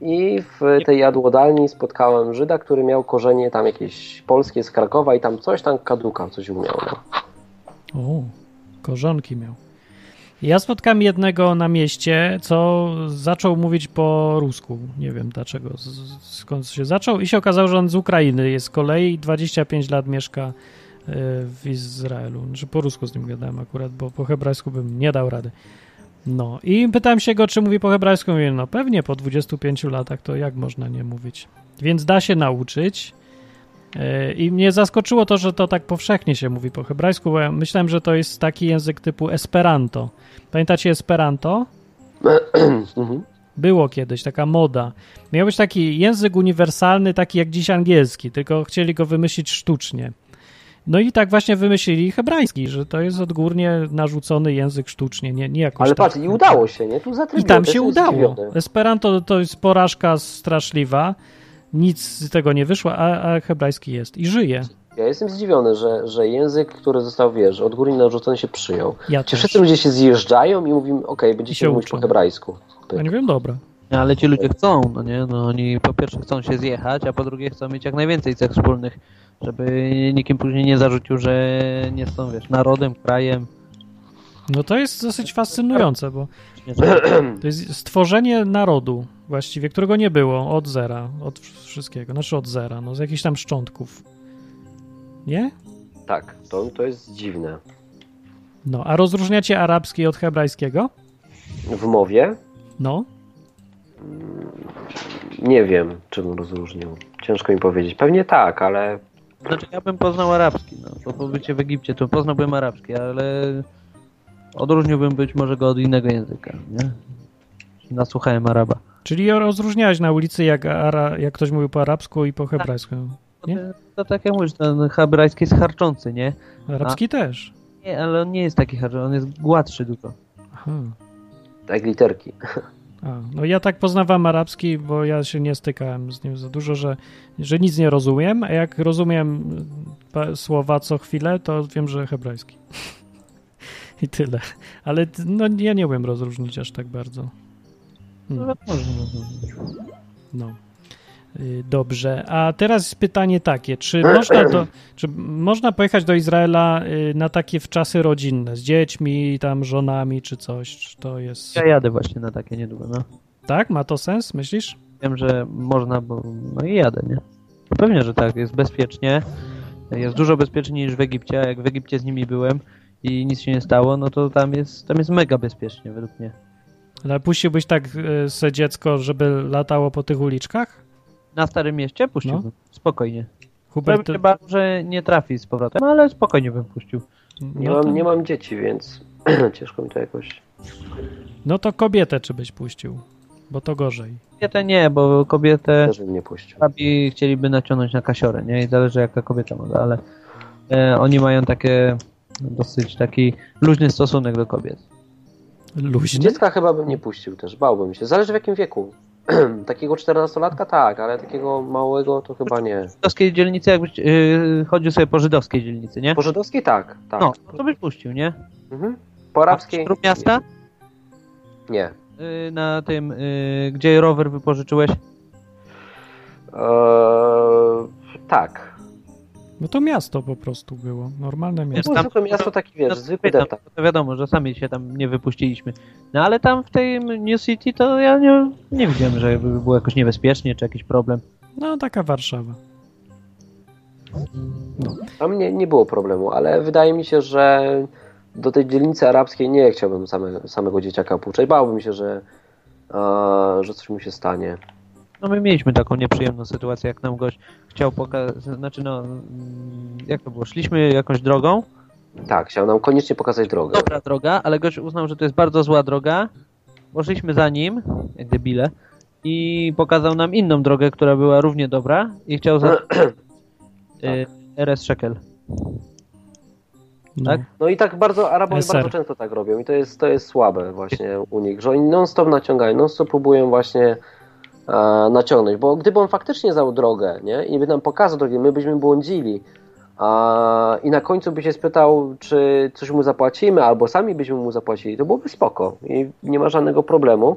A: I w tej jadłodalni spotkałem Żyda, który miał korzenie tam jakieś polskie z Krakowa i tam coś tam kadukał, coś umiał. No. [clears throat]
B: O, korzonki miał. Ja spotkałem jednego na mieście, co zaczął mówić po rusku. Nie wiem dlaczego, z- skąd się zaczął. I się okazało, że on z Ukrainy jest z kolei i 25 lat mieszka y, w Izraelu. Znaczy po rusku z nim gadałem akurat, bo po hebrajsku bym nie dał rady. No i pytałem się go, czy mówi po hebrajsku. Mówi, no pewnie po 25 latach to jak można nie mówić. Więc da się nauczyć. E, I mnie zaskoczyło to, że to tak powszechnie się mówi po hebrajsku, bo ja myślałem, że to jest taki język typu Esperanto. Pamiętacie Esperanto?
A: Mhm.
B: Było kiedyś taka moda. Miał być taki język uniwersalny, taki jak dziś angielski, tylko chcieli go wymyślić sztucznie. No i tak właśnie wymyślili hebrajski, że to jest odgórnie narzucony język sztucznie, nie, nie jakoś
A: Ale
B: tak-
A: patrz, i udało się, nie? Tu
B: i
A: zatrybiło.
B: tam
A: też
B: się
A: jest
B: udało.
A: zdziwiony.
B: Esperanto to jest porażka straszliwa. Nic z tego nie wyszło, a, a hebrajski jest i żyje.
A: Ja jestem zdziwiony, że, że język, który został, wiesz, od góry narzucony się przyjął.
B: Ja
A: Czy
B: też.
A: wszyscy ludzie się zjeżdżają i mówimy, okej,
B: I
A: będziecie
B: się
A: mówić
B: uczą.
A: po hebrajsku.
B: Ja nie wiem, dobra.
C: Nie, Ale ci ludzie chcą, no nie? No oni po pierwsze chcą się zjechać, a po drugie chcą mieć jak najwięcej cech wspólnych, żeby nikim później nie zarzucił, że nie są, wiesz, narodem, krajem.
B: No to jest dosyć fascynujące, bo
C: czy nie, że-
B: to jest stworzenie narodu właściwie, którego nie było od zera, od wszystkiego, znaczy od zera, no z jakichś tam szczątków. Nie?
A: Tak, to, to jest dziwne.
B: No, a rozróżniacie arabski od hebrajskiego?
A: W mowie?
B: No,
A: Nie wiem, czym rozróżnił. Ciężko mi powiedzieć. Pewnie tak, ale
C: Znaczy ja bym poznał arabski, no, po pobycie w Egipcie to poznałbym arabski, ale odróżniłbym być może go od innego języka, nie? Nasłuchałem Araba.
B: czyli rozróżniałeś na ulicy, jak, ara, jak ktoś mówił po arabsku i po hebrajsku.
C: To,
B: Nie?
C: to tak jak mówisz, ten hebrajski jest harczący, nie?
B: Arabski też.
C: Nie, ale on nie jest taki harczący, on jest gładszy dużo.
B: Aha.
A: tak literki.
B: A, no ja tak poznawam arabski, bo ja się nie stykałem z nim za dużo, że, że nic nie rozumiem, a jak rozumiem e, pa- słowa co chwilę, to wiem, że hebrajski. [laughs] I tyle. Ale t- no, ja nie umiem rozróżnić aż tak bardzo.
C: No,
B: Hmm,
C: wiadomo, że-
B: no. Y, Dobrze, a teraz pytanie takie, czy można, do, czy można pojechać do Izraela y, na takie w czasy rodzinne, z dziećmi, tam żonami czy coś, czy to jest...
C: Ja jadę właśnie na takie niedługo, no.
B: Tak? Ma to sens, myślisz?
C: Wiem, że można, bo no i jadę, nie? No pewnie, że tak, jest bezpiecznie. Jest dużo bezpieczniej niż w Egipcie, a jak w Egipcie z nimi byłem i nic się nie stało, no to tam jest, tam jest mega bezpiecznie według mnie.
B: Ale puściłbyś tak y, se dziecko, żeby latało po tych uliczkach?
C: Na Starym Mieście puściłbym, spokojnie. Ja bym
A: No,
B: Hubert,
C: się bał, że nie trafi z powrotem, No, ale spokojnie bym puścił.
A: Nie,
B: no, to,
A: mam, nie mam dzieci, więc [clears throat] ciężko mi to jakoś.
B: no to kobietę czy byś puścił, bo to gorzej.
C: Kobietę nie, bo
B: E.
C: kobietę
A: Też bym nie puścił.
C: Arabi chcieliby naciągnąć na kasiorę, nie? I zależy jaka kobieta ma, ale e, oni mają takie dosyć taki luźny stosunek do kobiet.
B: Luźny?
A: Dziecka chyba bym nie puścił też, bałbym się. Zależy w jakim wieku. [clears throat] takiego 14-latka tak, ale takiego małego to chyba nie.
C: żydowskiej dzielnicy, jakbyś yy, chodził sobie po żydowskiej dzielnicy, nie?
A: Po żydowskiej tak, tak.
C: No, to byś puścił, nie?
A: Mhm. Po arabskiej
C: Próg miasta?
A: nie.
C: Yy, na tym, yy, gdzie rower wypożyczyłeś?
A: Eee, tak.
B: No to miasto po prostu było. Normalne
A: Jest tam,
B: miasto.
C: tam-
A: zwykłe miasto, taki wiesz,
C: No,
A: zwykły
C: to-
A: deptak.
C: To wiadomo, że sami się tam nie wypuściliśmy. No ale tam w tej New City to ja nie, nie widziałem, że by było jakoś niebezpiecznie czy jakiś problem.
B: No taka Warszawa.
A: Tam nie, nie było problemu, ale wydaje mi się, że do tej dzielnicy arabskiej nie chciałbym same, samego dzieciaka puszczać. Bałbym się, że, e, że coś mu się stanie.
C: No my mieliśmy taką nieprzyjemną sytuację, jak nam gość chciał pokazać, znaczy no, mm, jak to było, szliśmy jakąś drogą,
A: Tak, chciał nam koniecznie pokazać drogę.
C: dobra droga, ale gość uznał, że to jest bardzo zła droga, poszliśmy za nim, jak debile, i pokazał nam inną drogę, która była równie dobra i chciał
A: [clears throat]
C: za...
A: Tak.
C: y, RS Shekel.
B: No.
C: Tak?
A: No i tak bardzo Arabowie
B: SR.
A: bardzo często tak robią i to jest, to jest słabe właśnie u nich, że oni non-stop naciągają, non-stop próbują właśnie e, naciągnąć, bo gdyby on faktycznie znał drogę, nie, i by nam pokazał drogę, my byśmy błądzili a, i na końcu by się spytał, czy coś mu zapłacimy, albo sami byśmy mu zapłacili, to byłoby spoko i nie ma żadnego problemu.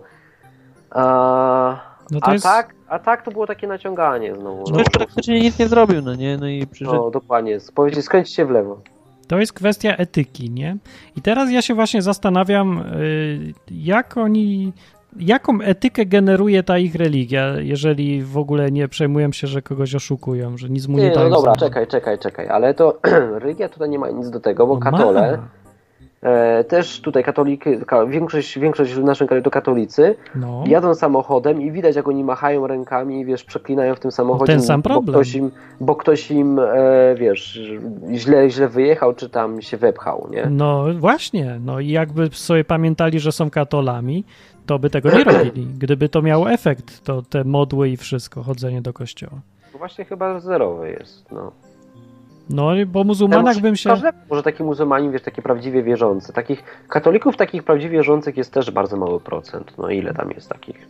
A: A,
B: No to
A: a,
B: jest-
A: tak, a tak to było takie naciąganie znowu. No,
C: Gość praktycznie nic nie zrobił, no nie, no i przyszedł
A: no dokładnie, powiedzieć skręćcie w lewo.
B: To jest kwestia etyki, nie? I teraz ja się właśnie zastanawiam, y, jak oni, jaką etykę generuje ta ich religia, jeżeli w ogóle nie przejmują się, że kogoś oszukują, że nic mu nie,
A: Nie,
B: dają.
A: no dobra,
B: za-
A: czekaj, czekaj, czekaj, ale to [clears throat] religia tutaj nie ma nic do tego, bo
B: No ma.
A: katole, e, też tutaj katoliki, ka, większość, większość w naszym kraju to katolicy,
B: No,
A: jadą samochodem i widać jak oni machają rękami i wiesz, przeklinają w tym samochodzie,
B: ten sam
A: bo
B: problem.
A: ktoś im, bo ktoś im e, wiesz, źle, źle wyjechał czy tam się wepchał, nie?
B: no właśnie, no i jakby sobie pamiętali, że są katolami, to by tego nie robili. Gdyby to miało efekt, to te modły i wszystko, chodzenie do kościoła.
A: Właśnie chyba zerowy jest, no.
B: No, i- bo muzułmanak
A: Ja
B: bym się...
A: Każdego, może taki muzułmanin, wiesz, taki prawdziwie wierzący. Takich katolików takich prawdziwie wierzących jest też bardzo mały procent. No ile tam jest takich?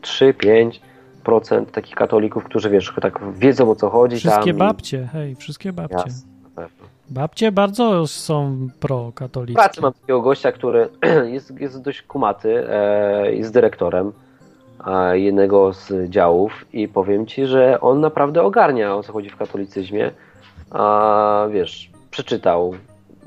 A: 3-5% takich katolików, którzy, wiesz, tak wiedzą o co chodzi
B: Wszystkie
A: tam.
B: babcie, hej, wszystkie babcie.
A: Jasne, na pewno.
B: Babcie bardzo są
A: W
B: prokatolickie.
A: pracy mam takiego gościa, który [clears throat] jest, jest dość kumaty, e, jest dyrektorem e, jednego z działów i powiem ci, że on naprawdę ogarnia o co chodzi w katolicyzmie. A wiesz, przeczytał,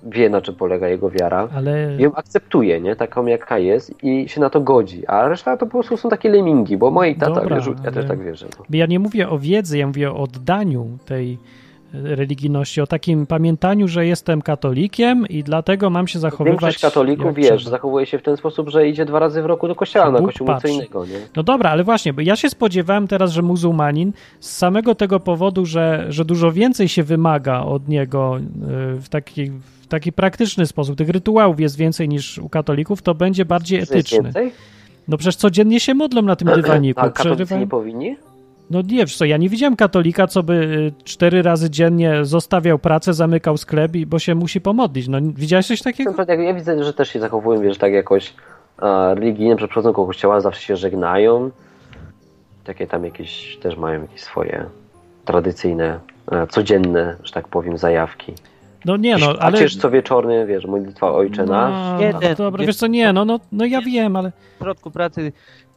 A: wie na czym polega jego wiara.
B: Ale
A: ją akceptuje, nie? Taką jaka jest i się na to godzi. A reszta to po prostu są takie lemingi, bo moi tata
B: Dobra,
A: wierzył, ja
B: ale-
A: też tak wierzę. No.
B: ja nie mówię o wiedzy, ja mówię o oddaniu tej e, religijności, o takim pamiętaniu, że jestem katolikiem i dlatego mam się zachowywać.
A: Większość katolików,
B: jak
A: wiesz,
B: trzeba.
A: zachowuje się w ten sposób, że idzie dwa razy w roku do kościoła, na
B: Bóg
A: kościół mu co
B: patrzy.
A: innego, nie?
B: No dobra, ale właśnie, bo ja się spodziewałem teraz, że muzułmanin z samego tego powodu, że, że dużo więcej się wymaga od niego y, w taki, w taki praktyczny sposób, tych rytuałów jest więcej niż u katolików, to będzie bardziej
A: Że jest
B: etyczny.
A: więcej? No,
B: No przecież codziennie się modlą
A: [clears throat]
B: na tym dywaniku.
A: A katolicy
B: przerywają-
A: nie powinni?
B: No nie, wiesz co, ja nie widziałem katolika, co by y, cztery razy dziennie zostawiał pracę, zamykał sklep, i- bo się musi pomodlić. No widziałeś coś takiego?
A: Są to- jak- Ja widzę, że też się zachowują, wiesz, tak jakoś e, religijnie, że przychodzą koło kościoła, zawsze się żegnają. Takie tam jakieś, też mają jakieś swoje tradycyjne, e, codzienne, że tak powiem, zajawki.
B: No nie, no,
A: A
B: ale...
A: przecież co wieczorny, wiesz, modlitwa Ojcze Nasz.
B: No,
C: Jeden.
B: dobra, wiesz co, nie, no, no, no ja wiem, ale...
C: w środku pracy.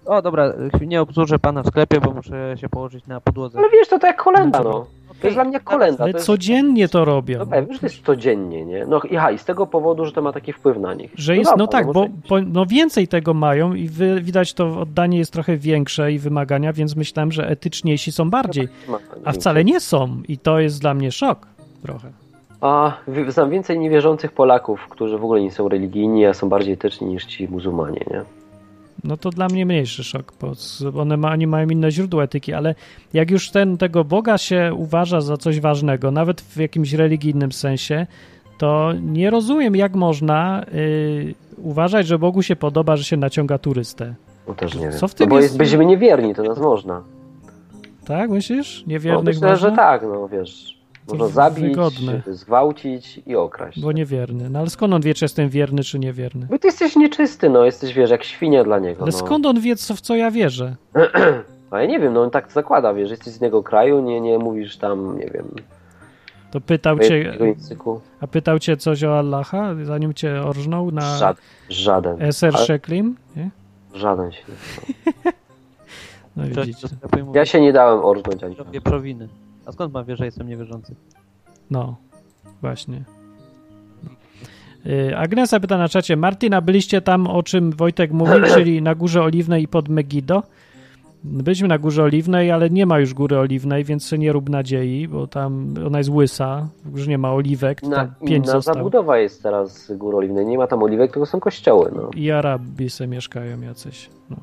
C: O dobra, nie obsłużę pana w sklepie, bo muszę się położyć na podłodze.
A: Ale wiesz, to tak jak kolenda, no. To jest dla mnie kolenda.
B: Ale
A: to jest...
B: codziennie to robią.
A: No pewnie, że to jest codziennie, nie? No i, ha, i z tego powodu, że to ma taki wpływ na nich.
B: Że jest,
A: dobra,
B: no tak, bo,
A: może-
B: bo no więcej tego mają i wy, widać to oddanie jest trochę większe i wymagania, więc myślałem, że etyczniejsi są bardziej,
A: Ma-
B: a wcale nie są i to jest dla mnie szok trochę.
A: A wi- znam więcej niewierzących Polaków, którzy w ogóle nie są religijni, a są bardziej etyczni niż ci muzułmanie, nie?
B: No to dla mnie mniejszy szok, bo z- one ma, oni mają inne źródło etyki, ale jak już ten tego Boga się uważa za coś ważnego, nawet w jakimś religijnym sensie, to nie rozumiem, jak można y, uważać, że Bogu się podoba, że się naciąga turystę.
A: No też nie wiem.
B: Co w tym
A: no, bo
B: jest-
A: jest... będziemy niewierni, to nas można.
B: Tak, myślisz?
A: No,
B: Niewiernych
A: myślę,
B: można?
A: że tak, no wiesz.
B: To
A: Można zabić,
B: wygodne.
A: zgwałcić i okraść.
B: Bo niewierny. No ale skąd on wie, czy jestem wierny, czy niewierny?
A: Bo ty jesteś nieczysty, no jesteś, wiesz, jak świnia dla niego.
B: Ale
A: no.
B: skąd on wie, co, w co ja wierzę?
A: A ja nie wiem, no on tak zakłada, wiesz, jesteś z innego kraju, nie, nie mówisz tam, nie wiem,
B: To pytał cię,
A: twojego języku.
B: a pytał cię coś o Allaha, zanim cię orżnął na E-
A: Żaden, żaden,
B: SR
A: Ale-
B: Sheklim? Nie?
A: żaden się. nie-
B: No
C: Ktoś do
B: widzicie.
C: sklepu i mówi,
A: Ja się nie dałem orznąć ani
C: robię prowiny. A skąd ma wie, że jestem niewierzący?
B: No. Właśnie. Y, Agnesa pyta na czacie. Martina, byliście tam, o czym Wojtek
A: [clears throat]
B: mówił, czyli na Górze Oliwnej i pod Megido? Byliśmy na Górze Oliwnej, ale nie ma już Góry Oliwnej, więc się nie rób nadziei, bo tam ona jest łysa, już nie ma oliwek, to
A: Na,
B: tam pięć
A: inna
B: zostało.
A: zabudowa jest teraz Gór Oliwnej. Nie ma tam oliwek, tylko są kościoły. No.
B: I Arabi se mieszkają jacyś. No.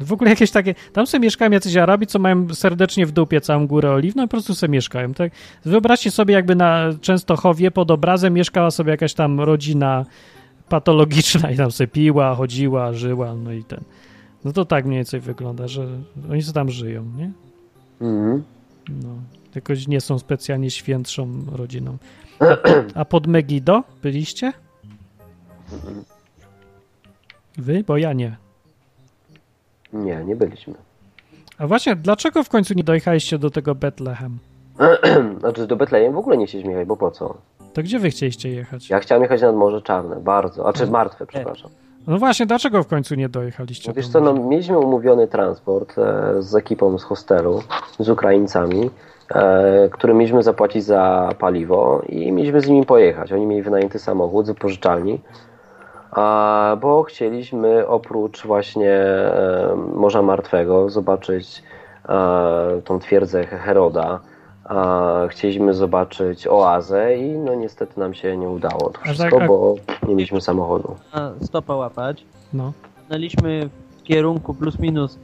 B: W ogóle jakieś takie. Tam sobie mieszkają jacyś Arabi, co mają serdecznie w dupie całą górę oliwną i po prostu sobie mieszkają. Tak? Wyobraźcie sobie, jakby na Częstochowie pod obrazem mieszkała sobie jakaś tam rodzina patologiczna i tam sobie piła, chodziła, żyła, no i ten. No to tak mniej więcej wygląda, że oni co tam żyją, nie?
A: Mhm.
B: No. Jakoś nie są specjalnie świętszą
A: [clears throat]
B: rodziną. A pod Megido byliście? Wy? Bo ja nie.
A: Nie, nie byliśmy. [clears throat]
B: A właśnie, dlaczego w końcu nie dojechaliście do tego Betlehem?
A: Znaczy do Betlejem w ogóle nie chcieliśmy jechać, bo po co?
B: To gdzie wy chcieliście jechać?
A: Ja chciałem jechać nad Morze Czarne, bardzo. A czy martwe, przepraszam.
B: No właśnie, dlaczego w końcu nie dojechaliście?
A: No wiesz
B: do
A: co, no,
B: Morza?
A: mieliśmy umówiony transport e, z ekipą z hostelu, z Ukraińcami, e, którym mieliśmy zapłacić za paliwo i mieliśmy z nimi pojechać. Oni mieli wynajęty samochód z pożyczalni, a, bo chcieliśmy oprócz właśnie e, Morza Martwego zobaczyć e, tą twierdzę Heroda. A, chcieliśmy zobaczyć oazę i no niestety nam się nie udało to
B: A
A: wszystko,
B: tak, a-
A: bo nie mieliśmy samochodu.
C: na stopa łapać.
B: No.
C: Stanęliśmy w kierunku plus minus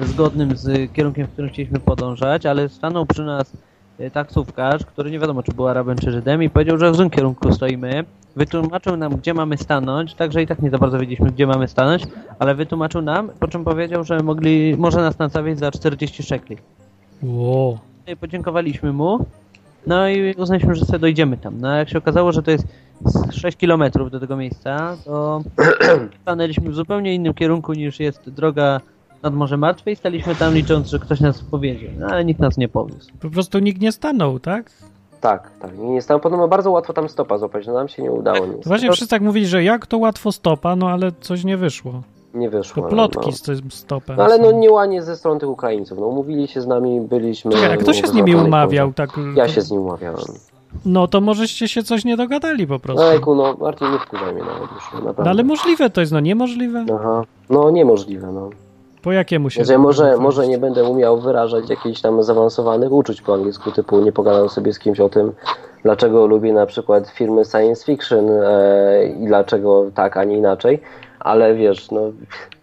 C: zgodnym z kierunkiem, w którym chcieliśmy podążać, ale stanął przy nas e, taksówkarz, który nie wiadomo czy był Arabem czy Żydem i powiedział, że w złym kierunku stoimy. Wytłumaczył nam, gdzie mamy stanąć, także i tak nie za bardzo wiedzieliśmy, gdzie mamy stanąć, ale wytłumaczył nam, po czym powiedział, że mogli, może nas nastawić za 40 szekli.
B: Wow.
C: No i podziękowaliśmy mu. No i uznaliśmy, że sobie dojdziemy tam. No a jak się okazało, że to jest z 6 km do tego miejsca,
A: [clears throat]
C: to stanęliśmy w zupełnie innym kierunku niż jest droga nad Morze Martwe i staliśmy tam licząc, że ktoś nas powiedzie. No ale nikt nas nie powiózł.
B: Po prostu nikt nie stanął, tak?
A: Tak, tak. Nie jest tam podobno bardzo łatwo tam stopa złapać, no nam się nie udało nic.
B: To właśnie wszyscy tak mówili, że jak to łatwo stopa, no ale coś nie wyszło.
A: nie
B: To
A: wyszło. no,
B: plotki
A: no.
B: z tym stopem.
A: No, ale no
B: są.
A: nie łanie ze strony tych Ukraińców. No umówili się z nami, byliśmy.
B: Czekaj, a kto się z nimi
A: wyznaczony
B: umawiał? Tak,
A: punkt. no, Ja się z nim umawiałem.
B: No to możeście się coś nie dogadali po prostu.
A: Ejku, no Martin nie wkurzaj mnie nawet już, naprawdę.
B: No ale możliwe to jest, no niemożliwe.
A: Aha. No niemożliwe, no.
B: Po jakiemu się...
A: Że może, może nie będę umiał wyrażać jakichś tam zaawansowanych uczuć po angielsku, typu nie pogadam sobie z kimś o tym, dlaczego lubię na przykład filmy science fiction e, i dlaczego tak, a nie inaczej, ale wiesz, no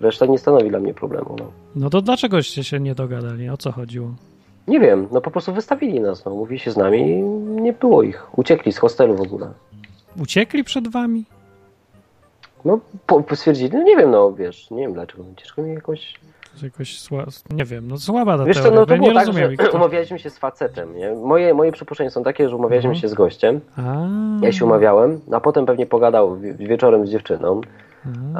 A: reszta nie stanowi dla mnie problemu, no.
B: No to dlaczegoście się nie dogadali? O co chodziło?
A: Nie wiem, no po prostu wystawili nas, no mówili się z nami i nie było ich. Uciekli z hostelu w ogóle.
B: Uciekli przed wami?
A: No po, po stwierdzili, no nie wiem, no wiesz, nie wiem dlaczego, no ciężko mi jakoś...
B: To jest jakoś sła... Nie wiem, no słaba ta
A: Wiesz co,
B: teoria.
A: no to
B: ja nie
A: było tak,
B: rozumiem.
A: że
B: ich, to-
A: umawialiśmy się z facetem, nie? Moje, moje przypuszczenia są takie, że umawialiśmy
B: Mhm.
A: się z gościem,
B: A,
A: ja się [clears throat] umawiałem, no a potem pewnie pogadał wi- wieczorem z dziewczyną,
B: a.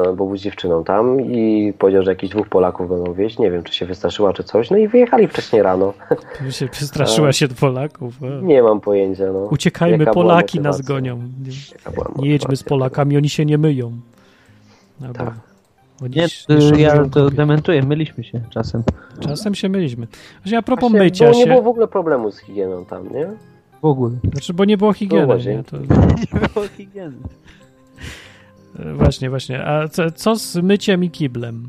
A: a, bo był z dziewczyną tam i powiedział, że jakichś dwóch Polaków będą wieść, nie wiem, czy się wystraszyła, czy coś, no i wyjechali wcześniej rano.
B: Tu się przestraszyła się od Polaków. A.
A: Nie mam pojęcia, no.
B: Uciekajmy,
A: Jaka była
B: Polaki nas
A: motywacja?
B: gonią. Nie,
A: Jaka była
B: nie jedźmy z
A: motywacja?
B: Polakami, oni się nie myją. Albo
A: Tak.
B: Oni
C: Nie,
B: się- nie
C: y, ja
B: szanują
C: to
B: kobiet.
C: dementuję, myliśmy się czasem.
B: Czasem się myliśmy. Właśnie a propos
A: Właśnie
B: mycia
A: było, Nie było
B: się,
A: w ogóle problemu z higieną tam, nie?
C: W ogóle.
B: znaczy, bo nie było higieny.
A: łazienki.
B: Nie? To,
C: [laughs] Nie było higieny.
B: e, właśnie, właśnie. A co, co z myciem i kiblem?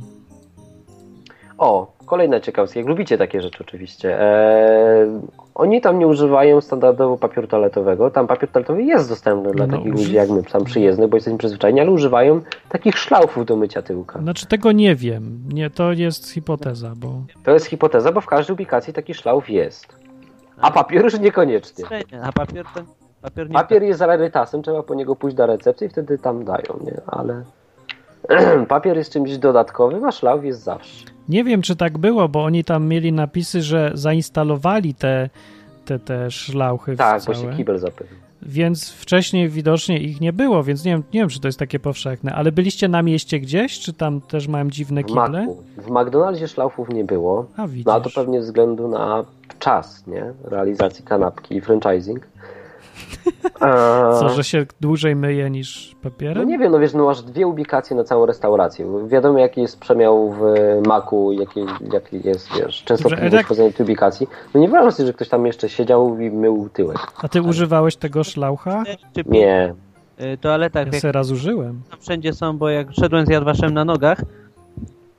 A: O, kolejna ciekawostka. Jak lubicie takie rzeczy oczywiście. Eee, oni tam nie używają standardowo papieru toaletowego. Tam papier toaletowy jest dostępny dla
B: No,
A: takich
B: uży-
A: ludzi jak my, tam przyjezdnych, bo jesteśmy przyzwyczajeni, ale używają takich szlaufów do mycia tyłka.
B: Znaczy, tego nie wiem. Nie, to jest hipoteza, bo...
A: To jest hipoteza, bo w każdej ubikacji taki szlauf jest.
B: Tak.
A: A papier już niekoniecznie.
C: A papier ten? Papier nie.
A: Papier jest rarytasem, trzeba po niego pójść do recepcji i wtedy tam dają, nie? Ale [clears throat] papier jest czymś dodatkowym, a szlauf jest zawsze.
B: Nie wiem, czy tak było, bo oni tam mieli napisy, że zainstalowali te, te, te szlauchy
A: Tak, bo
B: całe,
A: się kibel zapylił.
B: więc wcześniej widocznie ich nie było, więc nie wiem, nie wiem, czy to jest takie powszechne. Ale byliście na mieście gdzieś, czy tam też mają dziwne
A: W,
B: kible?
A: Macu. w McDonaldzie szlaufów nie było.
B: A widzisz.
A: No a to
B: [laughs]
A: pewnie ze względu na czas, nie? Realizacji kanapki i franchising. A...
B: Co, że się dłużej myje niż
A: No
B: papierem?
A: nie wiem, no wiesz, no masz dwie ubikacje na całą restaurację. Wiadomo, jaki jest przemiał w maku, jaki, jaki jest, wiesz, częstotliwość
B: ale tak-
A: wchodzenia tej ubikacji. No nie wyobrażasz sobie, że ktoś tam jeszcze siedział i mył tyłek.
B: A ty używałeś tego szlaucha?
C: Czy po
A: Nie.
C: y, toaletach,
B: Ja
C: jak
B: se raz użyłem.
C: tam wszędzie są, bo jak szedłem z Jadwaszem na nogach,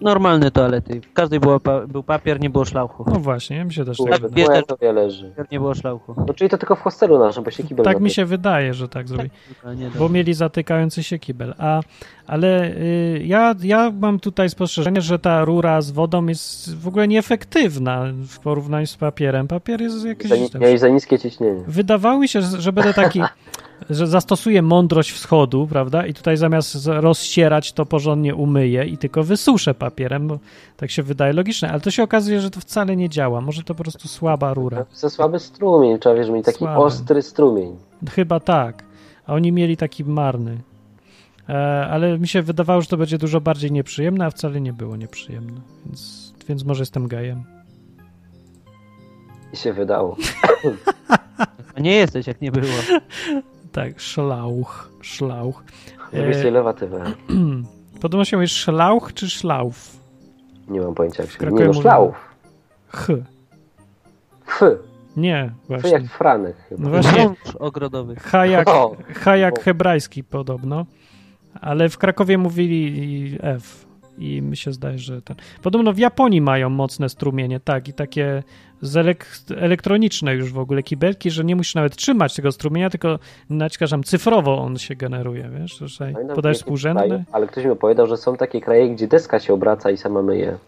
C: normalne toalety. W każdej było pa- był papier, nie było szlauchu.
B: No właśnie, mi się też tak
A: Kurde,
B: wydaje.
A: twoja tobie leży.
C: Papier, nie było szlauchu.
A: No czyli to tylko w hostelu naszym, bo się kibel
B: Tak mi
A: zamyka.
B: się wydaje, że tak zrobi.
C: Kurwa, nie da.
B: Bo mieli zatykający się kibel. A, ale y, ja, ja mam tutaj spostrzeżenie, że ta rura z wodą jest w ogóle nieefektywna w porównaniu z papierem. Papier jest jakiś...
A: Za, ni- miałeś za niskie ciśnienie.
B: Wydawało mi się, że że będę taki, że zastosuję mądrość wschodu, prawda? I tutaj zamiast z- rozcierać to porządnie umyję i tylko wysuszę papierem, bo tak się wydaje logiczne, ale to się okazuje, że to wcale nie działa. Może to po prostu słaba rura.
A: Za słaby strumień, trzeba wiesz, mieć taki
B: Słaby.
A: ostry strumień.
B: Chyba tak. A oni mieli taki marny. E, ale mi się wydawało, że to będzie dużo bardziej nieprzyjemne, a wcale nie było nieprzyjemne. Więc, więc może jestem gejem.
A: I się wydało.
C: A nie jesteś, jak nie było.
B: Tak, szlauch, szlauch.
A: Zrobisz sobie
B: E,
A: lewatywę.
B: podobno się mówi szlauch czy szlauf?
A: Nie mam pojęcia jak się...
B: Krakowie
A: Nie no,
B: mówią-
A: szlauf.
B: H.
A: F.
B: Nie,
A: F jak
B: właśnie.
A: Franek chyba.
B: No [laughs] właśnie,
C: Wąż ogrodowy.
B: hajak,
A: O.
B: hajak
A: O.
B: hebrajski podobno, ale w Krakowie mówili F i mi się zdaje, że ten... Podobno w Japonii mają mocne strumienie, tak, i takie z elek... elektroniczne już w ogóle kibelki, że nie musisz nawet trzymać tego strumienia, tylko naciskasz tam cyfrowo on się generuje, wiesz, że
A: Pamiętam,
B: podajesz
A: w jakim kraju,
B: współrzędny,
A: Ale ktoś mi opowiadał, że są takie kraje, gdzie deska się obraca i sama myje.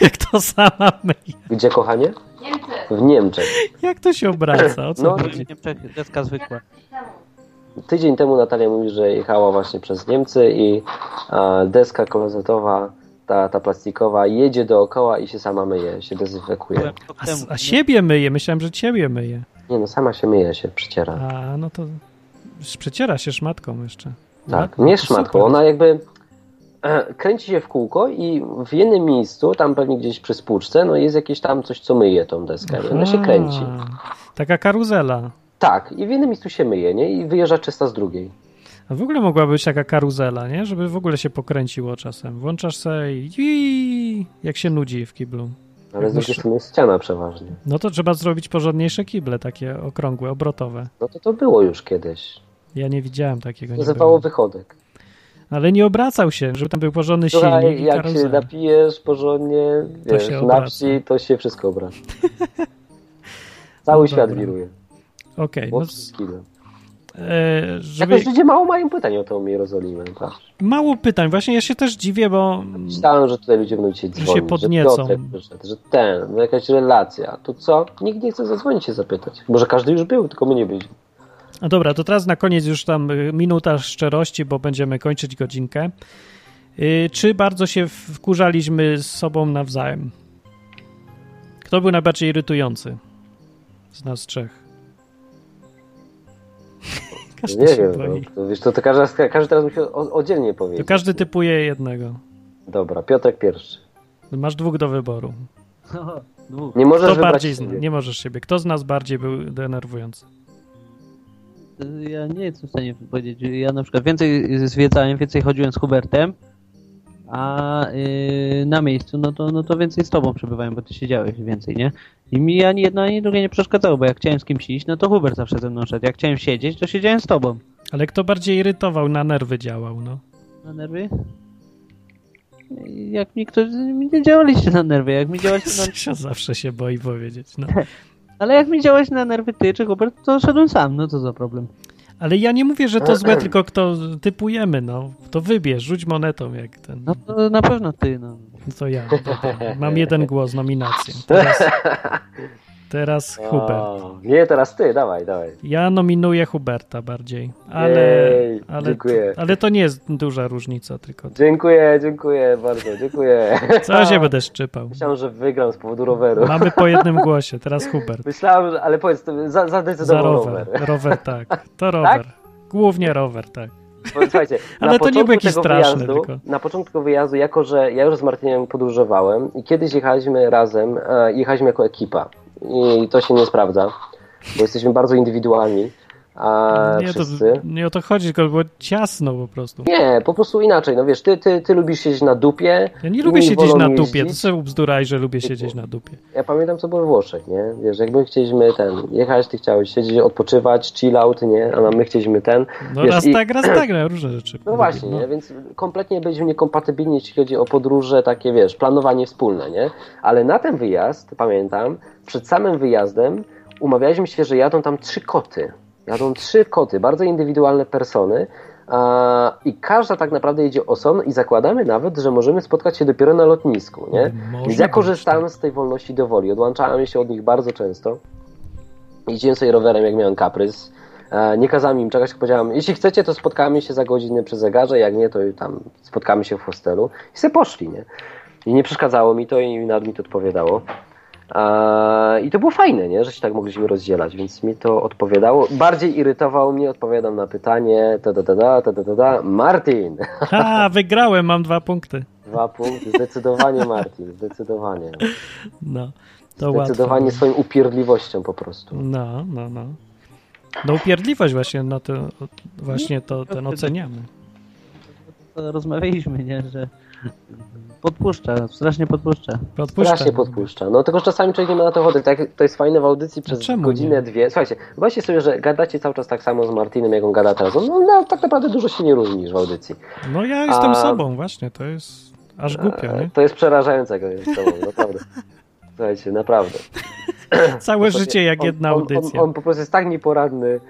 B: jak to sama myje,
A: Gdzie, kochanie?
E: Niemcy,
A: W Niemczech.
B: jak to się obraca, o co
A: No,
B: chodzi?
C: W Niemczech deska zwykła.
A: Tydzień temu Natalia mówi, że jechała właśnie przez Niemcy i e, deska klozetowa, ta, ta plastikowa, jedzie dookoła i się sama myje, się dezynfekuje.
C: Byłem rok
B: A,
C: temu.
B: s- a siebie myje, myślałem, że ciebie myje.
A: Nie no, sama się myje, się przyciera.
B: A, no to przeciera się szmatką jeszcze.
A: Tak,
B: No,
A: nie
B: to
A: szmatką.
B: super.
A: Ona jakby e, kręci się w kółko i w jednym miejscu, tam pewnie gdzieś przy spłuczce, no jest jakieś tam coś, co myje tą deskę. I ona się
B: Aha.
A: kręci.
B: Taka karuzela.
A: Tak, i w jednym miejscu się myje, nie? I wyjeżdża czysta z drugiej.
B: A w ogóle mogłaby być taka karuzela, nie? Żeby w ogóle się pokręciło czasem. Włączasz sobie i- i jak się nudzi w kiblu.
A: Ale z drugiej
B: Myślę-
A: strony jest ściana przeważnie.
B: No to trzeba zrobić porządniejsze kible, takie okrągłe, obrotowe.
A: No to to było już kiedyś.
B: Ja nie widziałem takiego. Nie
A: Nazywało
B: było.
A: wychodek.
B: Ale nie obracał się, żeby tam był porządny silnik
A: Słuchaj,
B: i
A: jak się
B: karuzela.
A: napijesz porządnie,
B: To
A: wiesz,
B: się
A: na
B: obraca.
A: wsi, to się wszystko
B: [laughs]
A: obraca. Cały
B: No
A: świat
B: dobra.
A: wiruje.
B: Okej, no, z-
A: Łopski kilo.
B: e, żeby...
A: Jakoś ludzie mało mają pytań o tą Jerozolimę, tak? patrz.
B: Mało pytań. Właśnie ja się też dziwię, bo...
A: Myślałem, że tutaj ludzie będą cię
B: się
A: dzwonić,
B: podniecą.
A: że Piotrek przyszedł, że ten, no jakaś relacja. Tu co? Nikt nie chce zadzwonić się zapytać. Może każdy już był, tylko my nie byliśmy.
B: No dobra, to teraz na koniec już tam y, minuta szczerości, bo będziemy kończyć godzinkę. Y, Czy bardzo się wkurzaliśmy z sobą nawzajem? Kto był najbardziej irytujący z nas trzech? [laughs] Każdy
A: nie
B: się
A: wiem,
B: boi.
A: no, to, wiesz, to, to każdy, każdy teraz musi o, oddzielnie
B: To
A: powiedzieć.
B: każdy typuje jednego. No,
A: Dobra, Piotrek pierwszy.
B: Masz dwóch do wyboru.
C: O, No, dwóch.
A: Nie możesz
B: Kto
A: wybrać
B: bardziej zna?
A: tak siebie.
B: Nie możesz siebie. Kto z nas bardziej był denerwujący?
C: Ja nie jestem w stanie powiedzieć. Ja na przykład więcej zwiedzałem, więcej chodziłem z Hubertem, a y, na miejscu, no to, no to więcej z tobą przebywałem, bo ty siedziałeś więcej, nie? I mi ani jedno, ani drugie nie przeszkadzało, bo jak chciałem z kimś iść, no to Hubert zawsze ze mną szedł. Jak chciałem siedzieć, to siedziałem z tobą.
B: Ale kto bardziej irytował, na nerwy działał, no.
C: Na nerwy? Jak mi ktoś... mi Nie działaliście na nerwy, jak mi działać
B: [laughs]
C: na...
B: Się zawsze się boi powiedzieć, no.
C: Ale jak mi działać na nerwy ty czy Hubert, to szedłem sam, no to za problem.
B: Ale ja nie mówię, że to złe, tylko kto typujemy, no. To wybierz, rzuć monetą jak ten.
C: No to na pewno ty, no.
B: No to ja. Mam jeden głos, nominację. Teraz, teraz
A: No.
B: Hubert.
A: O, nie, teraz ty, dawaj, dawaj.
B: Ja nominuję Huberta bardziej, ale,
A: Jej,
B: ale,
A: dziękuję.
B: ale to nie jest duża różnica, tylko
A: Dziękuję, dziękuję bardzo, dziękuję.
B: [laughs] co
A: [laughs]
B: się będę szczypał.
A: Myślałem, że wygram z powodu roweru.
B: Mamy po jednym głosie, teraz Hubert.
A: Myślałem, że, ale powiedz, to za,
B: Za
A: zadecydował
B: rower. Rower tak, to rower. Głównie rower, tak.
A: Bo, Słuchajcie,
B: [laughs] Ale
A: na
B: to nie był
A: początku
B: jakiś
A: tego
B: straszny,
A: Wyjazdu,
B: tylko-
A: Na początku tego wyjazdu, jako że ja już z Martinem podróżowałem i kiedyś jechaliśmy razem, e, jechaliśmy jako ekipa i to się nie sprawdza, bo jesteśmy bardzo indywidualni. a
B: nie, to,
A: wszyscy...
B: nie o to chodzi, tylko było ciasno po prostu.
A: Nie, po prostu inaczej. No wiesz, ty, ty, ty lubisz siedzieć na dupie.
B: Ja nie lubię
A: inni
B: siedzieć
A: wolą
B: na
A: jeździć.
B: dupie, to sobie ubzduraj, że lubię siedzieć na dupie.
A: Ja pamiętam, co było we Włoszech, nie? Wiesz, jak my chcieliśmy ten, jechać, ty chciałeś siedzieć, odpoczywać, chill out, nie? A no, my chcieliśmy ten.
B: No
A: wiesz,
B: raz
A: i-
B: tak, raz tak, no, różne rzeczy.
A: No
B: lubię,
A: właśnie, nie? więc kompletnie byliśmy niekompatybilni, jeśli chodzi o podróże, takie wiesz, planowanie wspólne, nie? Ale na ten wyjazd, pamiętam, przed samym wyjazdem umawialiśmy się, że jadą tam trzy koty. Jadą trzy koty, bardzo indywidualne persony. A, I każda tak naprawdę jedzie osobno i zakładamy nawet, że możemy spotkać się dopiero na lotnisku, nie? Więc
B: Może
A: ja
B: być, tak.
A: korzystałem z tej wolności do woli. Odłączałem się od nich bardzo często. Jeździłem sobie rowerem, jak miałem kaprys. E, Nie kazałem im czekać, tylko powiedziałem, jeśli chcecie, to spotkamy się za godzinę przy zegarze, jak nie, to tam spotkamy się w hostelu. I sobie poszli, nie? I nie przeszkadzało mi to i nawet mi to odpowiadało. E, I to było fajne, nie? Że się tak mogliśmy rozdzielać, więc mi to odpowiadało. Bardziej irytowało mnie, odpowiadam na pytanie, ta ta ta ta ta ta ta Martin! [laughs]
B: tak. A, wygrałem, mam dwa punkty.
A: Dwa punkty, zdecydowanie Martin, zdecydowanie.
B: No, to
A: Zdecydowanie
B: łatwo.
A: swoją upierdliwością po prostu.
B: No, no, no. No upierdliwość właśnie, no to właśnie to ten oceniamy.
C: To rozmawialiśmy, nie? Że podpuszcza, strasznie podpuszcza.
B: Podpuszczam.
A: Strasznie podpuszcza. No tylko że czasami człowiek nie ma na to ochoty. Tak, jak to jest fajne w audycji przez
B: czemu
A: godzinę,
B: nie?
A: dwie. Słuchajcie, wyobraźcie sobie, że gadacie cały czas tak samo z Martinem, jak on gada teraz. No, no tak naprawdę dużo się nie różnisz w audycji.
B: No ja jestem
A: A-
B: sobą, właśnie, to jest aż głupio, nie?
A: E, To jest przerażające, jak jest z tobą, naprawdę. [laughs] Słuchajcie, naprawdę.
B: Całe życie jak
A: On-
B: jedna
A: No on, on,
B: audycja.
A: on po prostu jest tak nieporadny.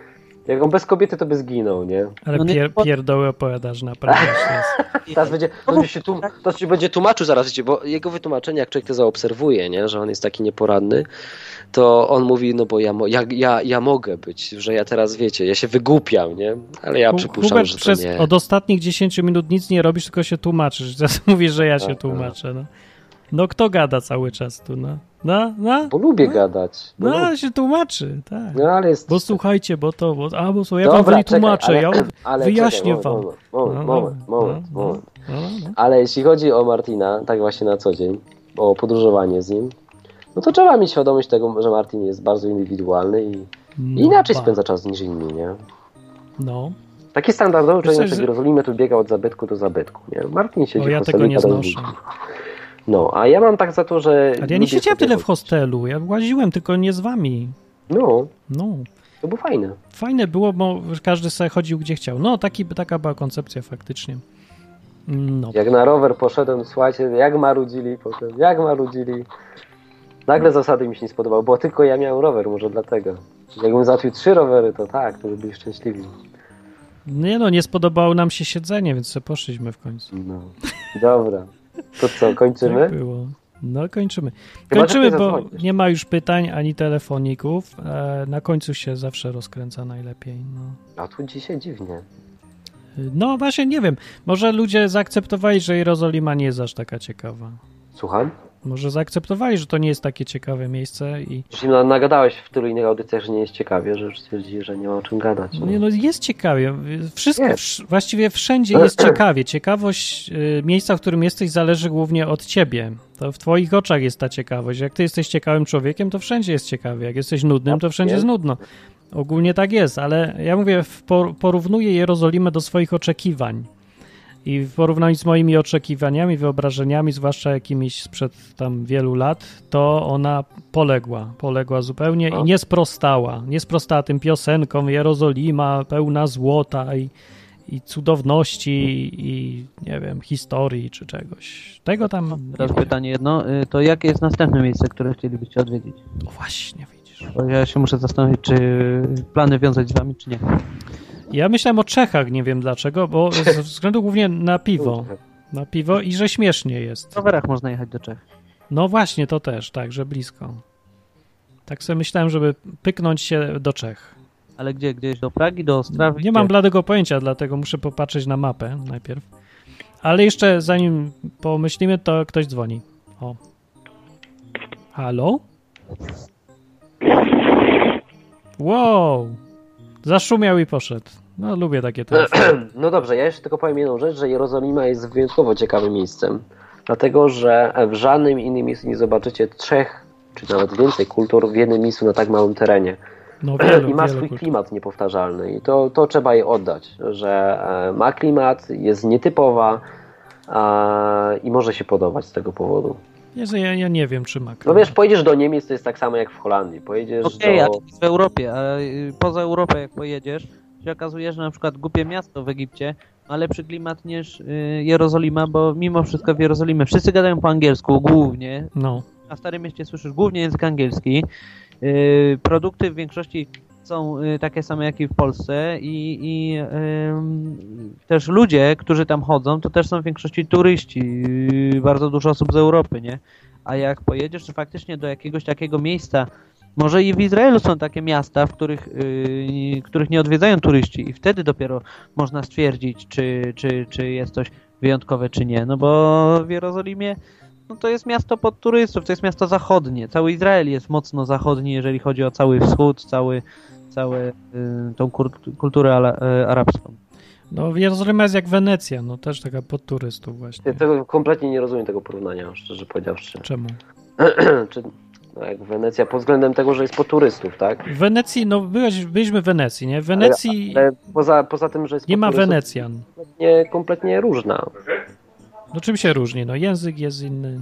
A: Jak on bez kobiety, to by zginął, nie?
B: Ale
C: No nie-
B: pier, pierdoły opowiadasz naprawdę.
A: [laughs]
B: Szczęs.
A: Teraz będzie, będzie, się, tłum, teraz się będzie tłumaczył zaraz, wiecie, bo jego wytłumaczenie, jak człowiek to zaobserwuje, nie, że on jest taki nieporadny, to on mówi, no bo ja, mo- ja, ja, ja mogę być, że ja teraz, wiecie, ja się wygłupiam, nie? Ale ja
B: Hu-
A: przypuszczam,
B: Hubert,
A: że to
B: przez
A: nie.
B: od ostatnich 10 minut nic nie robisz, tylko się tłumaczysz. [laughs] Zaraz mówisz, że ja się
A: Tak,
B: tłumaczę. No. no kto gada cały czas tu, no? No, no,
A: Bo lubię gadać. Bo
B: no
A: lubię.
B: się tłumaczy, tak.
A: No ale jest...
B: Bo słuchajcie, bo to, bo, a bo słuchaj, ja wam nie
A: czekaj,
B: tłumaczę,
A: ale- [clears throat]
B: ja
A: ale
B: wyjaśnię
A: czekaj,
B: wam.
A: Moment, moment, moment, moment,
B: No,
A: moment,
B: no,
A: moment.
B: no, no, no.
A: Ale jeśli chodzi o Martina, tak właśnie na co dzień, o podróżowanie z nim, no to trzeba mieć świadomość tego, że Martin jest bardzo indywidualny i i
B: No,
A: inaczej
B: ba.
A: spędza czas niż inni, nie?
B: No,
A: Taki standardowy
B: Wiesz
A: człowiek
B: co,
A: znaczy, w
B: że-
A: Jerozolimie tu biega od zabytku do zabytku. Nie? Martin siedzi
B: bo ja
A: w
B: tego
A: hostelu
B: nie
A: parę dni.
B: znoszę.
A: No, a ja mam tak za to, że...
B: Ale ja nie
A: lubię sobie
B: siedziałem tyle w
A: chodzić.
B: hostelu, ja łaziłem, tylko nie z wami.
A: No,
B: No,
A: to było fajne.
B: fajne było, bo każdy sobie chodził gdzie chciał. No, taki, taka była koncepcja faktycznie. No,
A: Jak na rower poszedłem, słuchajcie, jak marudzili potem, jak marudzili. Nagle zasady mi się nie spodobały, bo tylko ja miałem rower, może dlatego. Jakbym załatwił trzy rowery, to tak, to by byli szczęśliwi.
B: nie no, nie spodobało nam się siedzenie, więc sobie poszliśmy w końcu.
A: No. Dobra. To co,
B: Tak
A: kończymy?
B: było. No, kończymy.
A: Chyba, że
B: Kończymy,
A: ty
B: bo
A: zadzwonisz.
B: nie ma już pytań ani telefoników. E, Na końcu się zawsze rozkręca najlepiej. No.
A: A tu dzisiaj dziwnie.
B: no właśnie, nie wiem. Może ludzie zaakceptowali, że Jerozolima nie jest aż taka ciekawa.
A: Słucham?
B: Może zaakceptowali, że to nie jest takie ciekawe miejsce i
A: Już im nagadałeś w tylu innych audycjach, że nie jest ciekawie, że już stwierdzili, że nie ma o czym gadać.
B: Nie, no jest ciekawie. Wszystko,
A: znaczy. Jest.
B: wsz- właściwie wszędzie jest ciekawie. Ciekawość y, miejsca, w którym jesteś, zależy głównie od ciebie. To w twoich oczach jest ta ciekawość. Jak ty jesteś ciekawym człowiekiem, to wszędzie jest ciekawie. Jak jesteś nudnym, to wszędzie jest nudno. Ogólnie tak jest, ale ja mówię, w- por- porównuję Jerozolimę do swoich oczekiwań. I w porównaniu z moimi oczekiwaniami, wyobrażeniami, zwłaszcza jakimiś sprzed tam wielu lat, to ona poległa, poległa zupełnie i
A: No.
B: nie sprostała. Nie sprostała tym piosenkom Jerozolima pełna złota i, i cudowności i nie wiem, historii czy czegoś. Tego tam...
C: Teraz pytanie jedno, y, to jakie jest następne miejsce, które chcielibyście odwiedzić?
B: O, właśnie, widzisz.
C: Bo ja się muszę zastanowić, czy plany wiązać z wami, czy nie.
B: Ja myślałem o Czechach, nie wiem dlaczego, bo ze względu głównie na piwo. Na piwo i że śmiesznie jest.
C: W rowerach można jechać do Czech.
B: No właśnie, to też, tak, że blisko. Tak sobie myślałem, żeby pyknąć się do Czech.
C: Ale gdzie? Gdzieś do Pragi, do Ostrawy?
B: Nie mam
C: Gdzie?
B: bladego pojęcia, dlatego muszę popatrzeć na mapę najpierw. Ale jeszcze zanim pomyślimy, to ktoś dzwoni. O. Halo? Wow! Zaszumiał i poszedł. No, lubię takie telefony.
A: No dobrze, ja jeszcze tylko powiem jedną rzecz, że Jerozolima jest wyjątkowo ciekawym miejscem. Dlatego, że w żadnym innym miejscu nie zobaczycie trzech, czy nawet więcej kultur w jednym miejscu na tak małym terenie. [clears throat]
B: No wielu,
A: I ma
B: wielu
A: swój
B: kultur.
A: klimat niepowtarzalny i to, to trzeba jej oddać, że e, ma klimat, jest nietypowa e, i może się podobać z tego powodu.
B: Jezu, ja, ja nie wiem, czy ma
A: No
B: klimat.
A: wiesz, pojedziesz do Niemiec, to jest tak samo jak w Holandii. Pojedziesz
C: Okej,
A: do...
C: ale to jest w Europie, a y, poza Europę jak pojedziesz, się okazuje, że na przykład głupie miasto w Egipcie ma lepszy klimat niż y, Jerozolima, bo mimo wszystko w Jerozolimie wszyscy gadają po angielsku głównie,
B: No,
C: a w Starym Mieście słyszysz głównie język angielski. Y, produkty w większości są y, takie same jak i w Polsce i, i ym, też ludzie, którzy tam chodzą, to też są w większości turyści, y, bardzo dużo osób z Europy, nie? A jak pojedziesz faktycznie do jakiegoś takiego miejsca, może i w Izraelu są takie miasta, w których, y, których nie odwiedzają turyści i wtedy dopiero można stwierdzić, czy, czy, czy jest coś wyjątkowe, czy nie. No bo w Jerozolimie no to jest miasto pod turystów, to jest miasto zachodnie. Cały Izrael jest mocno zachodni, jeżeli chodzi o cały wschód, cały, cały y, tą kur- kulturę ala, y, arabską.
B: no Jerozolima jest jak Wenecja, no też taka pod turystów
A: Ja
B: właśnie.
A: tego kompletnie nie rozumiem tego porównania, szczerze powiedziawszy. [clears throat]
B: Czemu?
A: Czy, no jak Wenecja, pod względem tego, że jest po turystów, tak?
B: W Wenecji, no byłeś, byliśmy w Wenecji, nie? W Wenecji
A: Ale poza, poza tym, że jest
B: nie
A: po
B: ma
A: turystów,
B: Wenecjan.
A: Kompletnie, kompletnie różna.
B: No czym się różni? No język jest inny.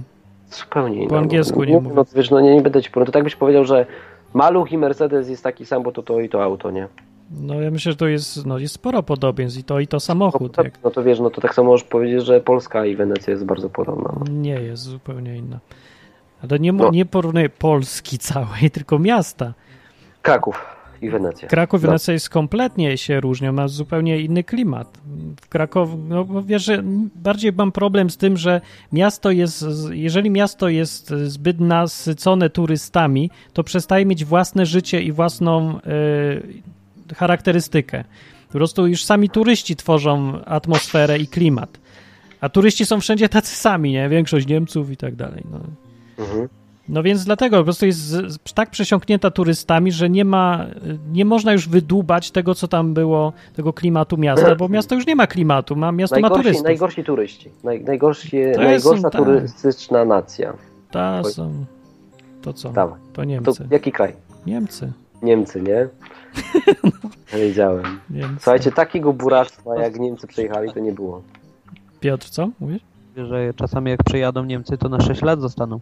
A: Zupełnie inna.
B: Po angielsku nie mówię.
A: No, wiesz, no nie, nie będę ci porównał. To tak byś powiedział, że maluch i Mercedes jest taki sam, bo to to i to auto, nie?
B: No ja myślę, że to jest, no, jest sporo podobieństw i to i to samochód. Jak
A: No to wiesz, no to tak samo możesz powiedzieć, że Polska i Wenecja jest bardzo podobna.
B: nie jest zupełnie inna. Ale nie, mu-
A: No.
B: nie porównuję Polski [laughs] całej, tylko miasta.
A: Kraków i Wenecja.
B: Kraków i
A: No.
B: Wenecja jest kompletnie się różnią, ma zupełnie inny klimat. W Krakow, no bo wiesz, że bardziej mam problem z tym, że miasto jest, z- jeżeli miasto jest zbyt nasycone turystami, to przestaje mieć własne życie i własną y, charakterystykę. Po prostu już sami turyści tworzą atmosferę i klimat. A turyści są wszędzie tacy sami, nie? Większość Niemców i tak dalej. No.
A: Mhm.
B: No więc dlatego po prostu jest z- z- tak przesiąknięta turystami, że nie ma, nie można już wydłubać tego, co tam było, tego klimatu miasta,
A: [clears throat]
B: bo miasto już nie ma klimatu, ma, miasto ma
A: Najgorsi,
B: turystów.
A: najgorsi turyści. Naj, najgorsi,
B: To jest-
A: najgorsza
B: tak.
A: turystyczna nacja.
B: Ta są, to co?
A: Dawaj.
B: To
A: To
B: Niemcy.
A: jaki kraj?
B: Niemcy.
A: Niemcy,
B: [laughs]
A: nie? Ja Wiedziałem.
B: Niemcy.
A: Słuchajcie, takiego buractwa no, jak Niemcy przejechali, to nie było.
B: Piotr, co mówisz?
C: Że czasami jak przejadą Niemcy, to na 6 lat zostaną.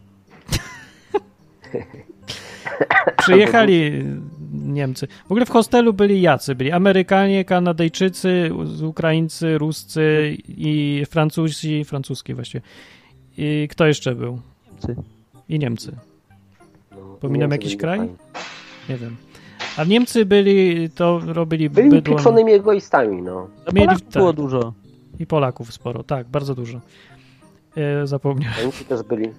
B: Przyjechali Niemcy. W ogóle w hostelu byli jacy? Byli Amerykanie, Kanadyjczycy, U- Ukraińcy, Ruscy i Francuzi, francuski właściwie. I kto jeszcze był?
C: Niemcy.
B: I Niemcy.
A: No,
B: Pominam
A: Niemcy
B: jakiś
A: byli
B: kraj?
A: fajni.
B: Nie wiem. A Niemcy byli, to robili
A: Byli
B: bydło.
A: pieprzonymi egoistami, no.
C: No
B: Mieli-
C: Polaków było
B: tak.
C: dużo.
B: I Polaków sporo, tak, bardzo dużo. E, zapomniałem.
A: Niemcy też byli.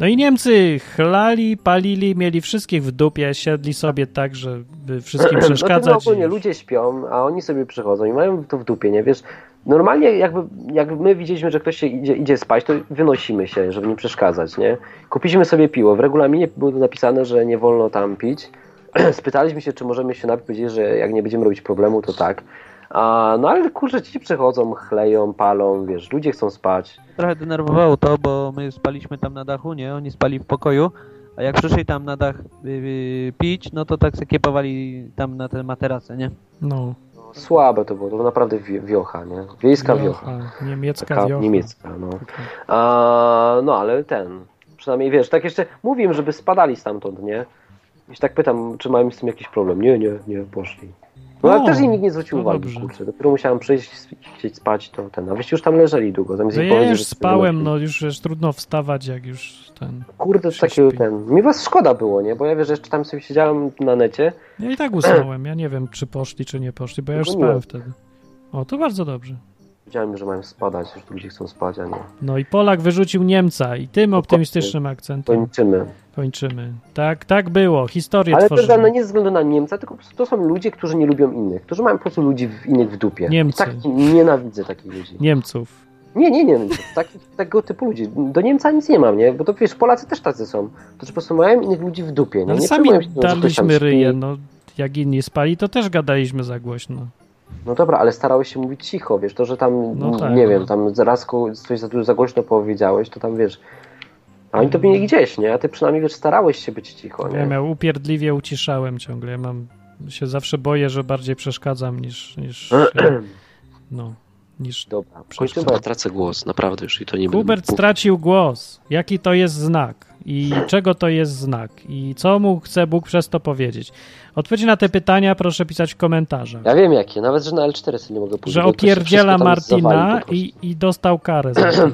B: No i Niemcy chlali, palili, mieli wszystkich w dupie, siedli sobie tak, żeby
A: [clears throat]
B: wszystkim
A: No,
B: przeszkadzać.
A: tym ogólnie ludzie śpią, a oni sobie przychodzą i mają to w dupie, nie wiesz? Normalnie jakby, jak my widzieliśmy, że ktoś się idzie, idzie spać, to wynosimy się, żeby nie przeszkadzać, nie? Kupiliśmy sobie piwo. W regulaminie było to napisane, że nie wolno tam pić. [clears throat] Spytaliśmy się, czy możemy się napić, powiedzieli, że jak nie będziemy robić problemu, to tak. A, no ale kurczę, ci przychodzą, chleją, palą, wiesz, ludzie chcą spać.
C: Trochę denerwowało to, bo my spaliśmy tam na dachu, nie? Oni spali w pokoju, a jak przyszli tam na dach y, y, pić, no to tak se kiepowali tam na te materace, nie?
B: No,
A: Słabe to było, to naprawdę wi- wiocha, nie? Wiejska wiocha.
B: no, niemiecka
A: Taka
B: wiocha.
A: niemiecka, no.
B: Okej.
A: A, no ale ten, przynajmniej wiesz, tak jeszcze mówiłem, żeby spadali stamtąd, nie? I się tak pytam, czy mają z tym jakiś problem. Nie, nie, nie, poszli. No ale
B: No,
A: też im nikt nie zwrócił
B: no
A: uwagi,
B: dobrze.
A: kurczę. Dopiero musiałem przyjść, sp- chcieć spać, to ten. A wyście już tam leżeli długo, zamiast
B: No
A: im
B: ja
A: powiedzieć, że
B: już
A: sobie
B: spałem,
A: lepiej.
B: no już, już trudno wstawać, jak już ten...
A: Kurde,
B: się
A: to takiego
B: śpi.
A: ten... Mi was szkoda było, nie? Bo ja wiesz, jeszcze tam sobie siedziałem na necie.
B: Ja i tak usnąłem, ja nie wiem, czy poszli, czy nie poszli, bo ja już
A: Dogoniłem.
B: spałem wtedy. O, to bardzo dobrze.
A: Wiedziałem, że mają spadać, że tu ludzie chcą spać, a nie.
B: No i Polak wyrzucił Niemca i tym optymistycznym
A: To
B: akcentem
A: niczymy.
B: kończymy. Tak, tak było. Historię
A: Ale to jest
B: tworzymy.
A: dane nie ze względu na Niemca, tylko po prostu to są ludzie, którzy nie lubią innych. Którzy mają po prostu ludzi w- innych w dupie.
B: Niemcy.
A: I tak nienawidzę takich ludzi.
B: Niemców.
A: Nie, nie, nie. Tak, tego typu ludzi. Do Niemca nic nie mam, nie? Bo to wiesz, Polacy też tacy są. To po prostu mają innych ludzi w dupie. Nie?
B: No, ale
A: nie
B: sami
A: przejmują się tym, że ktoś tam
B: daliśmy
A: śpi.
B: ryje, no. Jak inni spali, to też gadaliśmy za głośno.
A: No dobra, ale starałeś się mówić cicho, wiesz, to, że tam,
B: No tak,
A: nie
B: no.
A: wiem, tam zaraz ko- coś za dużo za głośno powiedziałeś, to tam wiesz. A oni to mieli gdzieś, nie? A ty przynajmniej wiesz, starałeś się być cicho,
B: Ja
A: nie?
B: miał upierdliwie uciszałem ciągle. Ja mam się zawsze boję, że bardziej przeszkadzam
A: [clears throat]
B: niż. niż no, niż.
A: Dobra, kończymy, bo ja tracę głos, naprawdę już i to nie będę
B: Hubert
A: mógł.
B: stracił głos. Jaki to jest znak? I czego to jest znak? I co mu chce Bóg przez to powiedzieć? Odpowiedzi na te pytania proszę pisać w komentarzach.
A: Ja wiem jakie, nawet że na L4 sobie nie mogę pójść.
B: Że
A: bo to się
B: opierdziela
A: wszystko tam zawali
B: Martina
A: po prostu.
B: i, i dostał
A: [clears throat]
B: karę za to.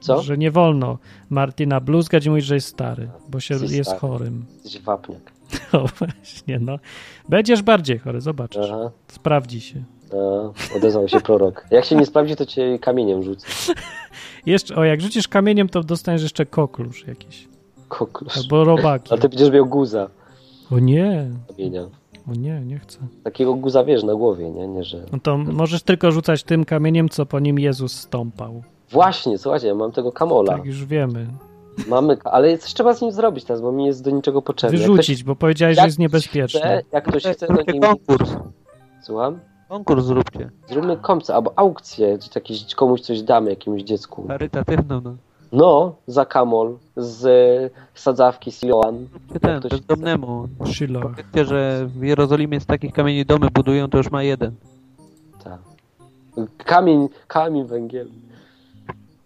A: Co?
B: Że nie wolno Martina bluzgać i mówić, że jest stary, bo się
A: Jesteś
B: jest
A: stary.
B: chorym. [laughs]
A: Jesteś wapniak.
B: No właśnie, no. Będziesz bardziej chory, zobaczysz.
A: Aha.
B: Sprawdzi się.
A: A, No, odezwał się prorok. Jak się nie sprawdzi, to cię kamieniem rzucę.
B: Jeszcze, o, jak rzucisz kamieniem, to dostaniesz jeszcze koklusz jakiś.
A: Koklusz.
B: Albo robaki.
A: A ty będziesz miał guza
B: O nie,
A: kamienia.
B: o nie, nie chcę.
A: Takiego guza wiesz na głowie, nie? nie że...
B: No to możesz tylko rzucać tym kamieniem, co po nim Jezus stąpał.
A: Właśnie, słuchajcie, ja mam tego kamola.
B: Tak już wiemy.
A: Mamy, ka- ale coś trzeba z nim zrobić teraz, bo mi jest do niczego potrzebny. Jak ktoś
B: Wyrzucić, bo powiedziałeś, że jest
A: Chce,
B: niebezpieczny.
A: jak ktoś chce, to
C: Zróbcie
A: nim...
C: konkurs.
A: Słucham?
C: Konkurs zróbcie.
A: Zróbmy komca albo aukcję, czy jakiś, komuś coś damy, jakiemuś dziecku.
C: Charytatywną, no.
A: No, za kamol, z e, sadzawki Siloan.
C: Czy ten,
A: ktoś-
C: bezdomnemu.
B: Shiloh.
C: Powiedzcie, że w Jerozolimie z takich kamieni domy budują, to już ma jeden.
A: Tak. Kamień, kamień węgielny.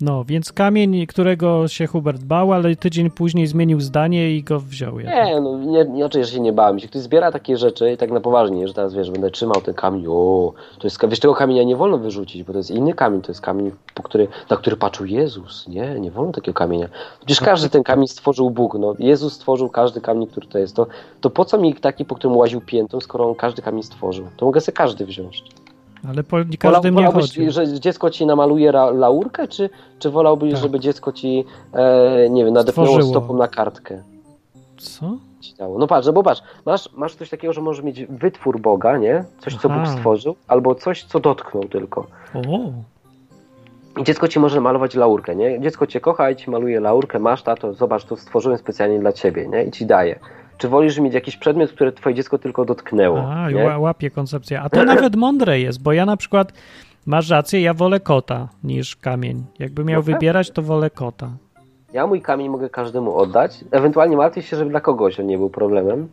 B: No, więc kamień, którego się Hubert bał, ale tydzień później zmienił zdanie i go wziął. Jednak.
A: Nie, no nie, nie, raczej się nie bałem. Jeśli ktoś zbiera takie rzeczy i tak na poważnie, że teraz wiesz, będę trzymał ten kamień, o, to jest, ka- wiesz, tego kamienia nie wolno wyrzucić, bo to jest inny kamień, to jest kamień, po który, na który patrzył Jezus. Nie, nie wolno takiego kamienia.
B: No.
A: Przecież każdy ten kamień stworzył Bóg, no. Jezus stworzył każdy kamień, który to jest. To, to po co mi taki, po którym łaził piętą, skoro on każdy kamień stworzył? To mogę sobie każdy wziąć.
B: Ale po każdym nie
A: wolałbyś,
B: chodzi.
A: że dziecko ci namaluje ra, laurkę, czy, czy wolałbyś,
B: Tak.
A: żeby dziecko ci, e, nie wiem, nadepnęło
B: Stworzyło.
A: stopą na kartkę?
B: Co?
A: ci dało. No patrz, no bo patrz, masz, masz coś takiego, że możesz mieć wytwór Boga, nie? Coś, co
B: Aha.
A: Bóg stworzył, albo coś, co dotknął tylko.
B: O,
A: I dziecko ci może malować laurkę, nie? Dziecko cię kocha i ci maluje laurkę, masz tato, zobacz, to stworzyłem specjalnie dla ciebie, nie? I ci daje. Czy wolisz mieć jakiś przedmiot, który twoje dziecko tylko dotknęło?
B: a, i
A: nie?
B: ła- łapie koncepcję. A to nawet mądre jest, bo ja na przykład, masz rację, ja wolę kota niż kamień. Jakby miał
A: No tak.
B: wybierać, to wolę kota.
A: Ja mój kamień mogę każdemu oddać. Ewentualnie martwię się, żeby dla kogoś on nie był problemem.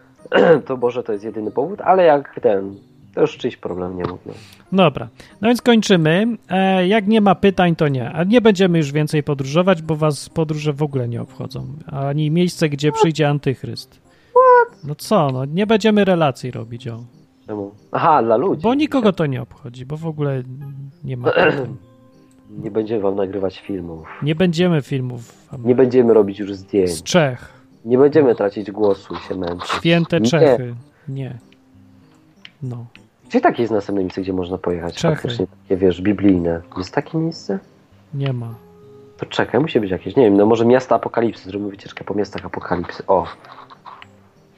A: [clears throat] To Boże, to jest jedyny powód, ale jak ten, to już czyjś problem nie mógł.
B: Dobra, no więc kończymy. E, jak nie ma pytań, to nie. A nie będziemy już więcej podróżować, bo was podróże w ogóle nie obchodzą. Ani miejsce, gdzie przyjdzie antychryst. No co, no nie będziemy relacji robić, o.
A: Czemu? Aha, dla ludzi.
B: Bo nikogo to nie obchodzi, bo w ogóle nie ma. pytań.
A: Nie będziemy wam nagrywać filmów.
B: Nie będziemy filmów
A: Nie będziemy robić już
B: z
A: zdjęć.
B: Czech.
A: Nie będziemy tracić głosu i się męczyć.
B: Święte
A: Nie.
B: Czechy. Nie. No.
A: Gdzie takie jest następne miejsce, gdzie można pojechać?
B: Czechy.
A: Faktycznie takie, wiesz, biblijne. Jest takie miejsce?
B: Nie ma.
A: To czekaj, musi być jakieś. Nie wiem, no może miasta apokalipsy. Zrobimy wycieczkę po miastach apokalipsy. O, no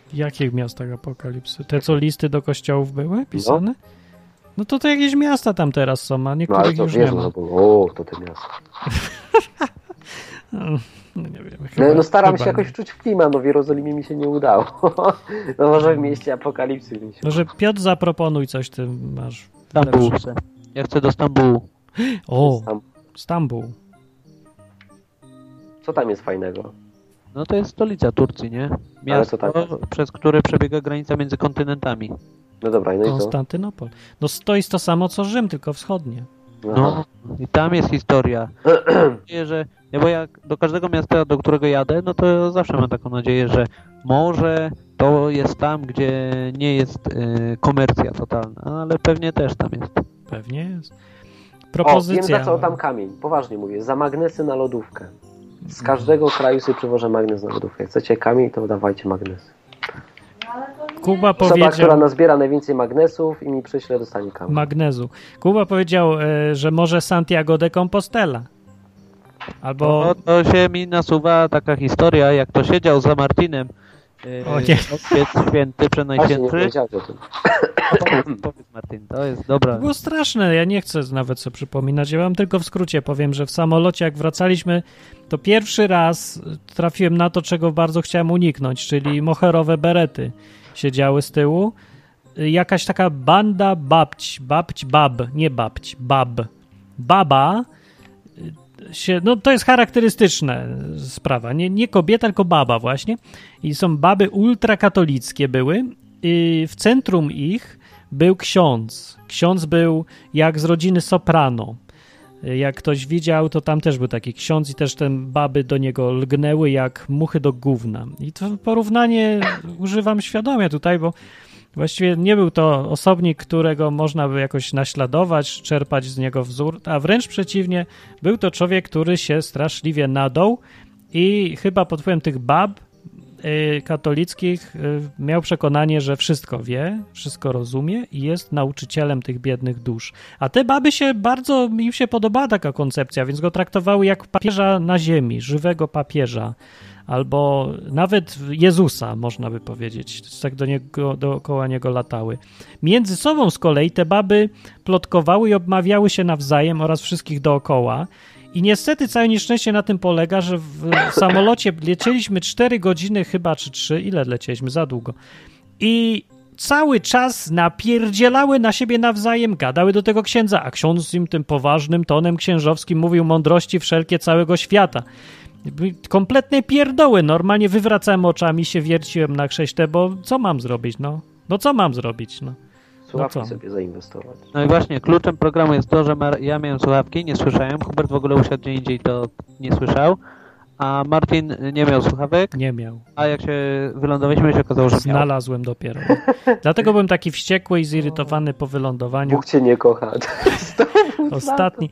B: W jakich miastach apokalipsy? Te, co listy do kościołów były pisane? No to to jakieś miasta tam teraz są, a
A: no ale
B: niektórych
A: to
B: już nie
A: Jezu,
B: ma.
A: no bo o, to te miasta.
B: [laughs] No, nie wiem. Chyba,
A: No, no staram
B: chyba
A: się
B: nie.
A: jakoś wczuć w klimat, no w Jerozolimie mi się nie udało. [laughs] No może w mieście apokalipsy mi się
B: Może No, Piotr zaproponuj coś, ty masz.
C: Stambuł.
B: lepsze.
C: Ja chcę do Stambułu.
B: O,
A: Tam,
B: Stambuł.
A: No co tam jest fajnego?
C: No to jest stolica Turcji, nie? Miasto,
A: Ale to tak
C: przez które przebiega granica między kontynentami.
A: No dobra, no i co?
B: Konstantynopol. No to jest to samo co Rzym, tylko wschodnie.
A: Aha.
C: No i tam jest
A: [clears throat]
C: historia. Mam nadzieję, że. Ja bo jak do każdego miasta, do którego jadę, no to zawsze mam taką nadzieję, że może to jest tam, gdzie nie jest e, komercja totalna, ale pewnie też tam jest.
B: Pewnie jest.
A: O, wiem
B: Propozycja.
A: za co tam kamień. Poważnie mówię, za magnesy na lodówkę. Z
B: Mhm.
A: każdego kraju sobie przywożę magnes na lodówkę. Jak Chcecie kamień, to dawajcie magnes.
B: Kuba
A: Osoba, która
B: powiedział
A: nazbiera najwięcej magnesów i mi przyśle, dostanie kamień.
B: magnezu. Kuba powiedział, e, że może Santiago de Compostela. Albo.
C: No to się mi nasuwa taka historia, jak to siedział za Martinem. e,
B: O nie.
C: Ojciec święty,
A: Właśnie nie
C: przenajświętszy.
A: powiedziałeś o tym.
C: [laughs] Powiedz- Powiedz Martin, to jest dobra.
B: To było straszne, ja nie chcę nawet sobie przypominać. Ja wam tylko w skrócie powiem, że w samolocie, jak wracaliśmy, to pierwszy raz trafiłem na to, czego bardzo chciałem uniknąć, czyli moherowe berety siedziały z tyłu. Y, Jakaś taka banda babć, babć, bab, nie babć, bab, baba. y, Się, no to jest y, charakterystyczna sprawa. Nie, nie kobieta, tylko baba właśnie. I są baby ultrakatolickie były i w centrum ich był ksiądz. Ksiądz był jak z rodziny Soprano. Jak ktoś widział, to tam też był taki ksiądz i też te baby do niego lgnęły jak muchy do gówna. I to porównanie używam świadomie tutaj, bo Właściwie nie był to osobnik, którego można by jakoś naśladować, czerpać z niego wzór, a wręcz przeciwnie, był to człowiek, który się straszliwie nadął i chyba pod wpływem tych bab y, katolickich y, miał przekonanie, że wszystko wie, wszystko rozumie i jest nauczycielem tych biednych dusz. A te baby się bardzo, im się podobała taka koncepcja, więc go traktowały jak papieża na ziemi, żywego papieża albo nawet Jezusa, można by powiedzieć. Tak do niego, dookoła niego latały. Między sobą z kolei te baby plotkowały i obmawiały się nawzajem oraz wszystkich dookoła. I niestety całe nieszczęście na tym polega, że w samolocie lecieliśmy 4 godziny chyba, czy 3, ile lecieliśmy, za długo. I cały czas napierdzielały na siebie nawzajem, gadały do tego księdza, a ksiądz im tym poważnym tonem księżowskim mówił mądrości wszelkie całego świata. Kompletne pierdoły. Normalnie wywracałem oczami, się wierciłem na krześle, bo co mam zrobić, no? No co mam zrobić, no?
A: Słuchawki
B: co?
A: sobie zainwestować.
C: No i właśnie, kluczem programu jest to, że Mar- ja miałem słuchawki, nie słyszałem, Hubert w ogóle usiadł gdzie indziej, to nie słyszał, a Martin nie miał słuchawek,
B: Nie miał.
C: a jak się wylądowaliśmy, się okazało, że miał.
B: Znalazłem dopiero. Dlatego byłem taki wściekły i zirytowany po wylądowaniu.
A: Bóg cię nie kocha. [laughs]
B: Ostatni.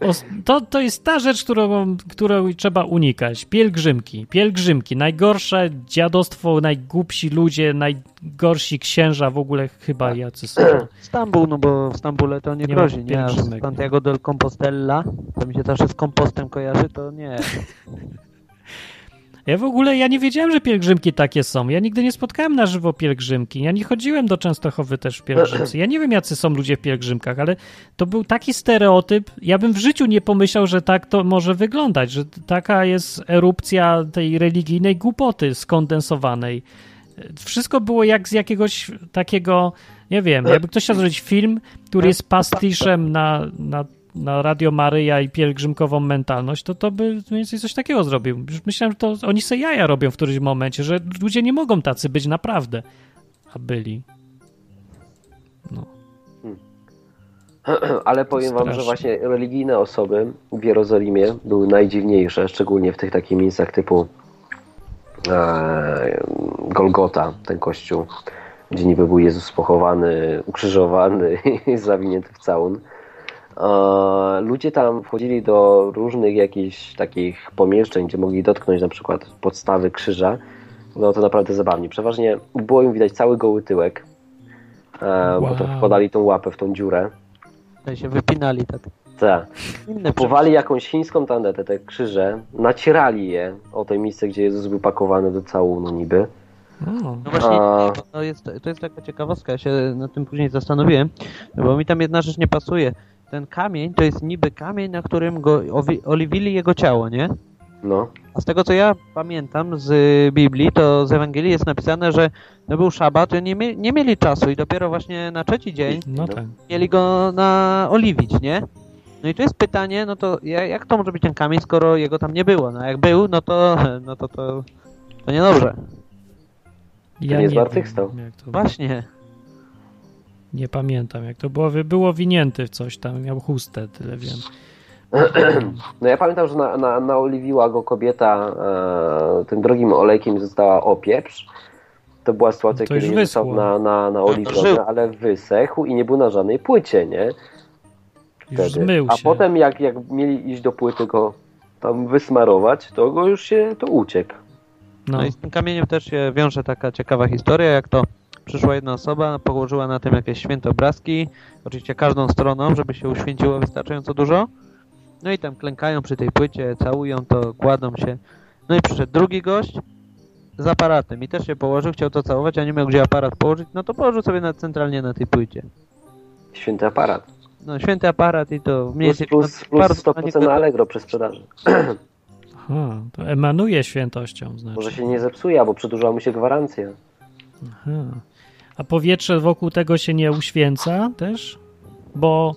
B: Os- To, to jest ta rzecz, którą, którą trzeba unikać. Pielgrzymki. Pielgrzymki. Najgorsze dziadostwo, najgłupsi ludzie, najgorsi księża w ogóle chyba jacy są.
C: Stambuł, no bo w Stambule to nie,
B: Nie ma
C: grozi, nie? A
B: pielgrzymek,
C: z Santiago del Compostela, to mi się zawsze z kompostem kojarzy, to nie.
B: Ja w ogóle ja nie wiedziałem, że pielgrzymki takie są. Ja nigdy nie spotkałem na żywo pielgrzymki. Ja nie chodziłem do Częstochowy też w pielgrzymce. Ja nie wiem, jacy są ludzie w pielgrzymkach, ale to był taki stereotyp. Ja bym w życiu nie pomyślał, że tak to może wyglądać, że taka jest erupcja tej religijnej głupoty skondensowanej. Wszystko było jak z jakiegoś takiego, nie wiem, jakby ktoś chciał zrobić film, który jest pastiszem na, na, na Radio Maryja i pielgrzymkową mentalność, to to by mniej więcej coś takiego zrobił. Już myślałem, że to oni se jaja robią w którymś momencie, że ludzie nie mogą tacy być naprawdę, a byli.
A: Ale powiem wam, że
B: Straszne.
A: właśnie religijne osoby w Jerozolimie były najdziwniejsze, szczególnie w tych takich miejscach typu e, Golgota, ten kościół, gdzie niby był Jezus pochowany, ukrzyżowany i [laughs] zawinięty w całun. E, ludzie tam wchodzili do różnych jakichś takich pomieszczeń, gdzie mogli dotknąć na przykład podstawy krzyża. No to naprawdę zabawnie. Przeważnie było im widać cały goły tyłek, e, bo to
B: Wow.
A: wkładali tą łapę w tą dziurę.
C: Tutaj się wypinali tak.
A: Tak.
C: Inne
A: Powali jakąś chińską tandetę, te krzyże, nacierali je o te miejsce, gdzie Jezus był pakowany do całunu niby.
B: No.
C: No właśnie,
A: A.
C: to jest, to jest taka ciekawostka, ja się nad tym później zastanowiłem, bo mi tam jedna rzecz nie pasuje. Ten kamień to jest niby kamień, na którym go owi- oliwili jego ciało, nie?
A: No.
C: A z tego co ja pamiętam z y, Biblii, to z Ewangelii jest napisane, że to był szabat i oni mi- nie mieli czasu i dopiero właśnie na trzeci dzień
B: no tak.
C: mieli go na oliwić, nie? No i tu jest pytanie, no to ja- jak to może być ten kamień, skoro jego tam nie było? No a jak był, no to [laughs] no to, to, to niedobrze.
B: Ja
A: nie
B: nie,
A: zmartwychwstał.
B: wiem, jak to,
C: Właśnie.
B: nie pamiętam, jak to było. Było winięty w coś tam, miał chustę, tyle wiem.
A: No ja pamiętam, że na, na, naoliwiła go kobieta e, tym drogim olejkiem została opieprz. To była sytuacja,
B: To
A: kiedy
B: już
A: nie został
B: wyschło.
A: na, na,
C: Tak, Żył.
A: naoliwiony, ale wysechł i nie był na żadnej płycie, nie?
B: Już
A: Wtedy.
B: zmył
A: A
B: się.
A: potem jak, jak mieli iść do płyty go tam wysmarować, to go już się, to uciekł.
B: No.
C: No i z tym kamieniem też się wiąże taka ciekawa historia, jak to przyszła jedna osoba, położyła na tym jakieś święte obrazki, oczywiście każdą stroną, żeby się uświęciło wystarczająco dużo. No i tam klękają przy tej płycie, całują to, kładą się. No i przyszedł drugi gość z aparatem i też się położył, chciał to całować, a nie miał gdzie aparat położyć, no to położył sobie na, centralnie na tej płycie.
A: Święty aparat.
C: No święty aparat i to mniej
A: Plus,
C: więcej...
A: plus,
C: no,
A: plus
C: bardzo
A: 100% na Allegro przy sprzedaży.
B: Aha, to emanuje świętością, znaczy.
A: Może się nie zepsuje, albo przedłużyła mu się gwarancja.
B: Aha. Hmm. A powietrze wokół tego się nie uświęca też? Bo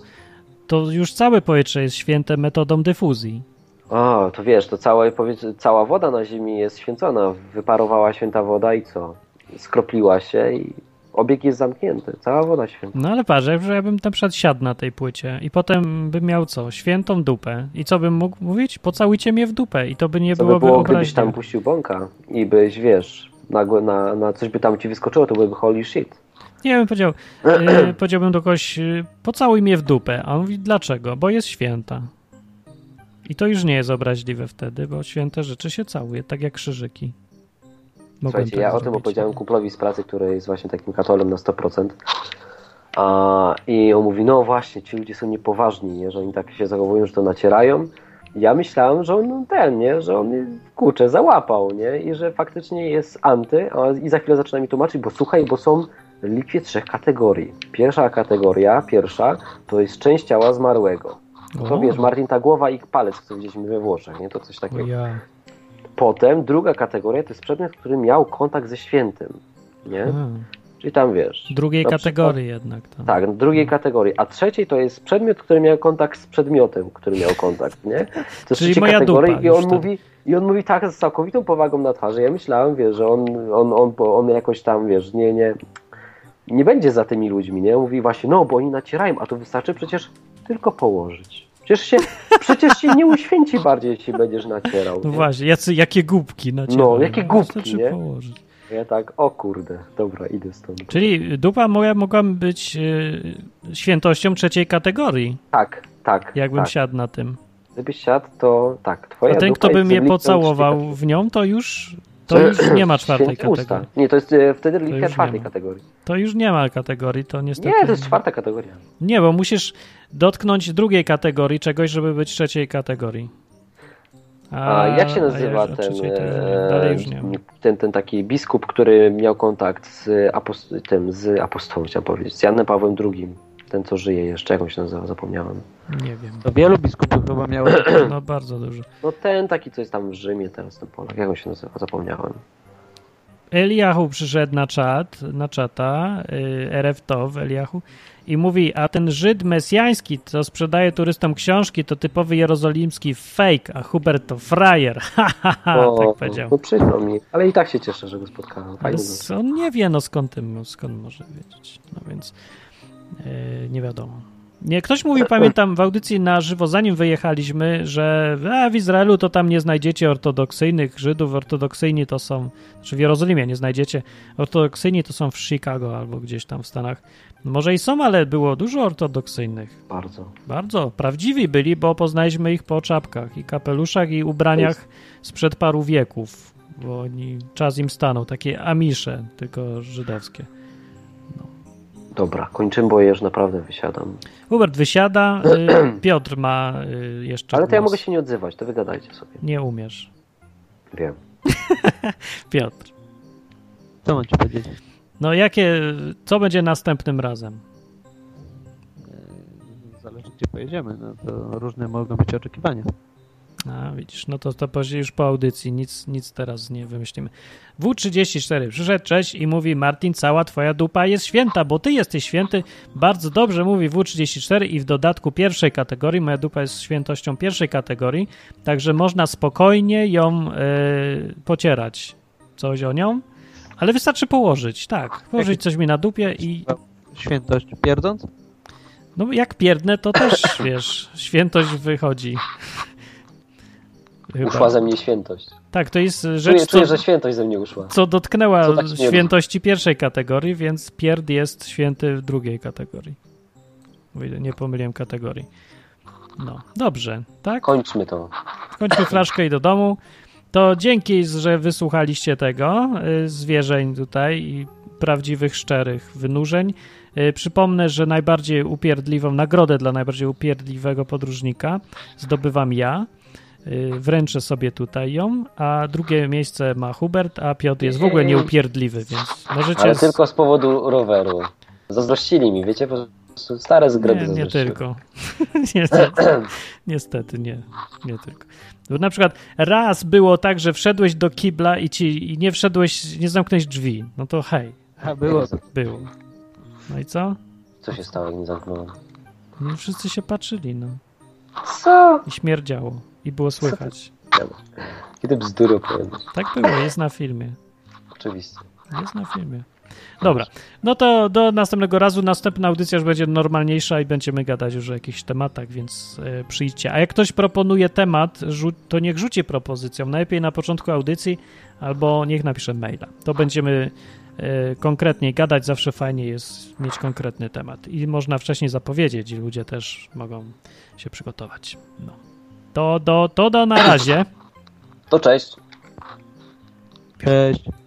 B: to już całe powietrze jest święte metodą dyfuzji.
A: O, to wiesz, to cała, powiedz, cała woda na Ziemi jest święcona. Wyparowała święta woda i co? Skropliła się i Obieg jest zamknięty, cała woda święta.
B: No ale patrz, że ja bym na przykład siadł na tej płycie i potem bym miał co? Świętą dupę. I co bym mógł mówić? Pocałujcie mnie w dupę i to by nie
A: Co by
B: byłoby
A: było, gdybyś
B: obraźnie.
A: tam puścił bąka i byś, wiesz, nagłe na, na coś by tam ci wyskoczyło, to byłby holy shit.
B: Nie
A: [clears throat]
B: bym powiedział, e, powiedziałbym do kogoś, e, pocałuj mnie w dupę. A on mówi, dlaczego? Bo jest święta. I to już nie jest obraźliwe wtedy, bo święte rzeczy się całuje, tak jak krzyżyki. Mogłem tak
A: Słuchajcie, ja o tym
B: zrobić. no.
A: opowiedziałem kumplowi z pracy, który jest właśnie takim katolem na 100%. A, I on mówi, no właśnie, ci ludzie są niepoważni, nie? że oni tak się zachowują, że to nacierają. Ja myślałem, że on ten, nie? że on kurczę, załapał nie? i że faktycznie jest anty. A, I za chwilę zaczyna mi tłumaczyć, bo słuchaj, bo są likwie trzech kategorii. Pierwsza kategoria, pierwsza, to jest część ciała zmarłego. To
B: O,
A: wiesz, Martin, ta głowa i palec, co widzieliśmy we Włoszech, nie? To coś
B: o
A: takiego.
B: ja.
A: Potem druga kategoria to jest przedmiot, który miał kontakt ze świętym. Nie?
B: A,
A: Czyli tam wiesz.
B: Hmm. drugiej
A: na
B: kategorii jednak. Tam.
A: Przykład, tak, drugiej kategorii. A trzeciej to jest przedmiot, który miał kontakt z przedmiotem, który miał kontakt, nie? To jest
B: Czyli
A: trzeciej
B: moja
A: kategorii
B: dupa
A: i on
B: już tam.
A: mówi. I on mówi tak z całkowitą powagą na twarzy. Ja myślałem, wiesz, że on, on, on, on jakoś tam, wiesz, nie, nie, nie będzie za tymi ludźmi, nie? Mówi właśnie, no, bo oni nacierają, a to wystarczy przecież tylko położyć. Przecież się, przecież się nie uświęci bardziej, jeśli będziesz nacierał.
B: No
A: nie?
B: właśnie, jacy, jakie głupki na ciebie.
A: No, jakie głupki,
B: Wystarczy
A: nie?
B: położyć.
A: Ja tak, o kurde, dobra, idę stąd.
B: Czyli dupa moja mogła być y, świętością trzeciej kategorii,
A: Tak, tak.
B: jakbym
A: tak.
B: siadł na tym.
A: Gdybyś siadł, to tak,
B: A
A: twoja
B: ten,
A: dupa
B: kto by
A: jest
B: mnie
A: lipią
B: pocałował w nią, to już, to już nie
A: [clears throat]
B: ma czwartej
A: Święte usta.
B: kategorii.
A: Nie, to jest e, wtedy
B: już
A: liczba
B: nie
A: czwartej
B: ma.
A: kategorii.
B: To już nie ma kategorii, to niestety...
A: Nie, to jest czwarta kategoria.
B: Nie, bo musisz dotknąć drugiej kategorii czegoś, żeby być trzeciej kategorii.
A: A, jak się
B: ja
A: nazywa
B: już
A: ten,
B: o trzeciej to już nie-
A: e,
B: dalej już nie. wiem.
A: ten, ten taki biskup, który miał kontakt z, apos- tym, z apostołem, chciałem powiedzieć, z Janem Pawłem II. Ten, co żyje jeszcze, jak on się nazywa, zapomniałem.
B: Nie wiem.
C: To wielu biskupów chyba miało.
B: [clears throat] No bardzo dużo.
A: No ten taki, co jest tam w Rzymie teraz, ten Polak, jak on się nazywa, zapomniałem.
B: Eliahu przyszedł na czat, na czata, y, RF to w Eliahu i mówi, a ten Żyd mesjański, co sprzedaje turystom książki, to typowy jerozolimski fake, a Hubert to frajer. [laughs] Ha, ha, ha,
A: O,
B: tak powiedział.
A: No przykro mi, ale i tak się cieszę, że go spotkałem.
B: Ale
A: Fajnie. było.
B: s- on nie wie, no skąd, tym, skąd może wiedzieć. No więc y, nie wiadomo. Nie, ktoś mówił, pamiętam, w audycji na żywo, zanim wyjechaliśmy, że a, w Izraelu to tam nie znajdziecie ortodoksyjnych Żydów, ortodoksyjni to są, znaczy w Jerozolimie nie znajdziecie, ortodoksyjni to są w Chicago albo gdzieś tam w Stanach. Może i są, ale było dużo ortodoksyjnych.
A: Bardzo.
B: Bardzo prawdziwi byli, bo poznaliśmy ich po czapkach i kapeluszach i ubraniach sprzed paru wieków, bo oni, czas im stanął, takie amisze, tylko żydowskie.
A: Dobra, kończymy, bo ja już naprawdę wysiadam.
B: Hubert
A: [clears throat]
B: wysiada, y, Piotr ma y, jeszcze
A: Ale to ja
B: głos.
A: mogę się nie odzywać, to wygadajcie sobie.
B: Nie umiesz.
A: Wiem.
B: Piotr,
C: Co mam ci powiedzieć?
B: no jakie, co będzie następnym razem?
C: Zależy gdzie pojedziemy, no to różne mogą być oczekiwania.
B: A, widzisz, no to, to później już po audycji, nic, nic teraz nie wymyślimy. W34 przyszedł, cześć i mówi Martin, cała twoja dupa jest święta, bo ty jesteś święty. Bardzo dobrze mówi W34 i w dodatku pierwszej kategorii, moja dupa jest świętością pierwszej kategorii, także można spokojnie ją y, pocierać. Coś o nią, ale wystarczy położyć, tak, położyć coś mi na dupie i
C: Świętość pierdząc?
B: no jak pierdnę, to też, wiesz, świętość wychodzi. Chyba.
A: Uszła ze mnie świętość.
B: Tak, to jest rzecz,
A: Czuję, czuję,
B: co,
A: że świętość ze mnie uszła.
B: co dotknęła
A: co tak śmierć.
B: świętości pierwszej kategorii, więc pierd jest święty w drugiej kategorii. Mówię, Nie pomyliłem kategorii. No, dobrze, tak?
A: Kończmy to.
B: Kończmy flaszkę i do domu. To dzięki, że wysłuchaliście tego y, zwierzeń tutaj i prawdziwych, szczerych wynurzeń. Y, Przypomnę, że najbardziej upierdliwą nagrodę dla najbardziej upierdliwego podróżnika zdobywam ja. Y, Wręczę sobie tutaj ją, a drugie miejsce ma Hubert, a Piotr jest w ogóle nieupierdliwy, więc możecie.
A: Ale
B: z-
A: tylko z powodu roweru. Zazdrościli mi, wiecie, po prostu stare zgrody
B: nie, nie
A: zazdrościły.
B: tylko. [laughs] niestety, niestety, nie. Nie tylko. Bo na przykład raz było tak, że wszedłeś do kibla i ci i nie wszedłeś, nie zamknąłeś drzwi. No to hej,
C: A było.
B: było. No i co?
A: [clears throat] Co się stało, jak nie zamknąłem?
B: No wszyscy się patrzyli, no.
A: Co?
B: I śmierdziało. I było słychać.
A: Kiedy bzdury opowiadasz?
B: Tak było, jest na filmie.
A: Oczywiście.
B: Jest na filmie. Dobra, no to do następnego razu. Następna audycja już będzie normalniejsza i będziemy gadać już o jakichś tematach, więc e, przyjdźcie. A jak ktoś proponuje temat, rzu- to niech rzuci propozycją. Najlepiej na początku audycji albo niech napisze maila. To będziemy e, konkretniej gadać. Zawsze fajnie jest mieć konkretny temat i można wcześniej zapowiedzieć i ludzie też mogą się przygotować. No. To do, to do na razie.
A: To cześć.
C: Cześć.